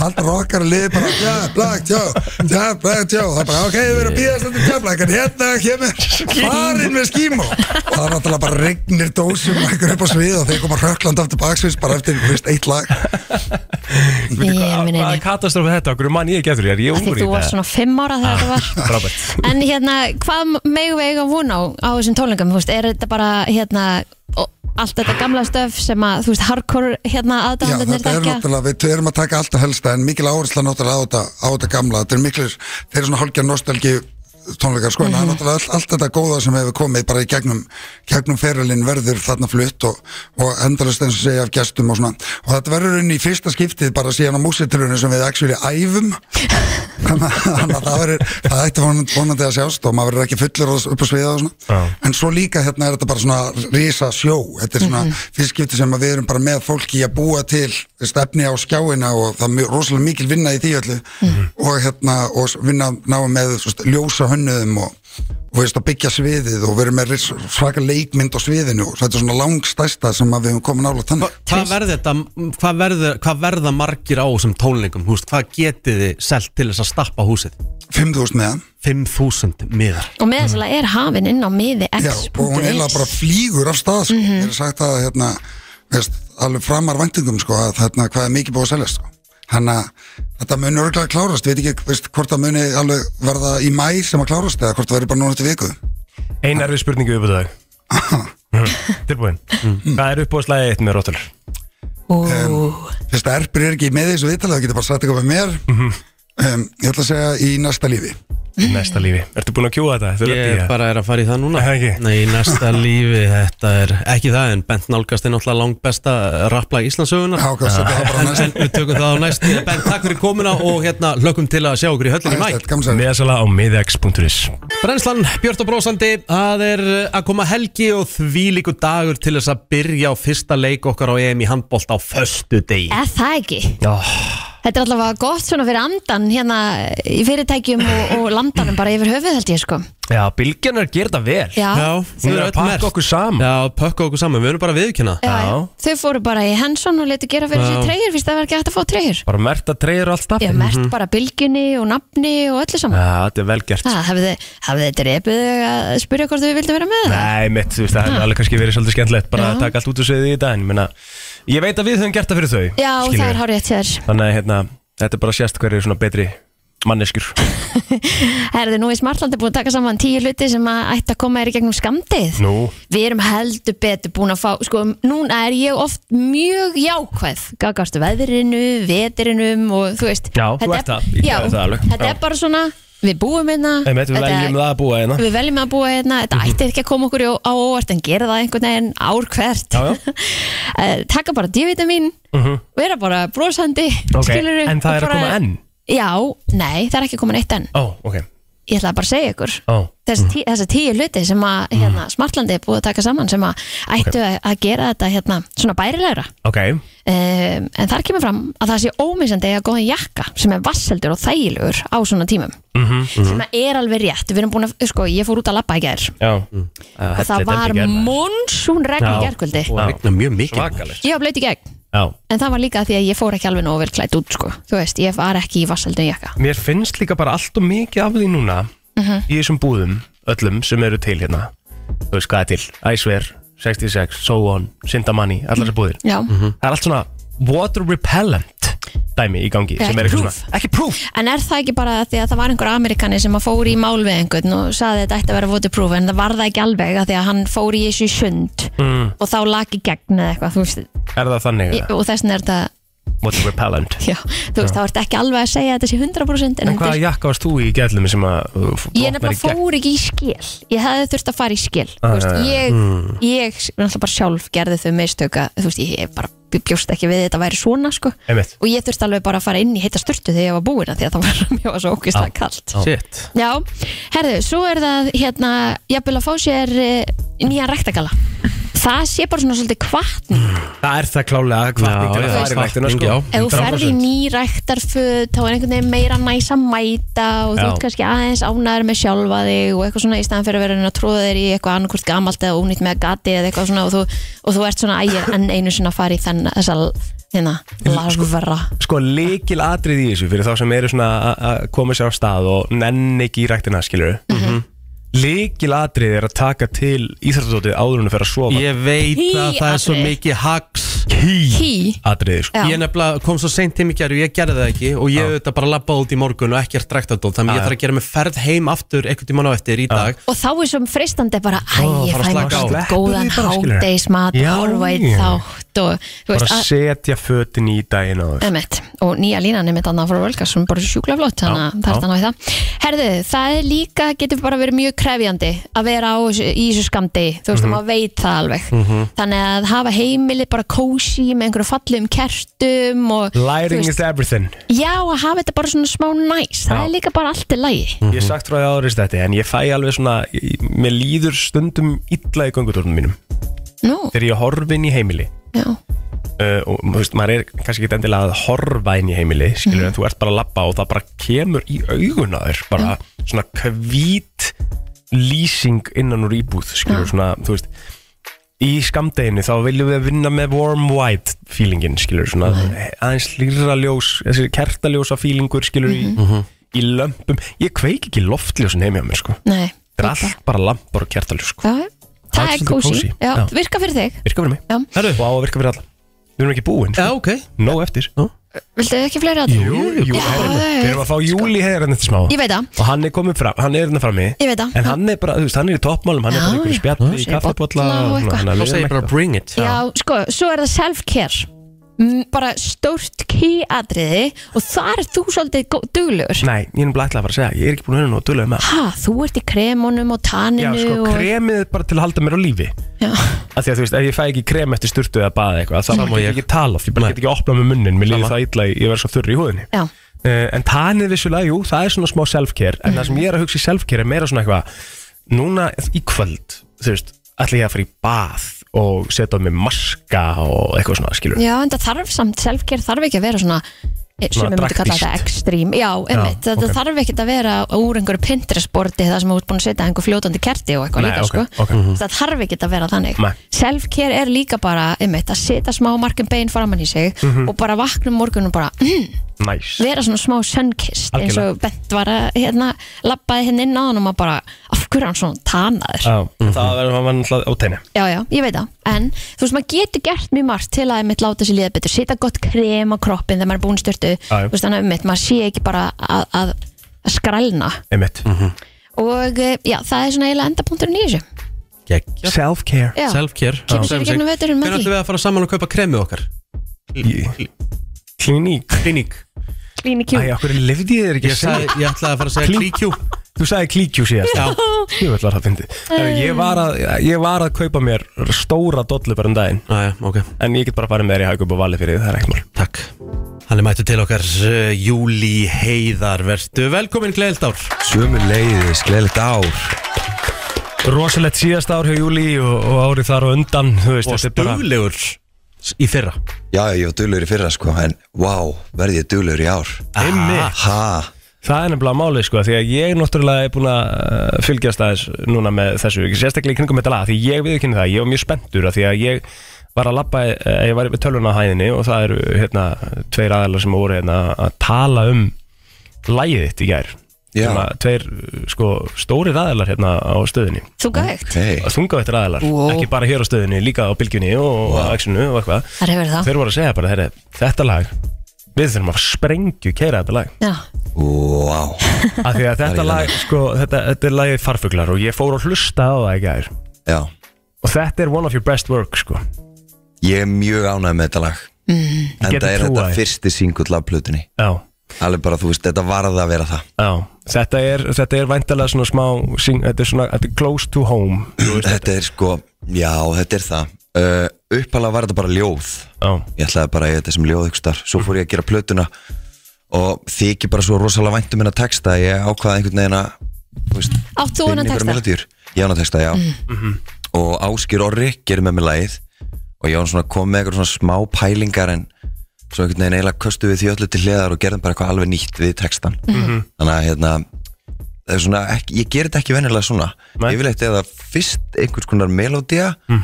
S8: [LAUGHS] allt rockar liði bara Jafla Joe, Jafla Joe það er bara, ok, við erum að býða þetta Jafla en hérna kemur farinn með skímó og það er náttúrulega bara regnir dósum og einhver upp á svið og þeir koma rökland aftur baksvís bara eftir, þú veist, eitt lag
S3: Ég minn
S4: Hvaða
S3: eini
S4: katastrófa þetta, okkur mann ég ekki eftir, ég er ég
S3: Því
S4: ungur í
S3: þú varst
S4: þetta?
S3: svona fimm ára þegar þetta var
S4: Frábært.
S8: Ah.
S3: En hérna, hvað megum við eiga von á á þessum tónleikam, þú veist, er þetta bara hérna, ó- allt þetta gamla stöf sem að, þú veist, hardcore hérna
S8: Já,
S3: aðdáðanir
S8: þetta er
S3: þekkja?
S8: náttúrulega, við erum að taka allt að helsta en mikil áhersla náttúrulega á þetta, á þetta gamla þetta er mikil, þeir eru svona hálkja nostalgi tónleikar sko, en það er náttúrulega allt, allt þetta góða sem hefur komið bara í gegnum, gegnum ferilinn verður þarna flutt og, og endalist eins og segja af gestum og svona og þetta verður inn í fyrsta skiptið bara síðan á músitilunum sem við actually æfum þannig að- þannig að það verður það ætti von- vonandi að sjást og maður verður ekki fullur á- upp á sviða og svona en svo líka hérna er þetta bara svona risa sjó, þetta er svona mm fyrstskipti sem að við erum bara með fólki að búa til stefni á skjáina og það er mjög- rosalega mikil vinna í því öllu og hérna og s- vinna náum með svona, ljósa hönnuðum og og veist að byggja sviðið og verið með ris- svaka leikmynd á sviðinu og þetta er svona langstæsta sem að við hefum komið nála þannig
S2: Hvað verður þetta, hvað verður, hvað verða margir á þessum tónleikum, húst, hvað getið þið selt til þess að stappa húsið?
S8: 5.000 meðan
S2: 5.000 miðar.
S3: og meðansala er hafin inn á miði
S8: Já, og hún eiginlega bara
S3: x.is
S8: flýgur af stað sko. Mér er sagt að hérna, veist, alveg framar væntingum sko, að hérna, hvað er mikið búið að selja sko. Þannig að þetta muni örgulega klárast, ég veit ekki veist, hvort það muni alveg verða í mæ sem að klárast eða hvort það verður bara núna til viku.
S4: Ein erfið spurningu upp á dag [COUGHS] Tilbúin Mm. Hvað er uppbóðslæðið eitt með rótulur?
S8: Fyrst að erpir er ekki með því þessu viðtalið, það getur bara sagt eitthvað með mér.
S4: Mhm.
S8: um, ég ætla að segja í næsta lífi.
S4: Næsta lífi Ertu búin að kjúa þetta? Ertu ready í
S2: Ég
S4: það?
S2: bara er að fara í það núna.
S4: Er það ekki?
S2: Nei, í
S4: [LAUGHS]
S2: næsta lífi, þetta er ekki það, en Bent Nálgast er náttúrulega langbesta rapplag Íslandsögunar.
S8: Já, hvað setja það bara
S2: En,
S8: næsta
S2: en við tökum það á næst Bent, takk fyrir komuna og hérna hlökkum til að sjá okkur í höllinni í mæk
S8: Þetta er gaman sér.
S4: Miðasala á miðax.is
S2: Brennslan, Björn og Brósandi, það er eh, að koma helgi og því líku dagur til þess að byrja á fyrsta leik okkar á EM í handbólt á föstu degi.
S3: Eða það ekki
S2: Oh.
S3: Þetta er allavega gott svona fyrir andan hérna í fyrirtækjum og, og landanum bara yfir höfuð held ég sko
S4: Já, bylgjarnar gerir þetta vel
S3: Já,
S2: Já,
S4: Hún er að pakka okkur saman
S2: Já, pökka okkur saman, við erum bara að viðkynna.
S3: já, já. Þau fóru bara í Henson og letu gera fyrir sér treyjur fyrst það var ekki hægt að fá treyjur
S4: Bara merta treyður alltaf Já,
S3: Ég hef mert bara bylginni og nafni og öllu saman
S4: Mhm. þetta er vel gert
S3: Það hafði, hafði þetta repið þau að spyrja hvort þau vildu vera með það
S4: Nei, mitt, þú veist, það hefur alveg kannski verið svolítið skemmtilegt bara að taka allt út úr sviðið í dag en ég meina, ég veit að við höfum gert það fyrir þau
S3: Já,
S4: skilurðu.
S3: það er hárið eftir þér
S4: Þannig að hérna, þetta er bara sérst hverju svona betri manneskjur
S3: Herðu, nú í Smartlandi búin að taka saman tíu hluti sem að ætti að koma er í gegnum skamdið
S4: Nú,
S3: Við erum heldur betur búin að fá sko, núna er ég oft mjög jákvæð gagastu veðrinu, vetrinum og þú veist
S4: Já, þú
S3: Þetta
S4: ert
S3: er-
S4: það. Ég
S3: Já,
S4: gerði það alveg.
S3: þetta
S4: Já.
S3: er bara svona, við búum hérna
S4: einmitt, við
S3: þetta-
S4: veljum það að búa hérna Mhm.
S3: Við veljum að búa hérna, þetta ætti ekki að koma okkur á, á óvart en gera það einhvern veginn ár hvert
S4: Já, já.
S3: Eh, Taka bara divitamin, vera bara brosandi
S4: Ok,
S3: skilurðu,
S4: en það
S3: og
S4: er að
S3: bara-
S4: koma enn?
S3: Já, nei, það er ekki komin eitt enn
S4: Ó, ok,
S3: Ég ætla bara að segja ykkur
S4: ó,
S3: þess, tí, þessa tíu hluti sem að hérna, Smartlandi er búið að taka saman sem að ættu að, að gera þetta hérna, svona bærilegra
S4: ok
S3: um, en þar kemur fram að það sé ómissandi að góðan jakka sem er vasseldur og þægilegur á svona tímum
S4: Mhm.
S5: Mm.
S3: sem að er alveg rétt við erum búin að, sko, ég fór út að labba í gær
S4: Já, mm.
S3: og það var monsun regn í
S4: Já.
S3: gærkvöldi
S2: Og
S4: Já.
S2: regna mjög mikið.
S4: Svakalegt
S3: ég var blöyt í gegn
S4: Já,
S3: en það var líka því að ég fór ekki alveg nógu vel klætt út sko. þú veist, ég var ekki í vasseldun jakka
S4: mér finnst líka bara allt og mikið af því núna
S3: Mhm.
S4: í þessum búðum, öllum sem eru til hérna Þú veist hvað er til, Æsver, 66, So On, Sindamanni, allar þessar búðir
S3: Mhm. Já.
S4: Það er allt svona water repellent dæmi í gangi
S3: Já,
S4: sem
S3: ekki
S4: er eitthvað
S3: proof.
S4: svona Ekki proof
S3: En er það ekki bara því að það var einhver Amerikani sem að fór í mál við einhvern og saði að þetta ætti að vera waterproof en það var það ekki alveg að því að hann fór í þessu í sund og þá laki gegn eða eitthvað þú veist,
S4: Mm, Er það þannig?
S3: ég, og þess vegna er þetta
S4: Water repellent
S3: já, þú veist, þá ertu ekki alveg að segja að þetta sé 100% en,
S4: En hvaða
S3: þetta
S4: jakka varst þú í gællum sem að uh,
S3: er- ég
S4: vopnar í
S3: nefnilega
S4: gegn?
S3: fór ekki í skil ég hefði þurft að fara í skil ah, veist, ég,
S4: Hmm.
S3: ég náttúrulega bara sjálf gerði þau mistöka, þú veist, ég bara bjóst ekki við að þetta væri svona sko
S4: Einmitt.
S3: og ég þurfti alveg bara að fara inn í heita sturtu þegar ég var búin að því að það var mjög svo ókvistlega kalt
S2: Shit.
S3: Já, herðu, svo er það hérna, jafnvel að fá sér uh, nýjan ræktakalla Það sé bara svona svolítið kvartning
S4: Það er það klálega
S2: Já,
S4: hvatningar að
S2: já,
S4: fara í ræktina
S2: hvatning,
S4: sko
S2: já.
S3: Ef þú ferði í
S4: 100%.
S3: ný ræktarföð þá er einhvern veginn meira næs að mæta og þú
S4: Já.
S3: ert kannski aðeins ánæður með sjálfa þig og eitthvað svona í staðan fyrir að vera að tróða þér í eitthvað annarkvort gamalt eða ónýtt með gati eða eitthvað svona og þú, og þú ert svona ægir enn einu sinna að fara í þenn þessa hérna, lafverra
S4: Sko leikil atrið í þessu fyrir þá sem eru svona að- að koma sér á stað og nenn ekki í ræktina skilur mm Leikil atrið er að taka til íþrættadótið áður en að fer að sofa
S2: Ég veit að það er svo mikið hags
S4: Hí
S3: Hí
S4: Atriði sko
S3: Já.
S2: Ég nefnilega kom svo seint heim í gerð og ég gerði það ekki og ég auðvitað bara labbaði út í morgun og ekkert dræktadótt þannig ég þarf að gera mig ferð heim aftur einhvern tímann á eftir í dag
S3: Og þá er sem freistandi bara Æ,
S2: Ó,
S3: ég
S2: fara að
S3: fæ
S2: slaka á.
S3: mér svona
S4: Sleppur
S3: góðan
S4: því bara, skilurðu.
S3: hátdeismat
S4: Já,
S3: Horfa í
S4: já.
S3: þátt Og
S4: Bara
S3: þú veist að
S4: setja fötin í daginn og
S3: Emmett, og nýja línan er mitt annað frá Völka sem bara sjúkla flott,
S4: Já,
S3: þannig að það er
S4: já.
S3: þannig að það. Herðu, það er líka, getur bara verið mjög krefjandi að vera á, þessu- í þessu skamdi, þú
S4: Mhm.
S3: veist, maður veit það alveg. Þannig að hafa heimilið bara kósi með einhverju fallum kertum og,
S4: Lighting is everything
S3: já, að hafa þetta bara svona smá næs, það
S4: Já.
S3: er líka bara allt í lagi.
S4: Ég hef sagt frá því árið þetta En ég fæ alveg svona ég- Mér líður stundum illa í göngutórnum mínum
S3: Nú,
S4: Þegar ég horf inn í heimili
S3: já,
S4: uh, Og þú veist, maður er kannski ekki endilega að horfa inn í heimili Skilur
S3: Mhm.
S4: en þú ert bara að labba Og það bara kemur í augun að þér Bara
S3: Mhm.
S4: svona kvít Lýsing innan úr íbúð Skilur svona, þú veist Í skamdeginu þá viljum við vinna með warm white feelingin, skilur, svona aðeins lýra ljós, þessi kertaljósa feelingur, skilur,
S3: Mhm.
S4: Mhm. í, í lömpum. Ég kveik ekki loftljósin heim hjá mér, sko.
S3: nei.
S4: Það er
S3: líka.
S4: allt bara lampar og kertaljós sko.
S3: Já,
S4: Það
S3: það
S4: er
S3: er
S4: svolítið
S3: kósi,
S4: kósí.
S3: já,
S4: Já.
S3: virka fyrir þig.
S4: Virka fyrir mig
S3: Já.
S4: Herru. Og á að virka fyrir alla Við erum ekki búin
S2: Já,
S4: sko.
S2: ok
S4: Nó eftir
S3: Viltu ekki fleiri að það?
S4: jú
S3: Já,
S4: herru,
S3: það er-
S4: Við erum að fá Júli hér en þetta smá
S3: Ég veit það.
S4: Og hann er komin fram Hann er hérna frammi
S3: Ég veit það.
S4: En hann er bara Þú veist, hann er í toppmálum Hann er
S3: Já,
S4: bara ykkur
S3: já.
S4: spjalli Í
S3: Segir
S4: kaffepolla
S3: bolla og eitthvað.
S4: Hann hérna
S2: Þá segir ég bara bring it
S3: Já, sko, svo er það self-care Mm, bara stórt kýadriði og þar er þú svolítið gó- duglegur
S4: Nei, ég er bara ætlað að fara að segja Ég er ekki búin að höfna og duðlega með um það.
S3: ha, þú ert í kremunum og
S4: Já,
S3: tanninu
S4: sko,
S3: og...
S4: kremið er bara til að halda mér á lífi
S3: Já.
S4: Af því að þú veist, ef ég fæ ekki krem eftir sturtu eða baða eitthvað Það
S2: Sama
S4: má ég
S2: ég.
S4: ekki tala oft, ég bara
S2: Nei.
S4: get ekki opnað með munnin Mér líður
S2: Sama.
S4: það illa, ég verð svo þurr í húðinni
S3: Já.
S4: uh, En tannið vissulega, jú, það er svona smá self-care En það sem ég er að hugsa í self-care er meira svona eitthvað Núna í kvöld, þú veist ætla ég að fara í bað og setja á mig maska og eitthvað svona, skilur
S3: já, en það þarf samt self-care þarf ekki að vera svona eh, sem
S4: Svona
S3: við myndum kalla þetta
S4: drastískt.
S3: ekstrím já, einmitt,
S4: ok.
S3: þetta þarf ekki að vera úr einhverju pinterestborti þar sem þú ert búin að setja einhver fljótandi kerti og eitthvað
S4: Nei,
S3: líka
S4: ok,
S3: sko.
S4: ok. Mhm.
S3: það þarf ekki að vera þannig
S4: Nei.
S3: self-care er líka bara einmitt, að setja smá margum bein framann í sig
S4: Mhm.
S3: og bara vakna um morgunum bara "Mm,
S4: Næs
S3: vera svona smá sunkist eins og Bent var að hérna lappaði henni inn á hann og maður bara af hverju er hann svona tanaður
S4: Já, Það verður maður náttúrulega á tenni
S3: já já, ég veit það, en þú veist maður getur gert mjög margt til að einmitt láta sér líða betur setja gott krem á kroppin þegar maður er búin styrtu
S4: já.
S3: þú veist þannig að einmitt maður sé ekki bara að, að, að skrælna
S4: Einmitt
S3: og eh, já, það er svona eiginlega endapunkturinn í þessu
S2: Gekk
S4: Self-care
S3: já,
S2: Self-care
S3: Kemur sér í gegnum veturinn með
S2: Hvernig
S3: því.
S2: ætlum við að fara saman og kaupa kremið okkar?
S4: Kliník
S2: Kliník
S3: klínikjú
S4: Æ, okkur lefði ég þér ekki
S2: Ég,
S4: að segja
S2: sagði, ég ætlaði að fara að segja
S4: Klín-
S2: klíkjú
S4: Þú sagði klíkjú síðast
S2: Já.
S4: Ég vil að það fyndi ég, var að- ég var að kaupa mér stóra dollu bara um daginn
S2: Næja, Ah, ok
S4: En ég get bara farið með þér í haugum og valið fyrir því, það er ekkert mál
S2: Takk Hann er mættu til okkar uh, Júli Heiðar Vertu velkomin Gleildár
S9: Sjömi leiðis, gleðilegt ár
S4: Rosalegt síðast ár hjá Júli og, og árið þar og undan Þú veist,
S2: Og
S4: þetta er bara
S2: stuglegur í fyrra
S9: Já, já, ég var duglur í fyrra sko En wow, verði ég duglur í ár
S4: Einmitt.
S9: Ha,
S4: Það er nefnilega málið sko, því að ég náttúrulega er búin að uh, fylgjast aðeins núna með þessu, ekki sérstaklega í kringum þetta lag, því ég viðkynni það, ég var mjög spenntur að því að ég var að labba, eh, ég var við tölvuna á hæðinni og það eru hérna tveir aðalar sem voru hérna að tala um lægið þitt í gær,
S9: Já.
S4: Sem að tveir eh, sko stórir aðalar hérna á stöðinni,
S3: þú gægt,
S9: hei
S4: þungavættir aðalar,
S3: Wow.
S4: ekki bara hér á stöðinni, líka á bylgjunni og wow. axinu og eitthvað,
S3: þar hefur það
S4: þeir voru að segja bara, "Heyrðu, þetta lag, við þurfum að sprengju keira þetta lag
S3: já,
S9: Wow,
S4: [LAUGHS] Af því að þetta lag, sko, þetta, þetta er lagið Farfuglar og ég fór að hlusta á það í gær
S9: já
S4: og þetta er one of your best work, sko
S9: Ég er mjög ánægð með þetta lag mm, En
S4: Ég get
S9: það er
S4: trúað
S9: þetta
S4: þér.
S9: fyrsti singull af plötunni
S4: Já,
S9: Alveg bara, þú veist, þetta varð að vera það
S4: já Þetta er, þetta er væntalega svona smá sing, þetta er svona, þetta er close to home þú veist,
S9: Þetta er sko, já, þetta er það uh, Uppalega var þetta bara ljóð
S4: Já,
S9: Ég ætlaði bara að ég þetta sem ljóð ykkur starf Svo fór ég að gera plötuna Og þykir bara svo rosalega væntum minna texta að Ég ákvaði einhvern veginn að þú veist,
S3: átt þú
S9: Vinni
S3: hann að
S9: bara
S3: texta Mm.
S9: melodíur. Ég á hann að texta, já Mhm. Og Áskir Orri gerir með mér lagið Og ég á hann svona kom með eitthvað svona smá pælingar En svo einhvern veginn eiginlega köstu við því öllu til hliðar Og gerðum bara eitthvað alveg nýtt við textan
S5: Mhm.
S4: Mhm.
S9: Þannig að hérna það er svona ekki, Ég ger þetta ekki venjulega svona
S4: Nei.
S9: Yfirleitt er það fyrst einhvers konar melodía uh,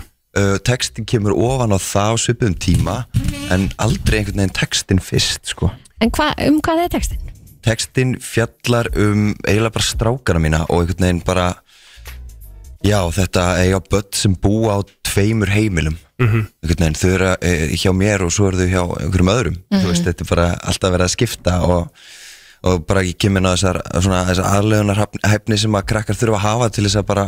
S9: Textin kemur ofan á það á svipum tíma En aldrei einhvern veginn textin fyrst sko
S3: en hva, um hvað er textin?
S9: textin fjallar um eiginlega bara strákana mína og einhvern veginn bara Já, þetta eiga börn sem búa á tveimur heimilum
S4: Mhm.
S9: einhvern veginn, þau eru eh, hjá mér og svo eru þau hjá einhverjum öðrum
S3: Mhm.
S9: þú veist, þetta er bara alltaf verið að skipta og, og bara ekki kemur á þessar, svona, þessar aðlegunarhæfni sem að krakkar þurfa að hafa til þess að bara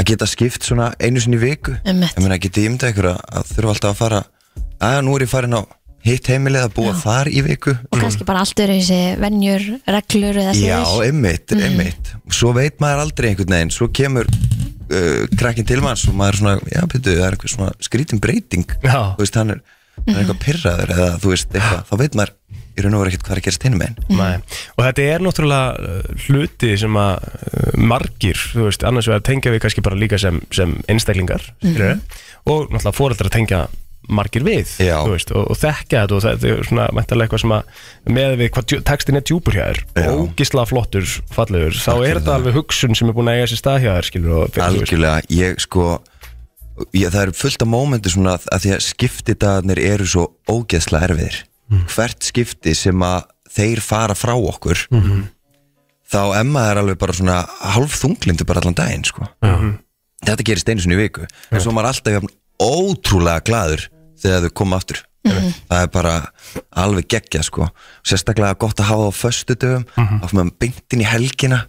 S9: að geta skipt svona einu sinni í viku
S3: Einmitt.
S9: ég meina, getið ímyndað ykkur að, að þurfa alltaf að fara að nú er ég farin á hitt heimilið að búa þar í viku
S3: og kannski bara allt eru þessi venjur, reglur
S9: Mm.
S3: eða
S9: Já,
S3: siðir.
S9: einmitt, einmitt Svo veit maður aldrei einhvern veginn Svo kemur uh, krakkin til manns og maður er svona, já, betur, það er einhver svona skrítin breyting
S4: Já.
S9: Þú veist, hann er, hann er eitthvað pirraður eða þú veist, eitthvað Þá veit maður í raun og veru ekkert hvað er að gerast hinum einn
S4: Nei. og þetta er náttúrulega uh, hluti sem að uh, margir þú veist, annars vegar tengja við kannski bara líka sem, sem einstaklingar mm
S9: Mhm.
S4: og náttúrulega fóreldrar tengja margir við
S9: Já.
S4: þú veist, og, og þekka þetta og þetta er svona mæntalega eitthvað sem að með við hvað djú- textin er djúpur hjá
S9: Já.
S4: þér ógisla flottur, fallegur þá
S9: fyrir
S4: er þetta
S9: það.
S4: alveg hugsun sem er búin að eiga sér stað hjá þér skilur, og, þú veist.
S9: Algjörlega, ég sko ég, það eru fullt af mómenti svona að, að því að skiptidagarnir eru svo ógeðsla erfiðir
S4: Mm.
S9: hvert skipti sem að þeir fara frá okkur
S4: Mm.
S9: þá emma er alveg bara svona hálf þunglindi bara allan daginn sko.
S4: Mhm.
S9: þetta gerist einu sinni í viku en svo er maður alltaf jafn ótrúlega gladur þegar þau koma aftur
S4: Mm.
S9: það er bara alveg geggja sko. sérstaklega gott að hafa á föstudöfum mm
S4: Mhm.
S9: -hmm. að maður beintin í helgina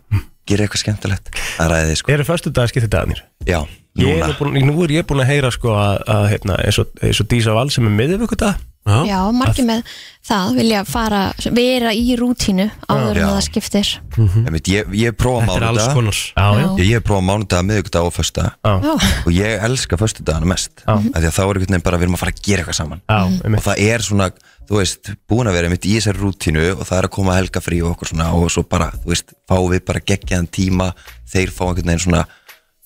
S9: gera eitthvað skemmtilegt að ræði sko.
S4: Mm. eru föstu dagaskipti dagarnir
S9: Já,
S4: Ég
S9: núna
S4: er nú búin, nú er ég búin að heyra sko að, að hérna, eins, og, eins og Dísa Val sem er miðjöfukudag
S3: Já, margir með það vilja fara, vera í rútínu áður en
S9: Já.
S3: að það skiptir
S9: Einmitt, Ég, ég prófa
S2: Þetta er alls
S9: mánudag
S2: konar
S4: Mhm. Já, já,
S9: Ég, ég prófa mánudag, miðvikudag og föstudag
S4: já,
S3: Já,
S9: og ég elska föstudagana mest af því að þá er einhvern veginn bara við erum að fara að gera eitthvað saman
S4: já, einmitt.
S9: og það er svona, þú veist, búin að vera mitt í þessari rútínu og það er að koma helga frí og okkur svona og svo bara, þú veist, fá við bara geggjaðan tíma, þeir fá einhvern veginn svona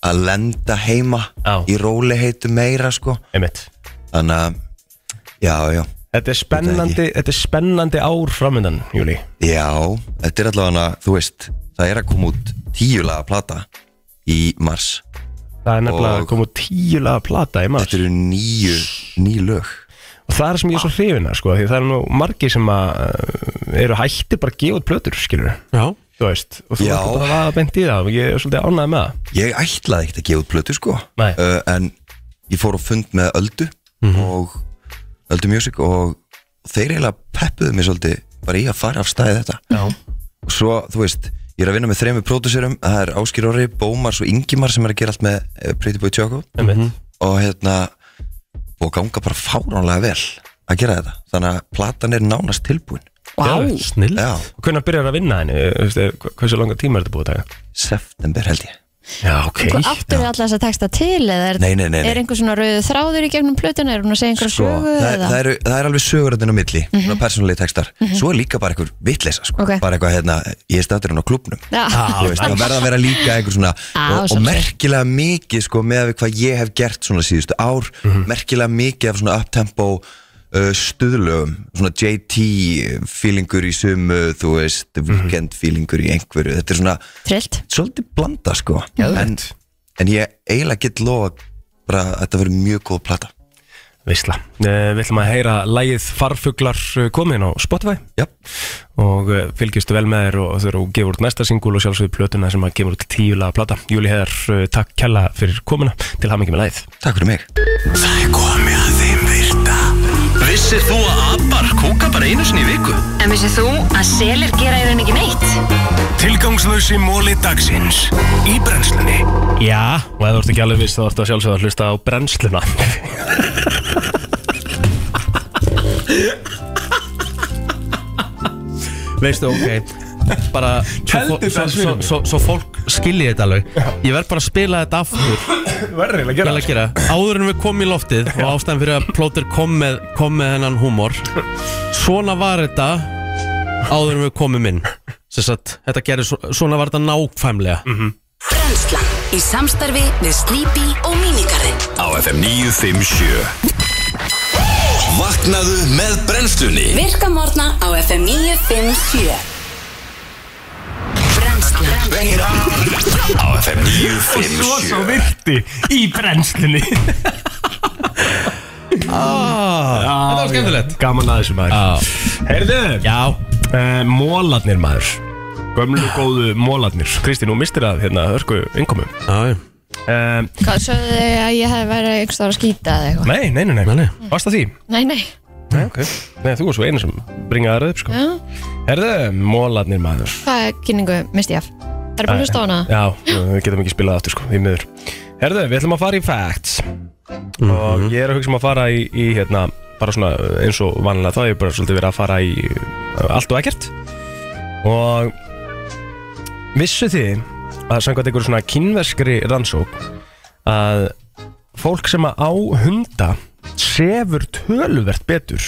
S9: að lenda heima
S4: Já.
S9: í róli heitu meira sko
S4: einmitt
S9: þannig að, já, já
S4: Þetta er spennandi, þetta er spennandi ár framöndan, Júli
S9: Já, þetta er allavega þú veist, það er að koma út tíulaga plata í mars
S4: Það er nefnilega
S9: Og-
S4: að koma út tíulega plata í mars
S9: Þetta eru nýju, nýju lög
S4: Og það er sem ég er svo hrifin að sko Því það eru nú margir sem að uh, eru hætti bara að gefa út plötur, skilur
S2: Já,
S4: Þú veist, og þú
S9: Já.
S4: ert bara að vaða bent í það og Ég er svolítið ánægð með það
S9: Ég ætlaði ekkert að gefa út plötu sko
S4: Nei. Mhm.
S9: uh, En ég fór á fund með Öldu og Öldu Music og þeir eiginlega peppuðu mér svolítið bara í að fara af staði þetta
S4: Já,
S9: og svo, þú veist, ég er að vinna með þremur pródúserum, það er Áskir Orri, Bómars og Ingimar sem er að gera allt með eh, Pretty Boy Choco Mhm.
S4: einmitt
S9: og hérna og ganga bara fáránlega vel að gera þetta, þannig að platan er nánast tilbúin
S3: wow.
S2: snill
S9: Já,
S4: Og hvernig byrjar að vinna henni, Þú veist, eh, hversu langa tíma er þetta búið að taka?
S9: september held ég
S4: Já, ok
S3: Áttur við Sko, alla þess að texta til eða er,
S9: Nei, nei, nei, nei.
S3: er einhver svona rauðu þráður í gegnum plötuna, er hún að segja einhverja
S9: sko,
S3: sögu
S9: það,
S3: eða? Mhm.
S9: það, eru, það er alveg söguröndin á milli mm -hmm. persónulegi textar, svo er líka bara einhver vitleysa, sko,
S3: Ok.
S9: bara eitthvað hérna ég er stættur hann á klubnum
S3: Já,
S9: Þú veist, það verða að vera líka einhver svona
S3: Á,
S9: og, og
S3: sjálfsagt.
S9: merkilega mikið sko með við hvað ég hef gert svona síðustu ár merkilega mikið af svona uptempo uh, stuðlögum svona JT feelingur í sumu þú veist, weekend feelingur í einhverju þetta er svona,
S3: trillt
S9: svolítið blanda sko en, en ég eiginlega get lofa bara að þetta verður mjög góð plata
S4: Visla uh, Við ætlum að heyra lægið Farfuglar eh, komin á Spotify
S9: Japp.
S4: og uh, fylgistu vel með þér og þau eru að gefa út næsta singul og sjálfsögðu plötuna sem að gefa út tíu laga plata Júli Heðar, uh, takk kella fyrir komuna til hafa mikið með lægið
S9: Takk fyrir mig
S10: Það er komið að þeim virta Vissir þú að abar kúka bara einu sinni í viku?
S11: En vissið þú að selir gera í rauninni ekki neitt?
S10: Tilgangslösi móli dagsins Í brennslunni
S4: Já, og ef þú ert ekki alveg viss þá ertu að sjálfsögðu að hlusta á
S2: [LAUGHS]
S4: brennsluna
S2: Veistu, ok Bara svo,
S4: Heldur það
S2: svo, svo,
S4: svigrúm.
S2: svo, svo fólk skilji þetta alveg Ég verð bara að spila þetta aftur
S4: Verðilega
S2: Vel að gera Áður en við komum í loftið Og ástæðan fyrir að plóter kom með, kom með hennan húmor Svona var þetta Áður en við komum inn Sess að þetta gerir svo- Svona var þetta nákvæmlega
S11: Brennslan í samstarfi við Sleepy og Minigarðin.
S10: Á FM 957 Vaknaðu með brennslunni
S11: Virka morgna á FM 957. Brennslan.
S10: Á FM 957
S4: virti í brennslunni
S2: Ah. Þetta var skemmtilegt
S4: Gaman að þessu maður
S2: Já.
S4: Heyrðu,
S2: Já,
S4: uh, mólarnir maður Gömlu góðu mólarnir Kristín, nú mistir að hérna, örku innkomu
S2: já, já.
S4: um,
S3: Hvað sögðu þau að ég hef verið einhvers þar að skýta eða eitthvað?
S4: Nei, nei, nei, nei, nei. Varst það því?
S3: Nei, nei,
S4: Nei, ok Nei, þú varst svo einu sem bringaði aðrað upp sko
S3: já,
S4: Herðu, mólarnir maður
S3: hvað er kynningu misti ég af? Það er búin að hlusta á hana?
S4: Já, við getum ekki spilað aftur sko, því miður Herðu, við ætlum að fara í facts Og ég er að hugsa um að fara í, í hérna, bara svona eins og vanlega þá hef ég bara svolítið verið að fara í uh, allt og ekkert Og vissu þið að samkvæmt einhverju svona kynverskri rannsók að fólk sem að á hunda sefur töluvert betur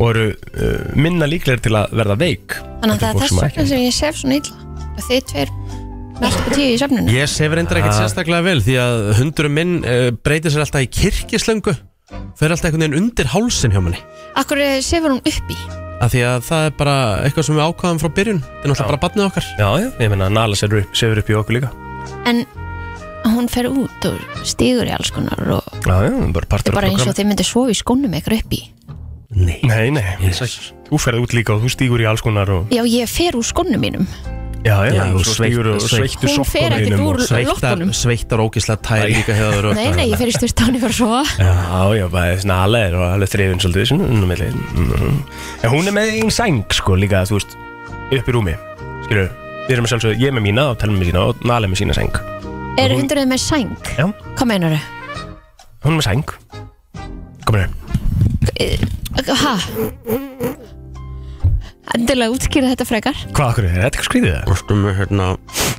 S4: og eru uh, minna líklegir til að verða veik
S3: Þannig að það
S4: heldur en fólk
S3: er þess
S4: sem að
S3: vegna
S4: ekki.
S3: sem ég sef svona illa að þið tveir verðst upp á tíu í söfnunum
S2: Ég sefur endur ekkert
S4: Ah.
S2: sérstaklega vel því að hundurum minn uh, breytir sér alltaf í kirkislöngu fer alltaf einhvern veginn undir hálsin hjá manni
S3: Akkur sefur hún upp í
S2: af því að það er bara eitthvað sem við ákvaðum frá byrjun það er náttúrulega bara barnið okkar
S4: Já, já, ég meina Nala sefur upp, sefur upp í okkur líka
S3: en hún fer út og stígur í alls konar og
S4: Já, já, bara
S3: þetta
S4: partur
S3: er bara eins og þið myndir svo í skónum ykkur upp í
S4: Nei, nei, yes. þú ferð út líka og þú stígur í alls konar og
S3: Já, ég fer úr skónum mínum
S4: Já, já,
S2: Já,
S4: og
S2: og
S4: svo
S2: sveitt-
S4: stígur og
S2: sveitt-
S4: sveittu
S3: Hún fer
S4: sokkunum
S3: ekkert
S4: þínum
S3: úr
S4: og-
S2: sveittar,
S3: loppunum
S2: sveittar ógislega tær líka hefur
S3: Nei, nei, ég fer í styrtáni fyrir svo
S4: hérna. Já, já, bara svona alveg og alveg þrifin svolítið svona inn á milli. Mhm. En hún er með einn sæng sko líka, þú veist, upp í rúmi Skilur, við erum sjálfsög, ég er með mína og telma með sína og Nala er með sína sæng
S3: Er hundurðið með sæng?
S4: Já.
S3: Hvað meinar
S4: Hún er með sæng Komur hér
S3: þau? Eh, Ha? Endilega útskýra þetta frekar
S4: Hvað okkur er þetta? Þetta er eitthvað skrýðið það?
S2: Ertu með hérna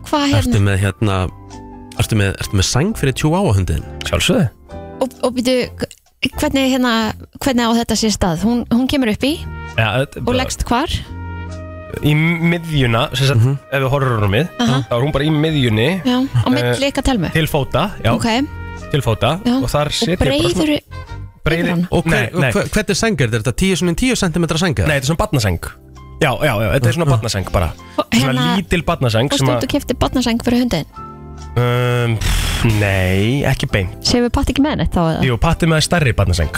S3: Hvað
S2: Ertu
S3: hérna?
S2: með hérna Ertu með, ertu með sæng fyrir tjú áhundin
S4: Sjálfsögði
S3: Og, og býtu, hvernig hérna hvernig á þetta sér stað? Hún, hún kemur upp í
S4: Já, þetta er
S3: og
S4: bara-
S3: leggst hvar?
S4: Í miðjuna, sem sagt, ef við horfum rúmið
S3: Aha.
S4: Þá er hún bara í miðjunni
S3: Já, á milli ykkar telmu
S4: Eh, til fóta, já,
S3: Ok,
S4: til fóta
S3: já
S4: og þar setja
S3: breyður
S4: breyðir
S3: hana?
S2: Og hver,
S4: Nei, nei,
S2: hver, hvernig sæng er þetta? 10 svona 10 cm sæng eða?
S4: nei, þetta er svona barnasæng Já, já, já, þetta er svona barnasæng bara Svona
S3: hérna,
S4: lítil barnasæng
S3: og
S4: sem
S3: stund
S4: að
S3: og kefti barnasæng fyrir hundin
S4: um, pff, Nei, ekki beint
S3: Sefur Patti ekki með neitt þá eða?
S4: Jú, patti með stærri barnasæng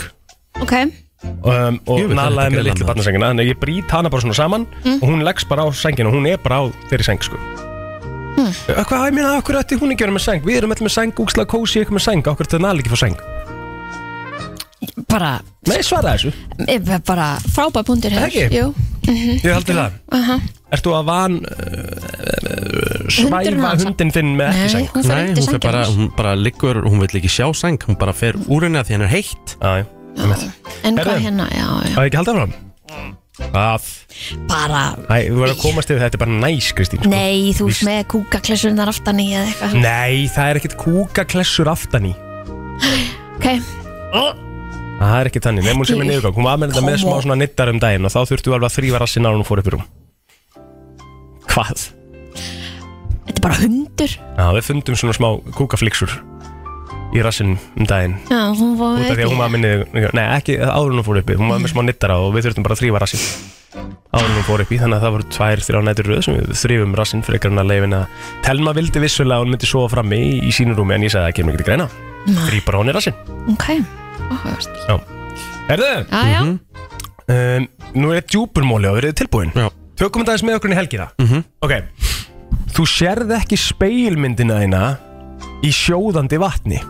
S3: Ok,
S4: um, Og
S2: Jú,
S4: nalaði
S2: við þarfum ekki að
S4: með litlu
S2: greina
S4: barnasængina Þannig að ég brýt hana bara svona saman
S3: Mm.
S4: Og hún leggst bara á sængina og Hún er bara á þeirri sæng, sko Mm. Hvað, ég meina, okkur ætti hún ekki að vera með sæng Við erum allir með sæng, úkslega kósi ykkur með sæng Okkur þetta nal ekki fór sæng
S3: bara,
S4: Nei, svara þessu,
S3: eh, bara frábær pundir
S4: Það ekki?
S3: Jú,
S4: ég heldur það
S3: aha
S4: Ertu að van uh, uh, Svæfa
S3: hans-
S4: hundin þinn með ekki
S3: Nei,
S4: sæng
S3: hún fer
S2: Nei,
S3: undir
S2: hún fer
S3: sængina
S2: bara,
S3: hans.
S2: hún bara liggur, hún vill ekki sjá sæng Hún bara fer úr henni að því henni er heitt
S4: Æ,
S3: En hvað
S4: Herðu.
S3: hérna, já, já
S4: á ég ekki að halda fram? Að,
S3: Bara,
S4: æ, við verðum að komast yfir þetta er bara næs, Kristín sko.
S3: nei, þú veist
S4: Víst.
S3: með kúkaklessunar aftan í eða eitthvað
S4: Nei, það er ekkert kúkaklessur aftan í
S3: Ok,
S4: Það er ekki þannig, nefnum hún sem er niðurgang Hún var með þetta með
S3: Come
S4: smá
S3: on.
S4: svona nittar um daginn og þá þurftu alveg að þrýfa rassinn á hún og fór upp í rúm Hvað?
S3: þetta er bara hundur
S4: Já, við fundum svona smá kúkafliksur í rassinn um daginn
S3: Já, hún var
S4: út af því að hún var með niður Nei, ekki áður en hún fór upp í, hún var með smá nittara og við þurftum bara að þrýfa rassinn áður en hún fór upp í, þannig að það voru tvær, þrjá nætur röð sem við þrýfum rassinn frekar en að leifin að Telma vildi vissulega að hún myndi sofa frammi í, í sínu rúmi en ég sagði að það kemur ekki til greina þrýpar hún í rassinn
S3: Ok, áhugast
S4: Herðu,
S3: Já, já,
S4: um, nú er djúpurmóli og verið tilbúin
S2: Já.
S4: Tökum þetta aðeins með okkur inn í helgina Ok, þú sérð ekki speilmyndina þína í sjóðandi vatni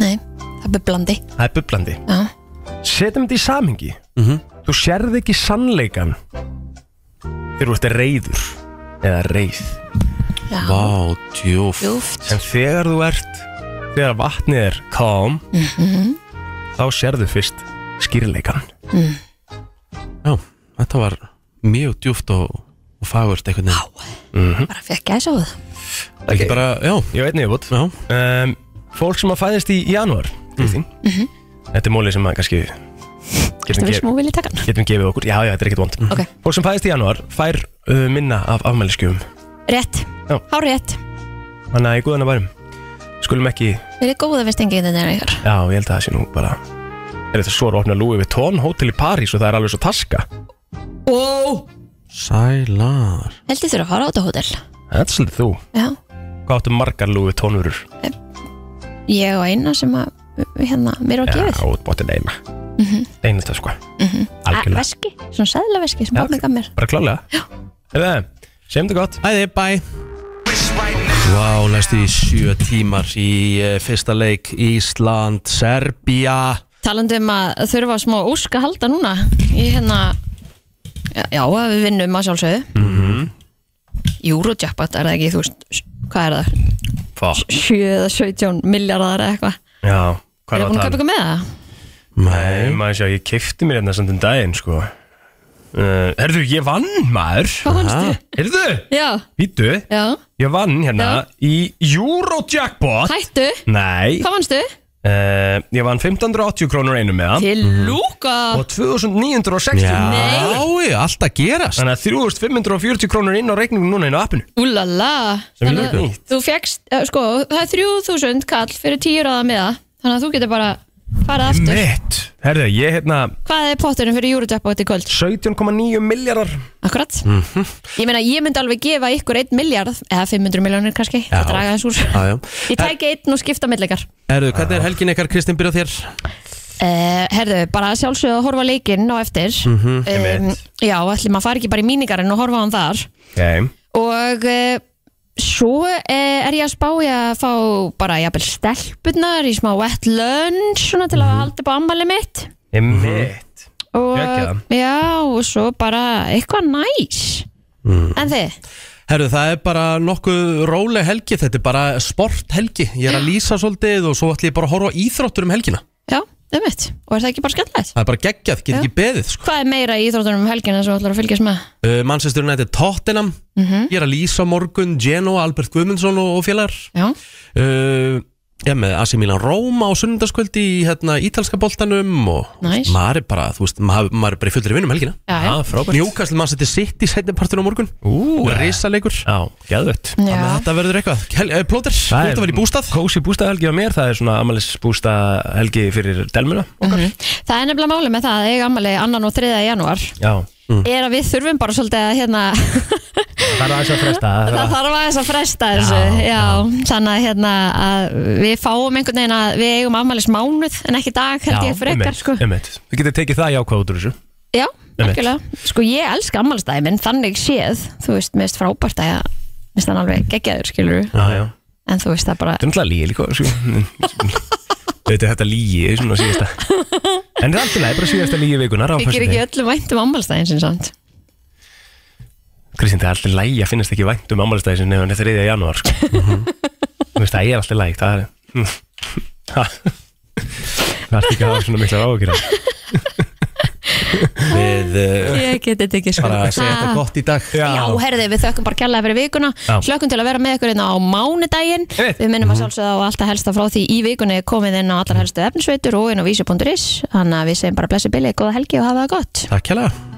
S3: nei, það er blandi
S4: Það er bublandi
S3: Já,
S4: Setjum þetta í samhengi
S2: Mhm.
S4: Þú sérð ekki sannleikan Þegar þú ert reyður Eða reyð
S3: já,
S2: Vá, djúf
S3: júft
S4: En þegar þú ert Þegar vatnið er calm
S3: Mhm.
S4: Þá sérðu fyrst skýrleikan
S10: Mhm.
S2: Já, þetta var mjög djúft og, og fagurt einhvern veginn
S3: Bara fekk ég að sjá það
S2: Ekki bara, já,
S4: Mhm. Ég veit nefnir bútt
S2: já
S4: um, Fólk sem að fæðist í janúar Kristín
S2: Mm.
S4: Þetta er móli sem að kannski
S3: Þetta
S4: Getum,
S3: við Mhm. smá
S4: gef,
S3: vilja taka hana
S4: getum gefið okkur Já, já, þetta er ekkert vond
S3: Ok.
S4: Fólk sem fæðist í janúar fær uh, minna af afmæliskjöfum
S3: Rétt,
S4: Já.
S3: hár rétt
S4: Þannig að í guðana værum Skulum ekki
S3: Verið góða við stengið þetta er ykkar
S4: Já, ég held að það sé nú bara Er þetta svo að opna Louis Vuitton hótel í París og það er alveg svo taska
S2: Sælar
S3: Heldur þurfa að fara á þetta hótel
S4: Þetta er svolítið þú
S3: Já,
S4: Hvað áttu margar Louis Vuitton vörur?
S3: ég og eina sem að hérna, mér var
S4: Já,
S3: gefið
S4: þú bóttið eina Einu þetta sko
S3: Mhm. Að-
S4: Algjörlega,
S3: Veski, svona sæðlaveski sem
S4: Já,
S3: pappi gaf mér
S4: bara klálega Er það, segjum þetta gott
S2: Æði, bæ
S10: Right now
S2: Vá, næstu í sjö tímar í uh, fyrsta leik Ísland, Serbia
S3: Talandi um að þurfa smá ósk að halda núna Í hérna Já, að við vinnum að sjálfsögðu
S4: Mhm.
S3: Eurojackpot er það ekki, þú veist s- Hvað er það?
S4: Fuck.
S3: 7 eða 17 miljardar eða eitthvað
S4: Já,
S3: Er
S4: hvað
S3: það búin að kaupa eitthvað með það?
S4: Nei, maður sjá, ég kefti mér hérna samt um daginn, sko uh, Herðu, ég vann, maður
S3: Hvað vannstu?
S4: Herðu,
S3: Já,
S4: vítu
S3: já,
S4: Ég vann hérna í Eurojackpot
S3: hættu
S4: Nei
S3: Hvað vannstu?
S4: uh, Ég vann 1580 krónur einum með það Mhm.
S3: Til Lúka
S4: Og 2960
S3: Nei.
S2: já, alltaf gerast
S4: Þannig að 3540 krónur inn á reikningum núna inn á appinu
S3: Úlala
S4: Sem er
S3: Þannig að
S4: nýtt.
S3: Þú fegst, sko, það er 3000 kall Fyrir 10 ráða með það Þannig að þú getur bara farið aftur
S4: Mitt Herðu, ég hérna
S3: Hvað er potturinn fyrir Eurojackpot í kvöld?
S4: 17,9 miljardar
S3: Akkurat
S4: Mhm.
S3: Ég meina, ég myndi alveg gefa ykkur 1 miljard Eða 500 miljónir kannski
S2: Já.
S3: Það draga þess úr
S2: Já, já.
S3: Ég tæki einn og skipta millikar
S2: Herðu, hvernig er helgin ykkar, Kristinn, byrja á þér?
S3: Uh, herðu, bara sjálfsögðu að horfa á leikinn á eftir
S2: Mhm,
S3: um, Já, ætlum að fara ekki bara í míningarinn og horfa á hann þar
S4: okay.
S3: Og uh, svo uh, er ég að spá ég að fá bara jafnvel stelpunar í smá wet lunch svona til
S2: Mhm.
S3: að halda upp á ammali mitt
S4: Mitt
S3: og,
S4: Geggjað.
S3: Já, og svo bara eitthvað næs
S4: Mm.
S3: En þið?
S2: Herðu, það er bara nokkuð róleg helgi, þetta er bara sporthelgi Ég er að lýsa svolítið og svo ætlum ég bara að horfa á íþróttur um helgina
S3: Já, um mitt Og er það ekki bara skemmtilegt?
S2: Það er bara geggjað, get ekki beðið sko.
S3: Hvað er meira í íþróttunum um helgina sem þú ætlar að fylgjast með?
S2: uh, Manchester United Tottenham
S3: Mhm.
S2: Ég er að lýsa á morgun, Genoa, Albert Guðmundsson og, og félagar
S3: Já
S2: uh, Já, með AC Milan Róma á sunnudaskvöldi í hérna, ítalska boltanum og þú veist,
S3: Nice.
S2: maður er bara, þú veist, maður, maður er bara í fullri vinnum helgina
S3: Já, já.
S4: Ah, frábært
S2: Newcastle maður setið sitt í setnipartur á morgun
S4: Ú,
S2: Rísalegur
S4: Já, geðvött
S2: Þannig að þetta verður eitthvað Hel, eh, Plóter, þú
S4: Það
S2: ert að
S4: er
S2: vera í bústað
S4: Kósi bústaðhelgi á mér, það er svona amalis bústaðhelgi fyrir delmuna
S3: Mhm. Það er nefnilega máli með það að eiga ammali annan og 3. janúar
S4: Já,
S3: er að við þurfum bara svolítið að hérna,
S4: það er aðeins að fresta það
S3: það
S4: er að-
S3: þarf aðeins að fresta þessu, já, þannig að hérna að við fáum einhvern veginn að við eigum afmælis mánuð en ekki dag held
S4: Já,
S3: ég frekar,
S4: einmitt,
S3: sko
S4: einmitt. Við getum tekið það jákvæð út úr þessu
S3: já,
S4: Einmitt.
S3: nokkulega, sko ég elska afmælisdæði minn, þannig séð, þú veist, mér finnst frábært að ég, mér finnst hann alveg geggjaður, skilur
S4: Já, já Þetta
S3: en þú veist það bara,
S4: er náttúrulega lígi líka sko. Þetta er þetta lígi, svona síðasta En það er alltaf leið, bara síðasta lígi vikunar á
S3: við gerum ekki
S4: föstudegi.
S3: öllum vænt um afmælisdæðin sinn samt,
S4: Kristín, það er alltaf leið að finnast ekki vænt um ammálistæðisinn ef hann er 3. janúar sko. Þú veist, það er alltaf leið Það er Mm. Ha. Það er ekki að hafa svona mikla áhugir
S2: Við uh,
S3: ég geti þetta ekki sko
S2: bara að segja þetta
S3: Ha.
S2: gott í dag
S3: Já, herði, við þökkum bara kærlega fyrir vikuna
S4: Já.
S3: Hlökkum til að vera með ykkur inn á mánudaginn
S4: Einmitt. Mhm.
S3: Við minnum að sjálfsögða á alltaf helsta frá því í vikunni komið inn á allar helstu efnisveitur og inn á vísi.is Þannig að við segjum bara blessi bilið, góða helgi og hafa það gott
S2: Takk hérlega